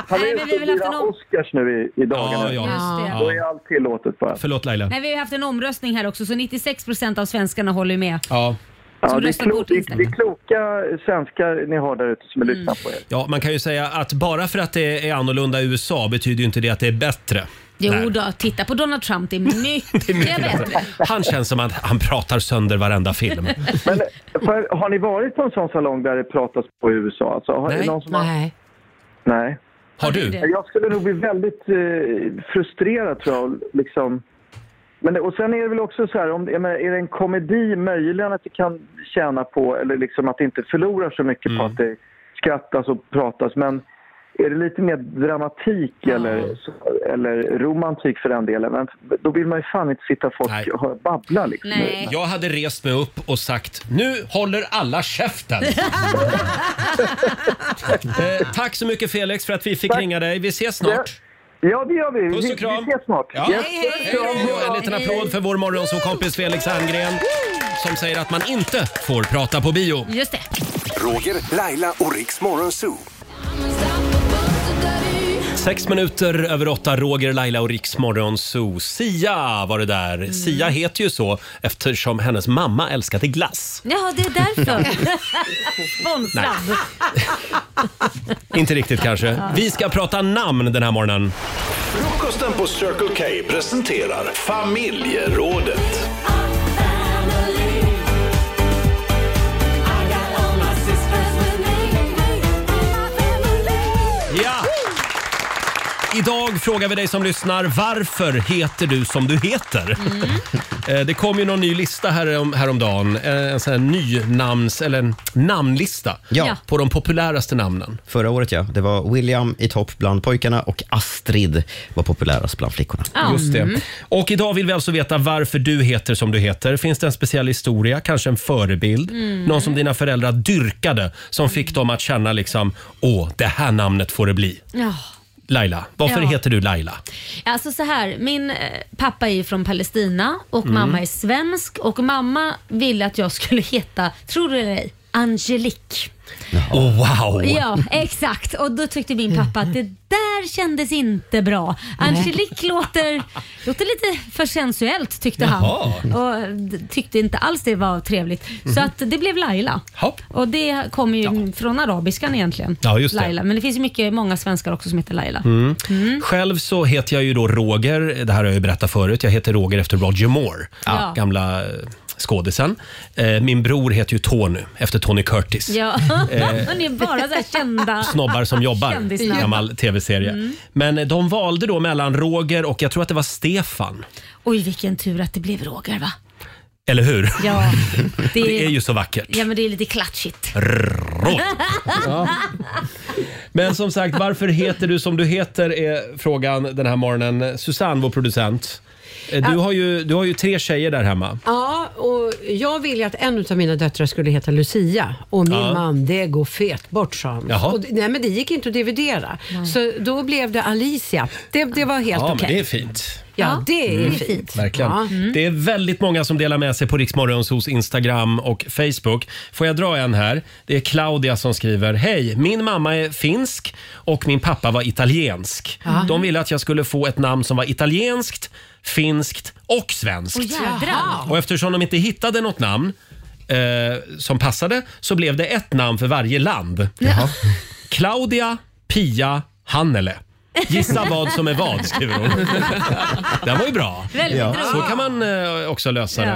[SPEAKER 13] Han är
[SPEAKER 6] Nej,
[SPEAKER 13] ute
[SPEAKER 6] men vi
[SPEAKER 13] och
[SPEAKER 6] har väl haft en
[SPEAKER 13] firar
[SPEAKER 6] om...
[SPEAKER 13] Oscars nu i, i dagarna.
[SPEAKER 6] Ja, ja. Just det.
[SPEAKER 13] Då är allt tillåtet bara.
[SPEAKER 1] Förlåt Laila.
[SPEAKER 6] Nej, vi har ju haft en omröstning här också så 96% av svenskarna håller ju med.
[SPEAKER 1] Ja.
[SPEAKER 13] Ja,
[SPEAKER 6] Som
[SPEAKER 13] det, är
[SPEAKER 6] röstar
[SPEAKER 13] klo,
[SPEAKER 6] bort
[SPEAKER 13] det, är- det är kloka svenskar ni har där ute som lyssnar på er.
[SPEAKER 1] Ja, man kan ju säga att bara för att det är annorlunda i USA betyder ju inte det att det är bättre.
[SPEAKER 6] Jo
[SPEAKER 1] Nej.
[SPEAKER 6] då, titta på Donald
[SPEAKER 1] <laughs>
[SPEAKER 6] Trump. Det är mycket, bättre.
[SPEAKER 1] Han känns som att han pratar sönder varenda film.
[SPEAKER 13] Men, för, har ni varit på en sån salong där det pratas på i USA? Alltså, har, är det
[SPEAKER 1] Nej.
[SPEAKER 13] Någon som har... Nej. Nej.
[SPEAKER 1] Har du?
[SPEAKER 13] Jag skulle nog bli väldigt eh, frustrerad tror jag. Liksom. Men, det- och sen är det väl också så här, om, jag menar, är det en komedi möjligen att det kan tjäna på, eller liksom att det inte förlorar så mycket
[SPEAKER 1] Mm.
[SPEAKER 13] på att det skrattas och pratas. Men är det lite mer dramatik eller, så- eller romantik för den delen, men då vill man ju fan inte sitta folk och höra babbla. Liksom.
[SPEAKER 1] Jag hade rest mig upp och sagt nu håller alla <laughs> käften. eh, tack så mycket Felix för att vi fick ringa dig. Vi ses snart.
[SPEAKER 13] Ja, det gör vi.
[SPEAKER 1] Puss
[SPEAKER 13] Vi-
[SPEAKER 1] och kram.
[SPEAKER 13] vi ses snart.
[SPEAKER 1] Ja.
[SPEAKER 13] Yes.
[SPEAKER 1] Hej, hej, då. En liten applåd för vår morgonsåkompis Felix Herngren som säger att man inte får prata på bio.
[SPEAKER 6] Just det.
[SPEAKER 8] Roger, Laila och Riks Morgonzoo.
[SPEAKER 1] Sex minuter över åtta, Roger, Laila och Riksmorgon Zoo. Sia var det där. Sia heter ju så eftersom hennes mamma älskade glass.
[SPEAKER 6] Jaha, det är därför.
[SPEAKER 1] Nej.
[SPEAKER 6] <laughs> Sponsrad.
[SPEAKER 1] Inte riktigt kanske.
[SPEAKER 6] Ja.
[SPEAKER 1] Vi ska prata namn den här morgonen.
[SPEAKER 14] Frukosten på Circle K presenterar familjerådet.
[SPEAKER 1] Ja! Idag frågar vi dig som lyssnar, varför heter du som du heter?
[SPEAKER 6] Mm.
[SPEAKER 1] Eh, Det kom ju någon ny lista härom, häromdagen, eh, en sån här ny namns, eller en namnlista
[SPEAKER 2] Ja.
[SPEAKER 1] på de populäraste namnen.
[SPEAKER 2] Förra året ja, det var William i topp bland pojkarna och Astrid var populärast bland flickorna.
[SPEAKER 1] Just det.
[SPEAKER 6] Mm.
[SPEAKER 1] Och idag vill vi alltså veta varför du heter som du heter. Finns det en speciell historia, kanske en förebild?
[SPEAKER 6] Mm.
[SPEAKER 1] Någon som dina föräldrar dyrkade som fick dem att känna liksom, åh, det här namnet får det bli.
[SPEAKER 6] Ja.
[SPEAKER 1] Laila, varför
[SPEAKER 6] Ja.
[SPEAKER 1] heter du Laila?
[SPEAKER 6] Alltså så här, min eh, pappa är ju från Palestina och
[SPEAKER 1] Mm.
[SPEAKER 6] mamma är svensk och mamma ville att jag skulle heta, tror du eller ej, Angelique.
[SPEAKER 1] Oh, wow!
[SPEAKER 6] Ja, exakt. Och då tyckte min pappa att det där kändes inte bra. Angelique låter, låter lite för sensuellt tyckte han.
[SPEAKER 1] Jaha.
[SPEAKER 6] Och d- tyckte inte alls det var trevligt. Så
[SPEAKER 1] Mhm.
[SPEAKER 6] att det blev Laila. Och det kommer ju från arabiskan egentligen.
[SPEAKER 1] Ja, just det.
[SPEAKER 6] Laila. Men det finns ju mycket, många svenskar också som heter Laila.
[SPEAKER 1] Mm. Själv så heter jag ju då Roger, det här har jag ju berättat förut, jag heter Roger efter Roger Moore,
[SPEAKER 6] Ja.
[SPEAKER 1] gamla eh, skådisen. Eh, Min bror heter ju Tony, efter Tony Curtis.
[SPEAKER 6] Ja,
[SPEAKER 1] <laughs> Eh,
[SPEAKER 6] ni är bara så här kända.
[SPEAKER 1] Snobbar som jobbar,
[SPEAKER 6] Kändisnamn.
[SPEAKER 1] gammal tv-serie.
[SPEAKER 6] Mm.
[SPEAKER 1] Men de valde då mellan Roger och jag tror att det var Stefan,
[SPEAKER 6] Oj, vilken tur att det blev Roger va?
[SPEAKER 1] eller hur? <laughs>
[SPEAKER 6] Ja,
[SPEAKER 1] Det
[SPEAKER 6] det,
[SPEAKER 1] är, ju så vackert.
[SPEAKER 6] Ja, men det är lite klatschigt. <laughs>
[SPEAKER 1] Roger. Men som sagt, varför heter du som du heter är frågan den här morgonen. Susanne, vår producent. eh, Du
[SPEAKER 12] Ja.
[SPEAKER 1] har ju, du har ju tre tjejer där hemma.
[SPEAKER 12] Ja, och jag ville att en av mina döttrar skulle heta Lucia och min
[SPEAKER 1] Ja.
[SPEAKER 12] man, det går fet bort sa han.
[SPEAKER 1] Jaha.
[SPEAKER 12] Och, det- nej men det gick inte att dividera. Så då blev det Alicia. Det, det var helt
[SPEAKER 1] ja,
[SPEAKER 12] okej.
[SPEAKER 1] men det är fint.
[SPEAKER 12] Ja, det är
[SPEAKER 1] Mm.
[SPEAKER 12] fint.
[SPEAKER 1] Verkligen. Mm.
[SPEAKER 12] Ja.
[SPEAKER 1] Det är väldigt många som delar med sig på Riksmorgons hos Instagram och Facebook. Får jag dra en här? Det är Claudia som skriver. Hej, min mamma är finsk och min pappa var italiensk.
[SPEAKER 6] Ja.
[SPEAKER 1] De ville att jag skulle få ett namn som var italienskt, finskt och svenskt.
[SPEAKER 6] Åh, jädrar.
[SPEAKER 1] Och eftersom de inte hittade något namn eh, som passade så blev det ett namn för varje land. Claudia, Pia, Hannele. Gissa vad som är vad, skriver hon.
[SPEAKER 12] <laughs>
[SPEAKER 1] Den var ju bra.
[SPEAKER 6] Väldigt Ja. roligt.
[SPEAKER 1] Så kan man eh, också lösa
[SPEAKER 6] Ja.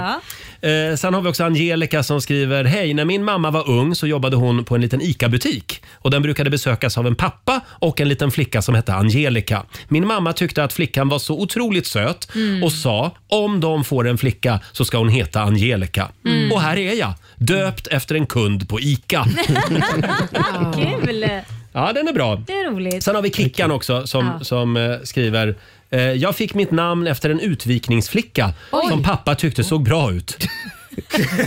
[SPEAKER 1] det. Eh, sen har vi också Angelica som skriver Hej, när min mamma var ung så jobbade hon på en liten ICA-butik och den brukade besökas av en pappa och en liten flicka som hette Angelica. Min mamma tyckte att flickan var så otroligt söt
[SPEAKER 14] Mm.
[SPEAKER 1] och sa om de får en flicka så ska hon heta Angelica.
[SPEAKER 6] Mm.
[SPEAKER 1] Och här är jag, döpt efter en kund på
[SPEAKER 6] <laughs>
[SPEAKER 1] ICA.
[SPEAKER 6] Kul!
[SPEAKER 1] ja, den är bra.
[SPEAKER 6] Det är roligt.
[SPEAKER 1] Sen har vi Kickan också som,
[SPEAKER 6] Ja.
[SPEAKER 1] som eh, skriver eh, Jag fick mitt namn efter en utvikningsflicka
[SPEAKER 6] Oj.
[SPEAKER 1] som pappa tyckte såg bra ut.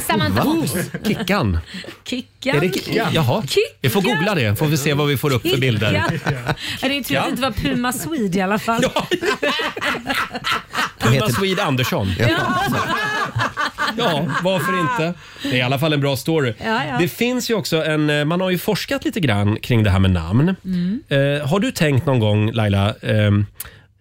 [SPEAKER 6] Samantha Oh.
[SPEAKER 1] Va?
[SPEAKER 6] Fox.
[SPEAKER 1] Kickan.
[SPEAKER 6] Kickan.
[SPEAKER 1] Jaha.
[SPEAKER 6] Kickan.
[SPEAKER 1] Vi får googla det, får vi se vad vi får upp för bilder.
[SPEAKER 6] Kickan. Ja, Det är ju tur att det inte var Puma Swede i alla fall.
[SPEAKER 1] Puma Swede Andersson. Ja, varför inte? Det är i alla fall en bra story.
[SPEAKER 6] Ja, ja.
[SPEAKER 1] Det finns ju också en, eh, man har ju forskat lite grann kring det här med namn.
[SPEAKER 6] Mm.
[SPEAKER 1] Eh, har du tänkt någon gång Laila, ehm,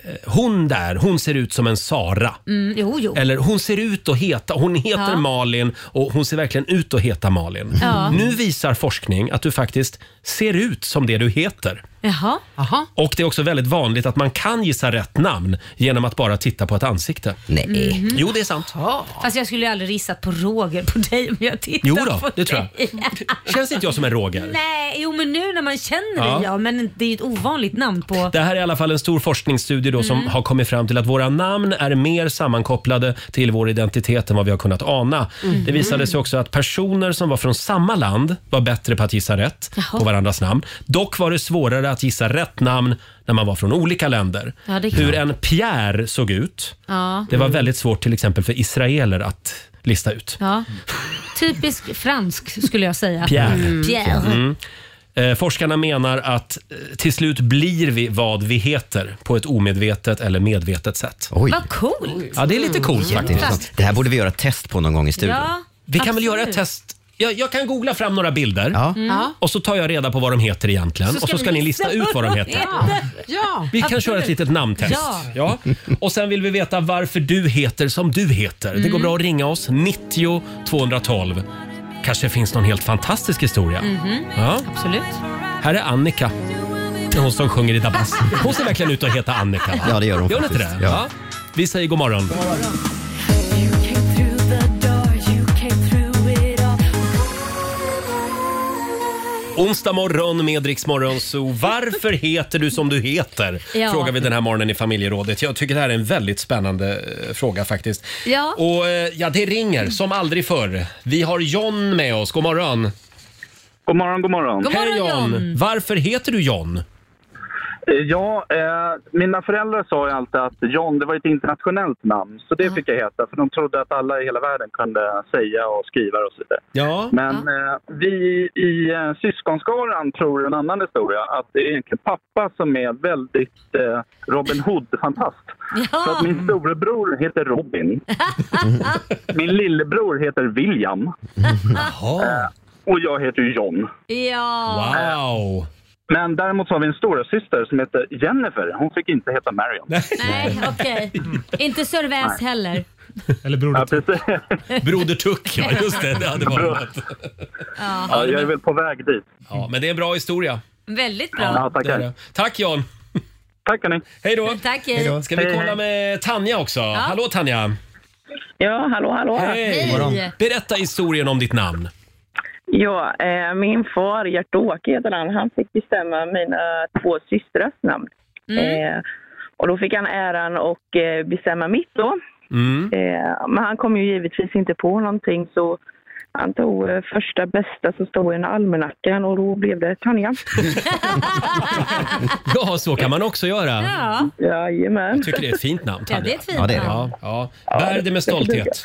[SPEAKER 1] eh, hon där, hon ser ut som en Sara.
[SPEAKER 6] Mm, jo, jo.
[SPEAKER 1] Eller hon ser ut att heta, hon heter
[SPEAKER 6] Ja.
[SPEAKER 1] Malin och hon ser verkligen ut att heta Malin.
[SPEAKER 6] Ja. Mm.
[SPEAKER 1] Nu visar forskning att du faktiskt ser ut som det du heter.
[SPEAKER 6] Jaha. Aha.
[SPEAKER 1] Och det är också väldigt vanligt att man kan gissa rätt namn genom att bara titta på ett ansikte.
[SPEAKER 2] Nej.
[SPEAKER 6] Mhm.
[SPEAKER 1] Jo, det är sant.
[SPEAKER 6] Fast jag skulle ju aldrig gissat på Roger på dig om jag tittar
[SPEAKER 1] Jo då,
[SPEAKER 6] på
[SPEAKER 1] det tror
[SPEAKER 6] dig. <laughs>
[SPEAKER 1] Känns inte jag som en Roger?
[SPEAKER 6] Nej, jo men nu när man känner
[SPEAKER 1] Ja.
[SPEAKER 6] dig ja, men det är ju ett ovanligt namn på...
[SPEAKER 1] Det här är i alla fall en stor forskningsstudie då som
[SPEAKER 6] Mm.
[SPEAKER 1] har kommit fram till att våra namn är mer sammankopplade till vår identitet än vad vi har kunnat ana.
[SPEAKER 6] Mm.
[SPEAKER 14] Mhm.
[SPEAKER 1] Det visade sig också att personer som var från samma land var bättre på att gissa rätt på varandras namn. Dock var det svårare att gissa rätt namn när man var från olika länder.
[SPEAKER 6] Ja, Mm. det är klart.
[SPEAKER 1] Hur en Pierre såg ut.
[SPEAKER 6] Ja.
[SPEAKER 1] Det var väldigt svårt till exempel för israeler att lista ut.
[SPEAKER 6] Ja. Typisk fransk skulle jag säga.
[SPEAKER 1] Pierre.
[SPEAKER 6] Mm. Pierre.
[SPEAKER 1] Mm. Eh, forskarna menar att eh, till slut blir vi vad vi heter på ett omedvetet eller medvetet sätt.
[SPEAKER 6] Vad coolt!
[SPEAKER 1] Ja, det är lite coolt faktiskt.
[SPEAKER 2] Jätteintressant. Mm. Det här borde vi göra ett test på någon gång i studion.
[SPEAKER 6] Ja,
[SPEAKER 1] Vi kan väl
[SPEAKER 6] absolut.
[SPEAKER 1] göra ett test. Jag, jag kan googla fram några bilder
[SPEAKER 6] Mm. Ja.
[SPEAKER 1] och så tar jag reda på vad de heter egentligen och så ska ni lista ut vad de heter.
[SPEAKER 12] <laughs> Ja. ja.
[SPEAKER 1] Vi kan köra ett litet namntest.
[SPEAKER 12] Ja.
[SPEAKER 1] Ja. Och sen vill vi veta varför du heter som du heter. Det går bra att ringa oss, 90 212. Kanske finns någon helt fantastisk historia.
[SPEAKER 6] Mhm.
[SPEAKER 1] Ja.
[SPEAKER 6] Absolut.
[SPEAKER 1] Här är Annika. Det är Hon som sjunger i Dabas. Hon ser verkligen ut att heta Annika. va?
[SPEAKER 2] Ja, det gör hon
[SPEAKER 1] Gör hon inte det?
[SPEAKER 2] faktiskt. Ja.
[SPEAKER 1] Vi säger god morgon. Onsdag morgon med Rix Morgon, så varför heter du som du heter?
[SPEAKER 6] Ja.
[SPEAKER 1] Frågar vi den här morgonen i familjerådet. Jag tycker det här är en väldigt spännande eh, fråga faktiskt.
[SPEAKER 6] Ja.
[SPEAKER 1] Och eh, ja, det ringer som aldrig förr. Vi har John med oss. God morgon!
[SPEAKER 15] God morgon, god morgon.
[SPEAKER 1] Hej
[SPEAKER 15] God
[SPEAKER 1] John.
[SPEAKER 15] morgon, John.
[SPEAKER 1] Varför heter du John?
[SPEAKER 15] Eh, Ja, eh, mina föräldrar sa ju alltid att John, det var ett internationellt namn. Så det fick jag heta, för de trodde att alla i hela världen kunde säga och skriva och så vidare.
[SPEAKER 1] Ja.
[SPEAKER 15] Men eh, vi i eh, syskonskaran tror en annan historia, att det är egentligen pappa som är väldigt eh, Robin Hood-fantast. Så att min storebror heter Robin. min lillebror heter William. Eh, Och jag heter ju John.
[SPEAKER 6] Ja.
[SPEAKER 1] Wow!
[SPEAKER 15] Men däremot så har vi en stora syster som heter Jennifer. Hon fick inte heta Marion.
[SPEAKER 6] Nej,
[SPEAKER 1] <laughs>
[SPEAKER 6] okej. Inte Sir Väs heller.
[SPEAKER 15] Eller Broder Tuck.
[SPEAKER 1] <laughs> Broder Tuck, ja just det. Det hade varit något.
[SPEAKER 6] Ja.
[SPEAKER 15] jag är väl på väg dit.
[SPEAKER 1] Ja, men det är en bra historia.
[SPEAKER 6] Väldigt bra.
[SPEAKER 1] Det är det. Tack Jan!
[SPEAKER 15] Tack hörni!
[SPEAKER 1] Hej då!
[SPEAKER 6] Mm, Tack, hej.
[SPEAKER 1] Hej då. Ska vi
[SPEAKER 6] Hej,
[SPEAKER 1] kolla
[SPEAKER 6] hej.
[SPEAKER 1] med Tanja också? Hallå Tanja!
[SPEAKER 16] Ja, hallå, hallå.
[SPEAKER 1] Hej! Berätta historien om ditt namn.
[SPEAKER 16] Ja, eh, min far, Gert-Åke heter han, han fick bestämma mina två systrars namn.
[SPEAKER 12] Mm.
[SPEAKER 16] Eh, och då fick han äran och eh, bestämma mitt då.
[SPEAKER 1] Mm.
[SPEAKER 16] Eh, men han kom ju givetvis inte på någonting så han tog eh, första bästa som stod i en almanackan och då blev det Tanja.
[SPEAKER 1] <laughs> Ja, så kan man också göra.
[SPEAKER 6] Ja.
[SPEAKER 16] Jajamän.
[SPEAKER 1] Jag tycker det är ett fint namn Tanja.
[SPEAKER 16] Ja, det är ett fint Ja, det är det. namn.
[SPEAKER 1] Ja, ja. Bär det med stolthet.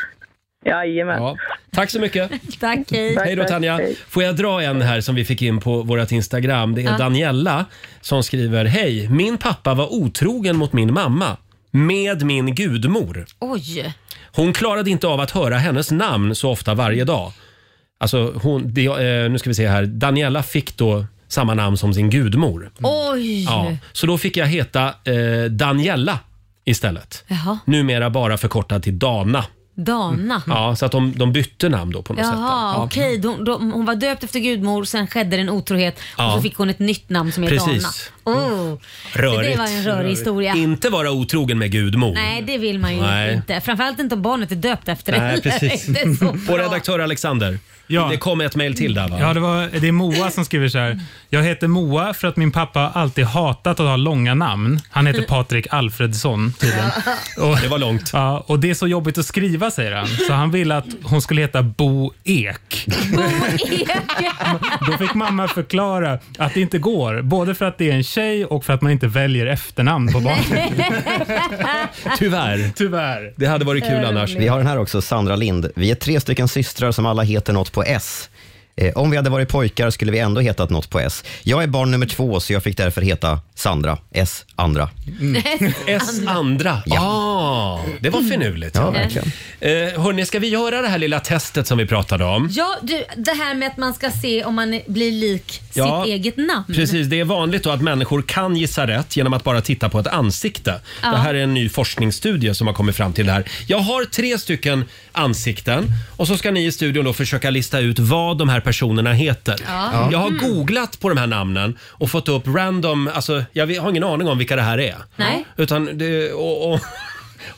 [SPEAKER 16] Jajamän.
[SPEAKER 1] Ja. Tack så mycket.
[SPEAKER 6] <laughs> Tack, hej.
[SPEAKER 1] Hej då Tanja. Får jag dra en här som vi fick in på vårt Instagram. Det är
[SPEAKER 6] Ja.
[SPEAKER 1] Daniella som skriver Hej, min pappa var otrogen mot min mamma med min gudmor.
[SPEAKER 6] Oj.
[SPEAKER 1] Hon klarade inte av att höra hennes namn så ofta varje dag. Alltså hon, det, eh, nu ska vi se här. Daniella fick då samma namn som sin gudmor.
[SPEAKER 6] Mm. Oj. <laughs>
[SPEAKER 1] Ja, så då fick jag heta eh, Daniella istället.
[SPEAKER 6] Jaha.
[SPEAKER 1] Numera bara förkortad till Dana.
[SPEAKER 6] Dana.
[SPEAKER 1] Ja, så att de, de bytte namn då på något sätt.
[SPEAKER 6] Jaha,
[SPEAKER 1] Ja.
[SPEAKER 6] okej. De, de, hon var döpt efter gudmor, sen skedde det en otrohet
[SPEAKER 1] Ja.
[SPEAKER 6] och så fick hon ett nytt namn som är
[SPEAKER 1] Precis. Mm.
[SPEAKER 6] Dana. Oh.
[SPEAKER 1] Rörigt.
[SPEAKER 6] Det var en rörig historia.
[SPEAKER 1] Inte vara otrogen med gudmor.
[SPEAKER 6] Nej, det vill man ju
[SPEAKER 1] Nej.
[SPEAKER 6] inte. Framförallt inte om barnet är döpt efter <laughs> det.
[SPEAKER 1] Nej, precis.
[SPEAKER 6] Det är så
[SPEAKER 1] Vår redaktör Alexander, det kom ett mejl till där va?
[SPEAKER 9] Ja, det, var, det är
[SPEAKER 6] <laughs>
[SPEAKER 9] Moa som skriver så här. Jag heter Moa för att min pappa alltid hatat att ha långa namn. Han heter Patrik Alfredsson tydligen. Och,
[SPEAKER 1] det var långt.
[SPEAKER 9] Ja, och det är så jobbigt att skriva säger han. Så han ville att hon skulle heta Bo Ek. Då fick mamma förklara att det inte går. Både för att det är en tjej och för att man inte väljer efternamn på
[SPEAKER 6] <laughs>
[SPEAKER 9] barnet.
[SPEAKER 1] <laughs> Tyvärr.
[SPEAKER 9] Tyvärr.
[SPEAKER 1] Det hade varit kul annars.
[SPEAKER 2] Vi har den här också, Sandra Lind. Vi är tre stycken systrar som alla heter något på S. Eh, om vi hade varit pojkar skulle vi ändå hetat något på S. Jag är barn nummer två, så jag fick därför heta Sandra. S. Andra.
[SPEAKER 9] Mm.
[SPEAKER 1] S andra. Ja, ah, det var finurligt.
[SPEAKER 2] Ja, verkligen.
[SPEAKER 1] Eh, hörni, ska vi göra det här lilla testet som vi pratade om?
[SPEAKER 6] Ja, du, det här med att man ska se om man blir lik
[SPEAKER 1] Ja,
[SPEAKER 6] sitt eget
[SPEAKER 14] Mm.
[SPEAKER 6] namn.
[SPEAKER 1] Precis, det är vanligt då att människor kan gissa rätt genom att bara titta på ett ansikte.
[SPEAKER 6] Ja.
[SPEAKER 1] Det här är en ny forskningsstudie som har kommit fram till det här. Jag har tre stycken ansikten och så ska ni i studion då försöka lista ut vad de här personerna heter.
[SPEAKER 14] Ja. Ja.
[SPEAKER 1] Jag har
[SPEAKER 14] Mm.
[SPEAKER 1] googlat på de här namnen och fått upp random, alltså jag vet- har ingen aning om vilka det här är.
[SPEAKER 14] Nej.
[SPEAKER 1] Utan det, och, <laughs> och,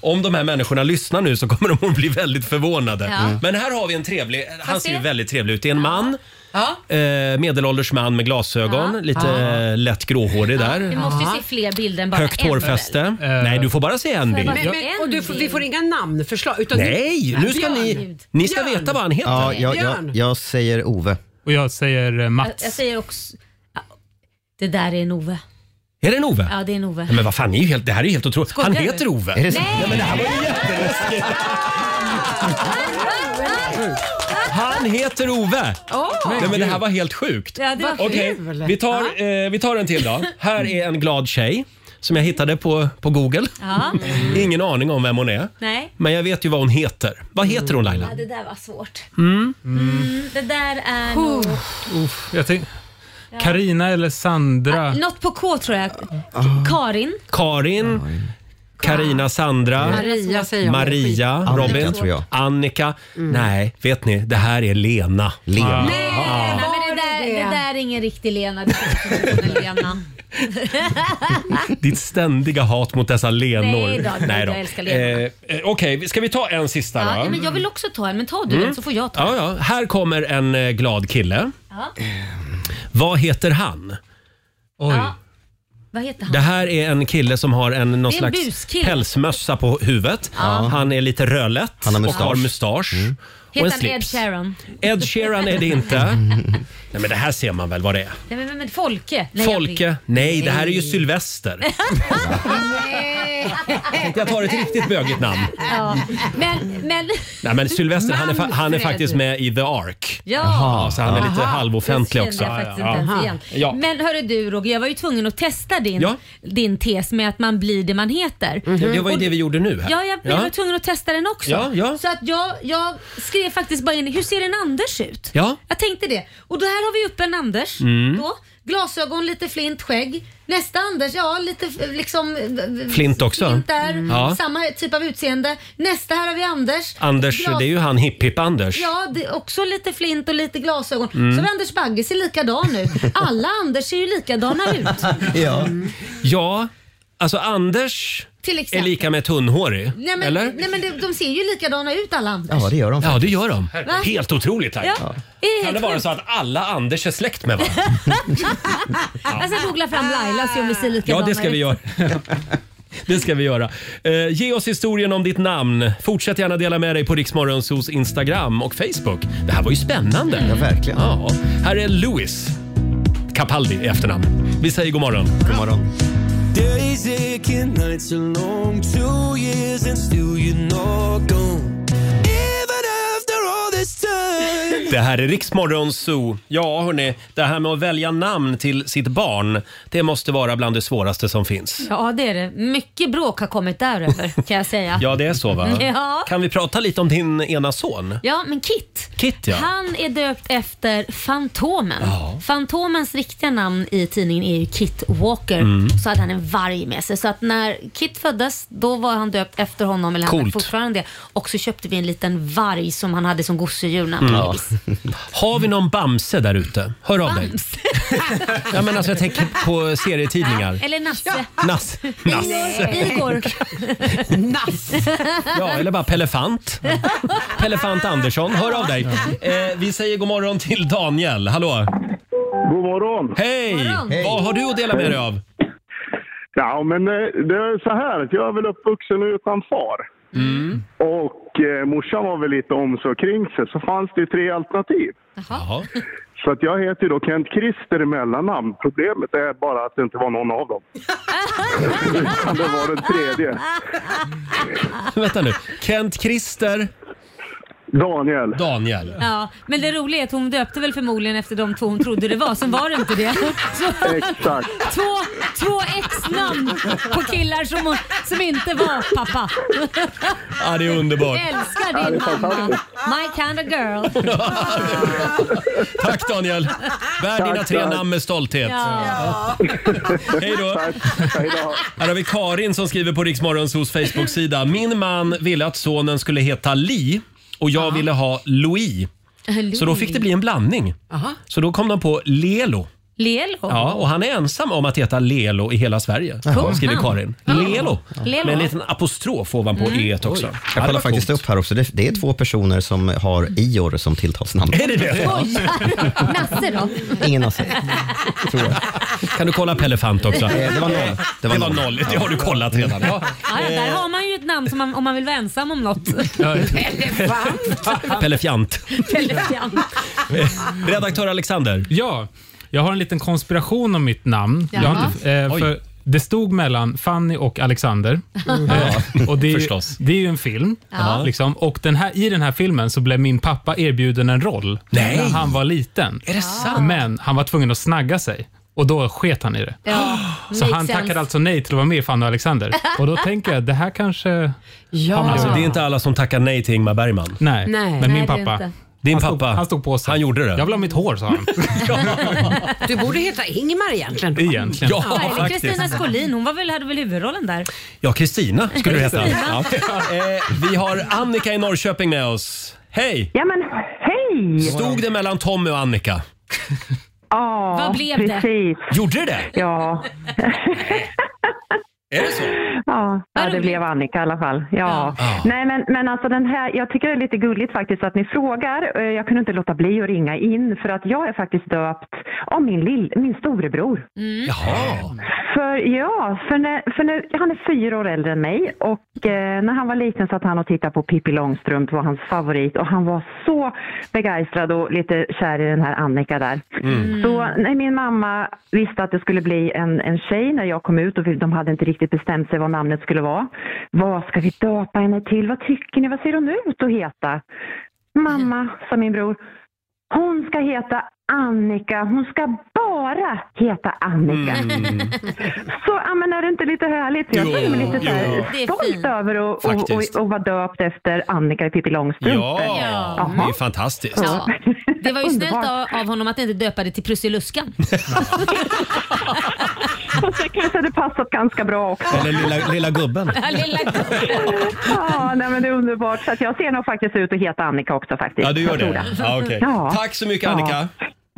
[SPEAKER 1] om de här människorna lyssnar nu så kommer de att bli väldigt förvånade.
[SPEAKER 14] Ja. Mm.
[SPEAKER 1] Men här har vi en trevlig, han ser ju
[SPEAKER 14] se.
[SPEAKER 1] väldigt trevlig ut. Det är en man.
[SPEAKER 6] Ja.
[SPEAKER 1] Eh, medelålders man med glasögon,
[SPEAKER 6] Ja.
[SPEAKER 1] lite
[SPEAKER 6] Ja.
[SPEAKER 1] eh, lätt gråhårig
[SPEAKER 6] Vi
[SPEAKER 1] där.
[SPEAKER 6] måste ju se fler bilder än bara
[SPEAKER 1] Högt
[SPEAKER 6] en.
[SPEAKER 1] hårfäste. Eh. Nej, du får bara se en bild.
[SPEAKER 12] Men, men, och du, får- vi får inga namnförslag. Utan
[SPEAKER 1] Nej, nu ska ni, ni ska veta vad han heter.
[SPEAKER 2] Ja, jag, jag, jag säger Ove.
[SPEAKER 9] Och jag säger eh,
[SPEAKER 6] Jag,
[SPEAKER 9] Mats.
[SPEAKER 6] jag säger också... ja, Det där är en Ove.
[SPEAKER 1] Är det en Ove?
[SPEAKER 6] Ja, det är en Ove.
[SPEAKER 1] Nej, Men vad fan, det är ju helt, det här är ju helt otroligt.
[SPEAKER 6] Skojar
[SPEAKER 1] han
[SPEAKER 6] du?
[SPEAKER 1] heter Ove.
[SPEAKER 6] Är det så? Nej!
[SPEAKER 1] men det här var ju jätteläskigt. Han heter Ove!
[SPEAKER 14] Åh!
[SPEAKER 1] Nej, men det här var helt sjukt.
[SPEAKER 14] Ja, det var
[SPEAKER 1] Okej,
[SPEAKER 14] kul.
[SPEAKER 1] vi, tar, eh, vi tar en till då. Här är en glad tjej som jag hittade på, på Google.
[SPEAKER 6] Ja.
[SPEAKER 1] Ingen aning om vem hon är.
[SPEAKER 6] Nej.
[SPEAKER 1] Men jag vet ju vad hon heter. Vad heter hon Laila?
[SPEAKER 6] Ja, det där var svårt.
[SPEAKER 1] Mm.
[SPEAKER 6] Mm, det där är nog...
[SPEAKER 9] Uff, jag tänk- Karina eller Sandra.
[SPEAKER 6] Ah, Något på K tror jag. Karin.
[SPEAKER 1] Karin. Karina, Sandra,
[SPEAKER 6] Maria säger jag.
[SPEAKER 1] Maria,
[SPEAKER 6] Annika,
[SPEAKER 1] Robin,
[SPEAKER 6] tror jag. Mm.
[SPEAKER 1] Annika. Nej, vet ni? Det här är Lena. Ah.
[SPEAKER 2] Lena.
[SPEAKER 1] Nej,
[SPEAKER 6] Nej, men det, där, det? där är ingen riktig Lena. Det är en Lena.
[SPEAKER 1] <laughs>
[SPEAKER 6] <laughs>
[SPEAKER 1] Ditt ständiga hat mot dessa Lenor.
[SPEAKER 6] Nej då, nej då, jag älskar Lenor.
[SPEAKER 1] Eh, eh, Okej, ska vi ta en sista
[SPEAKER 6] Ja,
[SPEAKER 1] då?
[SPEAKER 6] ja, men jag vill också ta en, men ta du
[SPEAKER 1] Mm.
[SPEAKER 6] den så får jag ta
[SPEAKER 1] Ja, ja. Här kommer en eh, glad kille.
[SPEAKER 6] Ja.
[SPEAKER 1] Vad heter han? Oj.
[SPEAKER 6] Ja. Vad heter han?
[SPEAKER 1] Det här är en kille som har en, någon
[SPEAKER 6] Det är en
[SPEAKER 1] slags
[SPEAKER 6] buskille.
[SPEAKER 1] pälsmössa på huvudet.
[SPEAKER 6] Ja.
[SPEAKER 1] Han är lite rödlätt
[SPEAKER 2] Han har
[SPEAKER 1] och
[SPEAKER 2] mustasch.
[SPEAKER 1] har mustasch. Och
[SPEAKER 6] Mm. Heter
[SPEAKER 1] en
[SPEAKER 6] han Ed
[SPEAKER 1] slips.
[SPEAKER 6] Sheeran?
[SPEAKER 1] Ed Sheeran är det
[SPEAKER 6] <laughs>
[SPEAKER 1] inte.
[SPEAKER 6] Mm.
[SPEAKER 1] Nej men det här ser man väl vad det är.
[SPEAKER 6] Nej, men, men, men Folke? Nej, jag vet.
[SPEAKER 1] Folke? Nej, det här är ju Sylvester.
[SPEAKER 6] Nej.
[SPEAKER 1] Tänkte jag tar ett riktigt bögigt namn.
[SPEAKER 6] <laughs> Ja. Men, men...
[SPEAKER 1] Nej, men Sylvester han är, fa- han är
[SPEAKER 6] Manfred.
[SPEAKER 1] faktiskt med i The Ark.
[SPEAKER 6] Ja.
[SPEAKER 1] Jaha, så han är lite
[SPEAKER 6] Aha.
[SPEAKER 1] halvoffentlig
[SPEAKER 6] Det
[SPEAKER 1] också.
[SPEAKER 6] kände jag faktiskt
[SPEAKER 1] Ja,
[SPEAKER 6] inte
[SPEAKER 1] ja.
[SPEAKER 6] ens igen.
[SPEAKER 1] Ja.
[SPEAKER 6] Men hörru du Roger, jag var ju tvungen att testa din,
[SPEAKER 1] Ja. Mhm.
[SPEAKER 6] din tes med att man blir det man heter.
[SPEAKER 1] Mm-hmm. Det var ju
[SPEAKER 6] Och-
[SPEAKER 1] det vi gjorde nu här.
[SPEAKER 6] Ja, jag, jag var tvungen att testa den också.
[SPEAKER 1] Ja, ja.
[SPEAKER 6] Så att jag, jag skrev faktiskt bara in, hur ser en Anders ut?
[SPEAKER 1] Ja.
[SPEAKER 6] Jag tänkte det. Och då här har vi upp en Anders.
[SPEAKER 1] Mm.
[SPEAKER 6] Då, glasögon, lite flint, skägg. Nästa Anders, ja lite eh, liksom... eh,
[SPEAKER 1] Flint också.
[SPEAKER 6] Flint där,
[SPEAKER 1] Mm. Ja.
[SPEAKER 6] samma typ av utseende. Nästa här har vi Anders.
[SPEAKER 1] Anders,
[SPEAKER 6] Glas-
[SPEAKER 1] det är ju han hipp-hipp-Anders.
[SPEAKER 6] Ja, det är också lite flint och lite glasögon.
[SPEAKER 1] Mm.
[SPEAKER 6] Så Anders Bagge ser likadan ut. Alla Anders ser ju likadana ut.
[SPEAKER 1] <laughs> ja. ja, alltså Anders
[SPEAKER 6] Till
[SPEAKER 1] är
[SPEAKER 6] exempel.
[SPEAKER 1] lika med tunnhårig.
[SPEAKER 6] Nej men,
[SPEAKER 1] eller?
[SPEAKER 6] Nej, men de, de ser ju likadana ut alla Anders.
[SPEAKER 1] Ja, det gör de. Ja, det gör de.
[SPEAKER 6] Va?
[SPEAKER 1] Helt otroligt Laila.
[SPEAKER 6] Ja, det är
[SPEAKER 1] Kan det
[SPEAKER 6] helt
[SPEAKER 1] vara
[SPEAKER 6] sjukt.
[SPEAKER 1] så att alla Anders är släkt med
[SPEAKER 6] <laughs>
[SPEAKER 1] varandra?
[SPEAKER 6] Jag ska googla fram Laila och se om vi ser likadana
[SPEAKER 1] Ja, det ska vi
[SPEAKER 6] ut.
[SPEAKER 1] göra. <laughs> Det ska vi göra. Eh, ge oss historien om ditt namn. Fortsätt gärna dela med dig på Riksmorgonsos Instagram och Facebook. Det här var ju spännande. Ja, verkligen. Ja. Här är Louis Capaldi i efternamn. Vi säger god morgon. God morgon.
[SPEAKER 7] Days aching, nights are long, two years and still you're not gone. Even after all this
[SPEAKER 1] <laughs>
[SPEAKER 7] time.
[SPEAKER 1] Det här är Riksmorgon Zoo. Ja, hörni, det här med att välja namn till sitt barn, det måste vara bland det svåraste som finns.
[SPEAKER 6] <laughs> Ja, det är det. Mycket bråk har
[SPEAKER 1] <laughs>
[SPEAKER 6] kommit däröver kan jag säga.
[SPEAKER 1] Ja, det är så va?
[SPEAKER 6] Ja.
[SPEAKER 1] Kan vi prata lite om din ena son?
[SPEAKER 6] Ja, men Kit.
[SPEAKER 1] Kit, ja.
[SPEAKER 6] Han är döpt efter Fantomen. Fantomens riktiga namn i tidningen är ju Kit Walker.
[SPEAKER 1] Mm.
[SPEAKER 6] Så hade han en varg med sig. Så att när Kit föddes, då var han döpt efter honom. Eller han är
[SPEAKER 1] Coolt.
[SPEAKER 6] fortfarande det. Och så köpte vi en liten varg som han hade som gosedjur när han
[SPEAKER 1] Mm.
[SPEAKER 6] föddes.
[SPEAKER 1] <laughs> Har vi någon Bamse där ute? Hör av dig.
[SPEAKER 6] Bamse.
[SPEAKER 1] <laughs> Ja, men alltså, jag tänker på serietidningar.
[SPEAKER 6] Eller <laughs> Nasse.
[SPEAKER 1] Nass. Nasse. <laughs>
[SPEAKER 6] Igor. <laughs> Nasse.
[SPEAKER 1] Ja, eller bara
[SPEAKER 6] <laughs>
[SPEAKER 1] Pelefant. Pelefant Andersson, hör av dig. Eh, vi säger god morgon till Daniel. Hallå!
[SPEAKER 17] God morgon!
[SPEAKER 1] Hej! Vad har du att dela med dig av?
[SPEAKER 17] Ja, men eh, det är så här att jag är väl uppvuxen utan far.
[SPEAKER 1] Mm.
[SPEAKER 17] Och eh, morsan var väl lite om sig och kring sig, så fanns det ju tre alternativ. Så att jag heter ju då Kent Krister i mellannamn. Problemet är bara att det inte var någon av <laughs> dem. Utan <laughs> det var den tredje.
[SPEAKER 1] Vänta nu. Kent Christer?
[SPEAKER 17] Daniel.
[SPEAKER 1] Daniel.
[SPEAKER 6] Ja, men det roliga är att hon döpte väl förmodligen efter de två hon trodde det var, sen var det inte det. Så,
[SPEAKER 17] Exakt.
[SPEAKER 6] Två, två ex-namn på killar som, hon, som inte var pappa.
[SPEAKER 1] Ja, det är underbart.
[SPEAKER 6] Älskar din mamma. My kind of girl.
[SPEAKER 1] Tack Daniel! Bär
[SPEAKER 6] Tack,
[SPEAKER 1] dina tre
[SPEAKER 6] tack.
[SPEAKER 1] namn med stolthet.
[SPEAKER 6] Ja.
[SPEAKER 1] Hej då! Här har vi Karin som skriver på Riksmorgonsos Facebook-sida. Min man ville att sonen skulle heta Li och jag ville ha Louis. Så då fick det bli en blandning.
[SPEAKER 6] Aha.
[SPEAKER 1] Så då kom de på Lelo.
[SPEAKER 6] Lelo.
[SPEAKER 1] Ja, och han är ensam om att heta Lelo i hela Sverige,
[SPEAKER 2] Jaha.
[SPEAKER 1] skriver Karin. Lelo.
[SPEAKER 6] Lelo.
[SPEAKER 1] Med en liten apostrof ovanpå
[SPEAKER 6] Mm.
[SPEAKER 1] e också.
[SPEAKER 2] Oj.
[SPEAKER 1] Ja,
[SPEAKER 2] Jag
[SPEAKER 1] det var
[SPEAKER 2] kollar faktiskt upp här också. Det, det är två personer som har Ior som tilltalsnamn.
[SPEAKER 1] Är det det?
[SPEAKER 2] Ja.
[SPEAKER 6] Skojar. Nasse då?
[SPEAKER 2] Ingen har sett. Tror jag.
[SPEAKER 1] Kan du kolla Pelefant också?
[SPEAKER 2] Eh, det var noll.
[SPEAKER 1] Det var, noll. Det har du kollat redan. Ja.
[SPEAKER 6] Ja, ja, där har man ju ett namn som man, om man vill vara ensam om något.
[SPEAKER 1] Ja.
[SPEAKER 6] Elefant.
[SPEAKER 1] Pelefjant.
[SPEAKER 6] Elefant.
[SPEAKER 1] <laughs> Redaktör Alexander.
[SPEAKER 9] Ja, jag har en liten konspiration om mitt namn. Jag har inte, eh,
[SPEAKER 1] Jaha.
[SPEAKER 9] för det stod mellan Fanny och Alexander.
[SPEAKER 1] Mm.
[SPEAKER 9] Eh, och det, är ju,
[SPEAKER 1] Förstås.
[SPEAKER 9] det är ju en film.
[SPEAKER 1] Ja.
[SPEAKER 9] Liksom. Och den här, I den här filmen så blev min pappa erbjuden en roll
[SPEAKER 1] Nej.
[SPEAKER 9] när han var liten.
[SPEAKER 1] Är det sant?
[SPEAKER 9] Men han var tvungen att snagga sig och då sket han i det.
[SPEAKER 1] <gasps>
[SPEAKER 6] Ja,
[SPEAKER 9] Så
[SPEAKER 6] makes
[SPEAKER 9] han
[SPEAKER 6] sense.
[SPEAKER 9] tackade alltså nej till att vara med i Fanny och Alexander. Och då tänker jag, det här kanske...
[SPEAKER 12] Ja.
[SPEAKER 1] Alltså, det är inte alla som tackar nej till Ingmar Bergman.
[SPEAKER 9] Nej,
[SPEAKER 12] Nej.
[SPEAKER 9] men
[SPEAKER 12] Nej,
[SPEAKER 9] min
[SPEAKER 12] det är
[SPEAKER 9] pappa.
[SPEAKER 12] inte.
[SPEAKER 1] Din
[SPEAKER 9] Alltså,
[SPEAKER 1] pappa. han
[SPEAKER 9] stod på sig.
[SPEAKER 1] Han gjorde det.
[SPEAKER 9] Jag vill ha mitt hår, sa han.
[SPEAKER 12] Du borde heta Ingmar egentligen. då.
[SPEAKER 9] Egentligen.
[SPEAKER 1] Ja,
[SPEAKER 6] Ja, eller
[SPEAKER 1] faktiskt.
[SPEAKER 6] Kristina Skolin, hon var väl, hade väl huvudrollen där?
[SPEAKER 1] Ja, Kristina skulle du heta.
[SPEAKER 6] Kristina.
[SPEAKER 1] Ja. Eh, vi har Annika i Norrköping med oss. Hej!
[SPEAKER 11] Ja, men hej!
[SPEAKER 1] Stod det mellan Tommy och Annika?
[SPEAKER 11] Ja,
[SPEAKER 6] <laughs> Vad blev det?
[SPEAKER 11] precis. det?
[SPEAKER 1] Gjorde det
[SPEAKER 11] Ja.
[SPEAKER 1] Är det så?
[SPEAKER 11] Ja, ja det blev Annika i alla fall. Ja. Nej, men, men alltså den här, jag tycker det är lite gulligt faktiskt att ni frågar. Eh, Jag kunde inte låta bli att ringa
[SPEAKER 6] Mm.
[SPEAKER 11] in för att jag är faktiskt döpt av min, lill, min storebror.
[SPEAKER 1] Jaha.
[SPEAKER 11] För För, ja, för, när, för när, han är fyra år äldre än mig och eh, när han var liten satt han och tittade på Pippi Långstrump, var hans favorit och han var så begeistrad och lite kär i den här Annika där.
[SPEAKER 5] Mm.
[SPEAKER 11] Så när min mamma visste att det skulle bli en, en tjej när jag kom ut och vi- de hade inte riktigt bestämt sig vad namnet skulle vara. Vad ska vi döpa henne till? Vad tycker ni? Vad ser hon ut att heta?
[SPEAKER 5] Mm.
[SPEAKER 11] Mamma, sa min bror, hon ska heta Annika. Hon ska bara heta Annika.
[SPEAKER 5] Mm.
[SPEAKER 11] <laughs> Så ja, men är det inte lite härligt? Jag känner mig lite så
[SPEAKER 5] jo.
[SPEAKER 11] här
[SPEAKER 5] Det är
[SPEAKER 11] stolt över att och,
[SPEAKER 1] Faktiskt.
[SPEAKER 11] och, och vara döpt efter Annika i Pippi Långstrump. <laughs>
[SPEAKER 1] Ja, det är fantastiskt.
[SPEAKER 6] Ja. Det var ju snällt av, av honom att inte döpa det till
[SPEAKER 1] <laughs>
[SPEAKER 6] Prussiluskan.
[SPEAKER 11] Och sen kanske det passat ganska bra också.
[SPEAKER 1] Eller lilla, lilla gubben.
[SPEAKER 11] ja, nej, men det är underbart. Så att jag ser nog faktiskt ut att heta Annika också faktiskt.
[SPEAKER 1] Ja, du gör
[SPEAKER 11] Jag tror
[SPEAKER 1] det. Ja, okej.
[SPEAKER 11] Ja.
[SPEAKER 1] Tack så mycket Annika.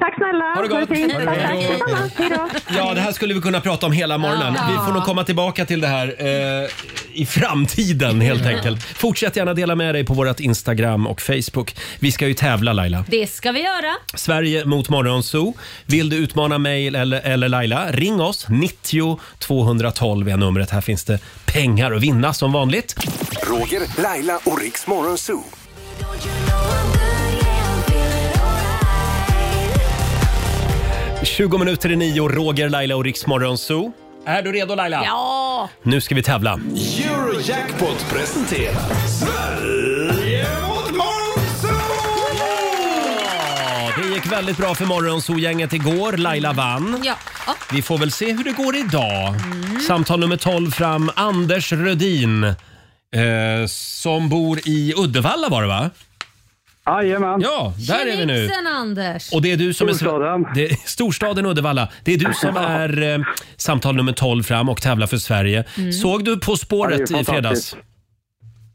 [SPEAKER 11] Tack snälla.
[SPEAKER 1] Ha det gott.
[SPEAKER 11] fint.
[SPEAKER 1] Ha det
[SPEAKER 11] Tack, tack.
[SPEAKER 1] bra.
[SPEAKER 11] Detsamma. Hej då.
[SPEAKER 1] Ja, det här skulle vi kunna prata om hela morgonen.
[SPEAKER 11] Ja.
[SPEAKER 1] Vi får nog komma tillbaka till det här eh, i framtiden helt
[SPEAKER 6] Ja.
[SPEAKER 1] enkelt. Fortsätt gärna dela med dig på vårt Instagram och Facebook. Vi ska ju tävla Laila.
[SPEAKER 6] Det ska vi göra.
[SPEAKER 1] Sverige mot Morgonzoo. Vill du utmana mig eller, eller Laila, ring oss. 90 212 är numret. Här finns det pengar att vinna som vanligt.
[SPEAKER 8] Roger, Laila och Riks Morgonzoo.
[SPEAKER 1] Mm. 20 minuter i nio, Roger, Laila och Riks Morgonzoo. Är du redo Laila?
[SPEAKER 6] Ja!
[SPEAKER 1] Nu ska vi tävla.
[SPEAKER 14] Eurojackpot presenterar Sverige mot
[SPEAKER 1] Ja, det gick väldigt bra för Morgonzoo-gänget igår. Laila vann.
[SPEAKER 6] Mm. Ja.
[SPEAKER 1] Vi får väl se hur det går idag. Samtal nummer 12 fram. Anders Rödin eh, som bor i Uddevalla var det va? Jajamän. Ja, där är vi nu.
[SPEAKER 6] Tjenixen Anders!
[SPEAKER 1] Och det är du som storstaden. Är, det, storstaden Uddevalla. Det är du som är eh, samtal nummer 12 fram och tävlar för Sverige.
[SPEAKER 6] Mm.
[SPEAKER 1] Såg du På
[SPEAKER 6] Ja,
[SPEAKER 1] spåret
[SPEAKER 6] det är
[SPEAKER 1] i fredags?
[SPEAKER 6] fantastiskt.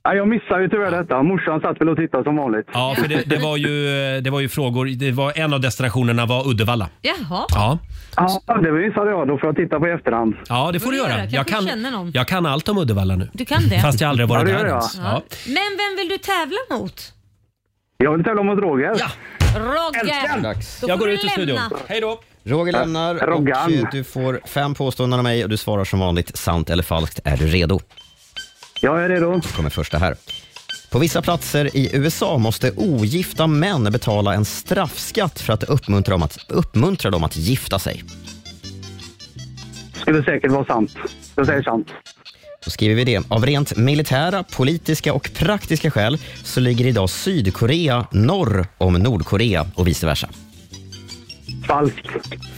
[SPEAKER 18] Nej, jag missade ju tyvärr detta. Morsan satt väl och tittade som vanligt.
[SPEAKER 1] Ja, för det, det, var ju, eh, det var ju frågor. Det var, en av destinationerna var Uddevalla.
[SPEAKER 6] Jaha.
[SPEAKER 1] Ja.
[SPEAKER 18] Ja, det missade jag. Då får jag titta på i efterhand.
[SPEAKER 1] Ja, det får du göra.
[SPEAKER 6] Kanske
[SPEAKER 1] Jag
[SPEAKER 6] du känner
[SPEAKER 1] kan,
[SPEAKER 6] någon.
[SPEAKER 1] jag kan allt om Uddevalla nu.
[SPEAKER 6] Du kan det?
[SPEAKER 1] Fast jag aldrig varit
[SPEAKER 18] Ja, det
[SPEAKER 1] där
[SPEAKER 18] gör jag.
[SPEAKER 1] ens. Ja.
[SPEAKER 6] Men vem vill du tävla mot?
[SPEAKER 18] Jag vill tävla mot Roger. Ja.
[SPEAKER 6] Roger! Då får du lämna.
[SPEAKER 1] Hej då!
[SPEAKER 2] Roger
[SPEAKER 18] Äh,
[SPEAKER 2] lämnar och
[SPEAKER 18] Roggan.
[SPEAKER 2] eh,
[SPEAKER 1] <laughs>
[SPEAKER 2] du får fem påståenden av mig och du svarar som vanligt sant eller falskt. Är du redo?
[SPEAKER 18] Jag är redo. Då
[SPEAKER 2] kommer första här. På vissa platser i USA måste ogifta män betala en straffskatt för att uppmuntra dem att, uppmuntra dem att gifta sig.
[SPEAKER 18] Skulle säkert vara sant. Jag säger sant.
[SPEAKER 2] Då skriver vi det. Av rent militära, politiska och praktiska skäl så ligger idag Sydkorea norr om Nordkorea och vice versa.
[SPEAKER 18] Falskt.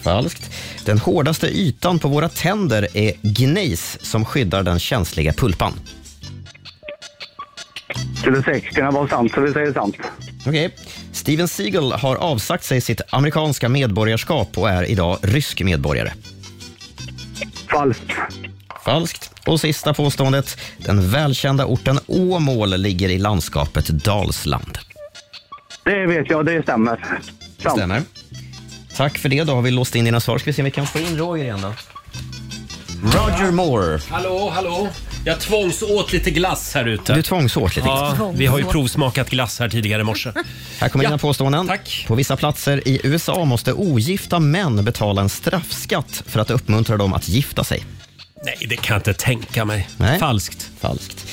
[SPEAKER 2] Falskt. Den hårdaste ytan på våra tänder är gnejs som skyddar den känsliga pulpan.
[SPEAKER 18] Skulle säkert kunna vara sant, så vi säger sant.
[SPEAKER 2] Okej. Steven Seagal har avsagt sig sitt amerikanska medborgarskap och är idag rysk medborgare.
[SPEAKER 18] Falskt.
[SPEAKER 2] Falskt. Och sista påståendet. Den välkända orten Åmål ligger i landskapet Dalsland.
[SPEAKER 18] Det vet jag, det stämmer. Sant.
[SPEAKER 2] Stämmer. Tack för det. Då har vi låst in dina svar. Ska vi se om vi kan få in Roger igen då. Roger Moore.
[SPEAKER 1] Hallå, hallå! Jag tvångsåt lite glass här ute.
[SPEAKER 2] Du tvångsåt lite.
[SPEAKER 1] Ja, vi har ju provsmakat glass här tidigare i morse.
[SPEAKER 2] Här kommer dina påståenden. På vissa platser i USA måste ogifta män betala en straffskatt för att uppmuntra dem att gifta sig.
[SPEAKER 1] Nej, det kan jag inte tänka mig. Falskt.
[SPEAKER 2] Falskt.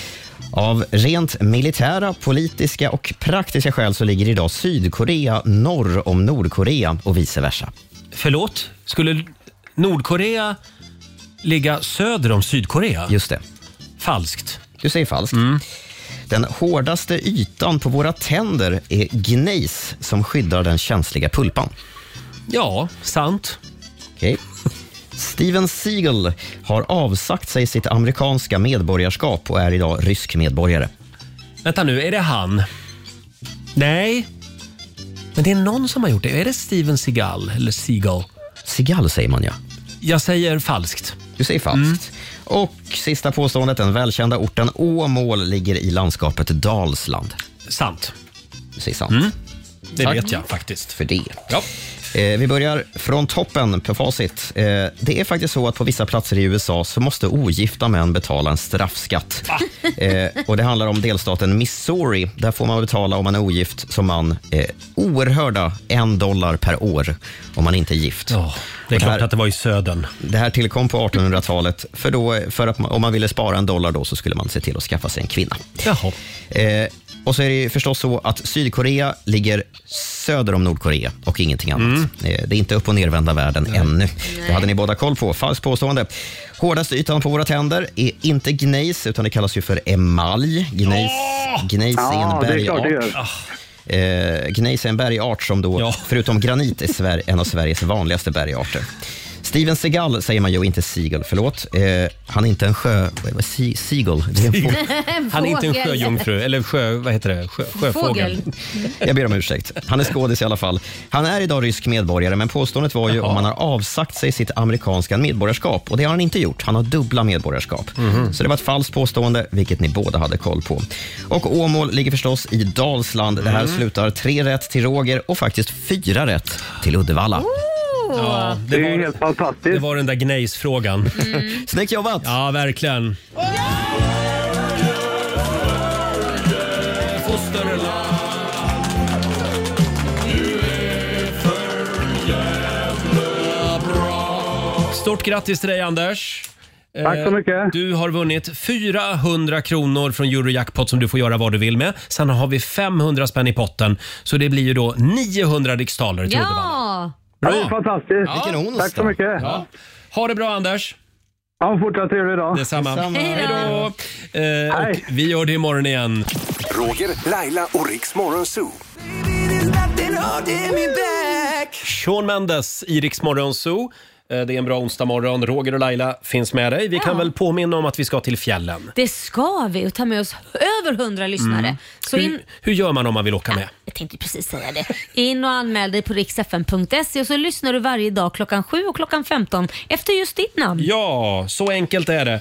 [SPEAKER 2] Av rent militära, politiska och praktiska skäl så ligger idag Sydkorea norr om Nordkorea och vice versa.
[SPEAKER 1] Förlåt? Skulle Nordkorea ligga söder om Sydkorea?
[SPEAKER 2] Just det.
[SPEAKER 1] Falskt. Mm.
[SPEAKER 2] Du säger falskt. Den hårdaste ytan på våra tänder är gnejs som skyddar den känsliga pulpan.
[SPEAKER 1] Ja, sant.
[SPEAKER 2] Okej. Steven Seagal har avsagt sig sitt amerikanska medborgarskap och är idag rysk medborgare.
[SPEAKER 1] Vänta nu, är det han? Nej. Men det är någon som har gjort det. Är det Steven Seagal eller Seagal?
[SPEAKER 2] Seagal säger man ja.
[SPEAKER 1] Jag säger falskt. Mm.
[SPEAKER 2] Du säger falskt. Och sista påståendet, den välkända orten Åmål ligger i landskapet Dalsland.
[SPEAKER 1] Sant.
[SPEAKER 2] Du säger sant.
[SPEAKER 1] Det
[SPEAKER 2] Tack
[SPEAKER 1] vet jag faktiskt.
[SPEAKER 2] För det.
[SPEAKER 1] Ja.
[SPEAKER 2] Eh, vi börjar från toppen på facit. Eh, det är faktiskt så att på vissa platser i USA så måste ogifta män betala en straffskatt.
[SPEAKER 1] Ah.
[SPEAKER 2] Eh, och Det handlar om delstaten Missouri. Där får man betala om man är ogift som man eh, oerhörda en dollar per år om man inte är gift.
[SPEAKER 1] det är klart att
[SPEAKER 2] det
[SPEAKER 1] var i södern.
[SPEAKER 2] Det här tillkom på 1800-talet. För, då, för att man, om man ville spara en dollar då så skulle man se till att skaffa sig en kvinna.
[SPEAKER 1] Jaha.
[SPEAKER 2] Eh, och så är det ju förstås så att Sydkorea ligger söder om Nordkorea och ingenting annat. Eh, det är inte upp och nervända världen ännu. Det hade ni båda koll på. Falskt påstående. Hårdaste ytan på våra tänder är inte gnejs, utan det kallas ju för emalj. Gnejs, gnejs
[SPEAKER 18] Ja,
[SPEAKER 2] är
[SPEAKER 18] det
[SPEAKER 2] en
[SPEAKER 18] är klart det
[SPEAKER 2] bergart.
[SPEAKER 18] gör. Ah.
[SPEAKER 2] Eh, Gnejs är en bergart som då, förutom granit, är Sver- en av Sveriges vanligaste bergarter. Steven Seagal säger man ju, och inte Seagal, förlåt. Eh, han är inte en sjö... vad- vad- Se- Seagal? Det är en fågel.
[SPEAKER 1] En Han är inte en fågel. sjöjungfru, eller sjö... Vad heter det? Sjö, sjöfågel.
[SPEAKER 2] Jag ber om ursäkt. Han är skådis i alla fall. Han är idag rysk medborgare, men påståendet var ju om han har avsagt sig sitt amerikanska medborgarskap. Och det har han inte gjort. Han har dubbla medborgarskap.
[SPEAKER 1] Mhm.
[SPEAKER 2] Så det var ett falskt påstående, vilket ni båda hade koll på. Och Åmål ligger förstås i Dalsland. Det här
[SPEAKER 1] Mm.
[SPEAKER 2] slutar tre rätt till Roger och faktiskt fyra rätt till Uddevalla.
[SPEAKER 1] Ja, det, är helt fantastiskt. Det var den där gnejsfrågan.
[SPEAKER 2] Snyggt jobbat!
[SPEAKER 1] Ja, verkligen. Stort grattis till dig Anders!
[SPEAKER 18] Tack så mycket.
[SPEAKER 1] Eh, Du har vunnit 400 kronor från Eurojackpot som du får göra vad du vill med. Sen har vi 500 spänn i potten, så det blir ju då 900 riksdaler till Uddevalla.
[SPEAKER 6] Ja!
[SPEAKER 1] Bra.
[SPEAKER 18] fantastiskt.
[SPEAKER 1] Vilken onsdag.
[SPEAKER 18] Tack så mycket.
[SPEAKER 1] Ja. Ha det bra Anders!
[SPEAKER 18] Ha en fortsatt trevlig dag.
[SPEAKER 1] Detsamma. Detsamma. Hej då. Eh, och
[SPEAKER 8] Hej.
[SPEAKER 1] vi gör det imorgon igen.
[SPEAKER 8] Roger, Laila och Riks Morgonzoo.
[SPEAKER 1] Sean Mendes i Rix Morgon Zoo. Eh, Det är en bra onsdag morgon. Roger och Laila finns med dig. Vi kan
[SPEAKER 6] Ja.
[SPEAKER 1] väl påminna om att vi ska till fjällen.
[SPEAKER 6] Det ska vi och ta med oss över hundra lyssnare.
[SPEAKER 1] Mm.
[SPEAKER 6] Så in,
[SPEAKER 1] Hur, hur gör man om man vill åka med?
[SPEAKER 6] jag tänkte precis säga det. In och anmäl dig på riksfn.se och så lyssnar du varje dag klockan 7 och klockan 15 efter just ditt namn.
[SPEAKER 1] Ja, så enkelt är det.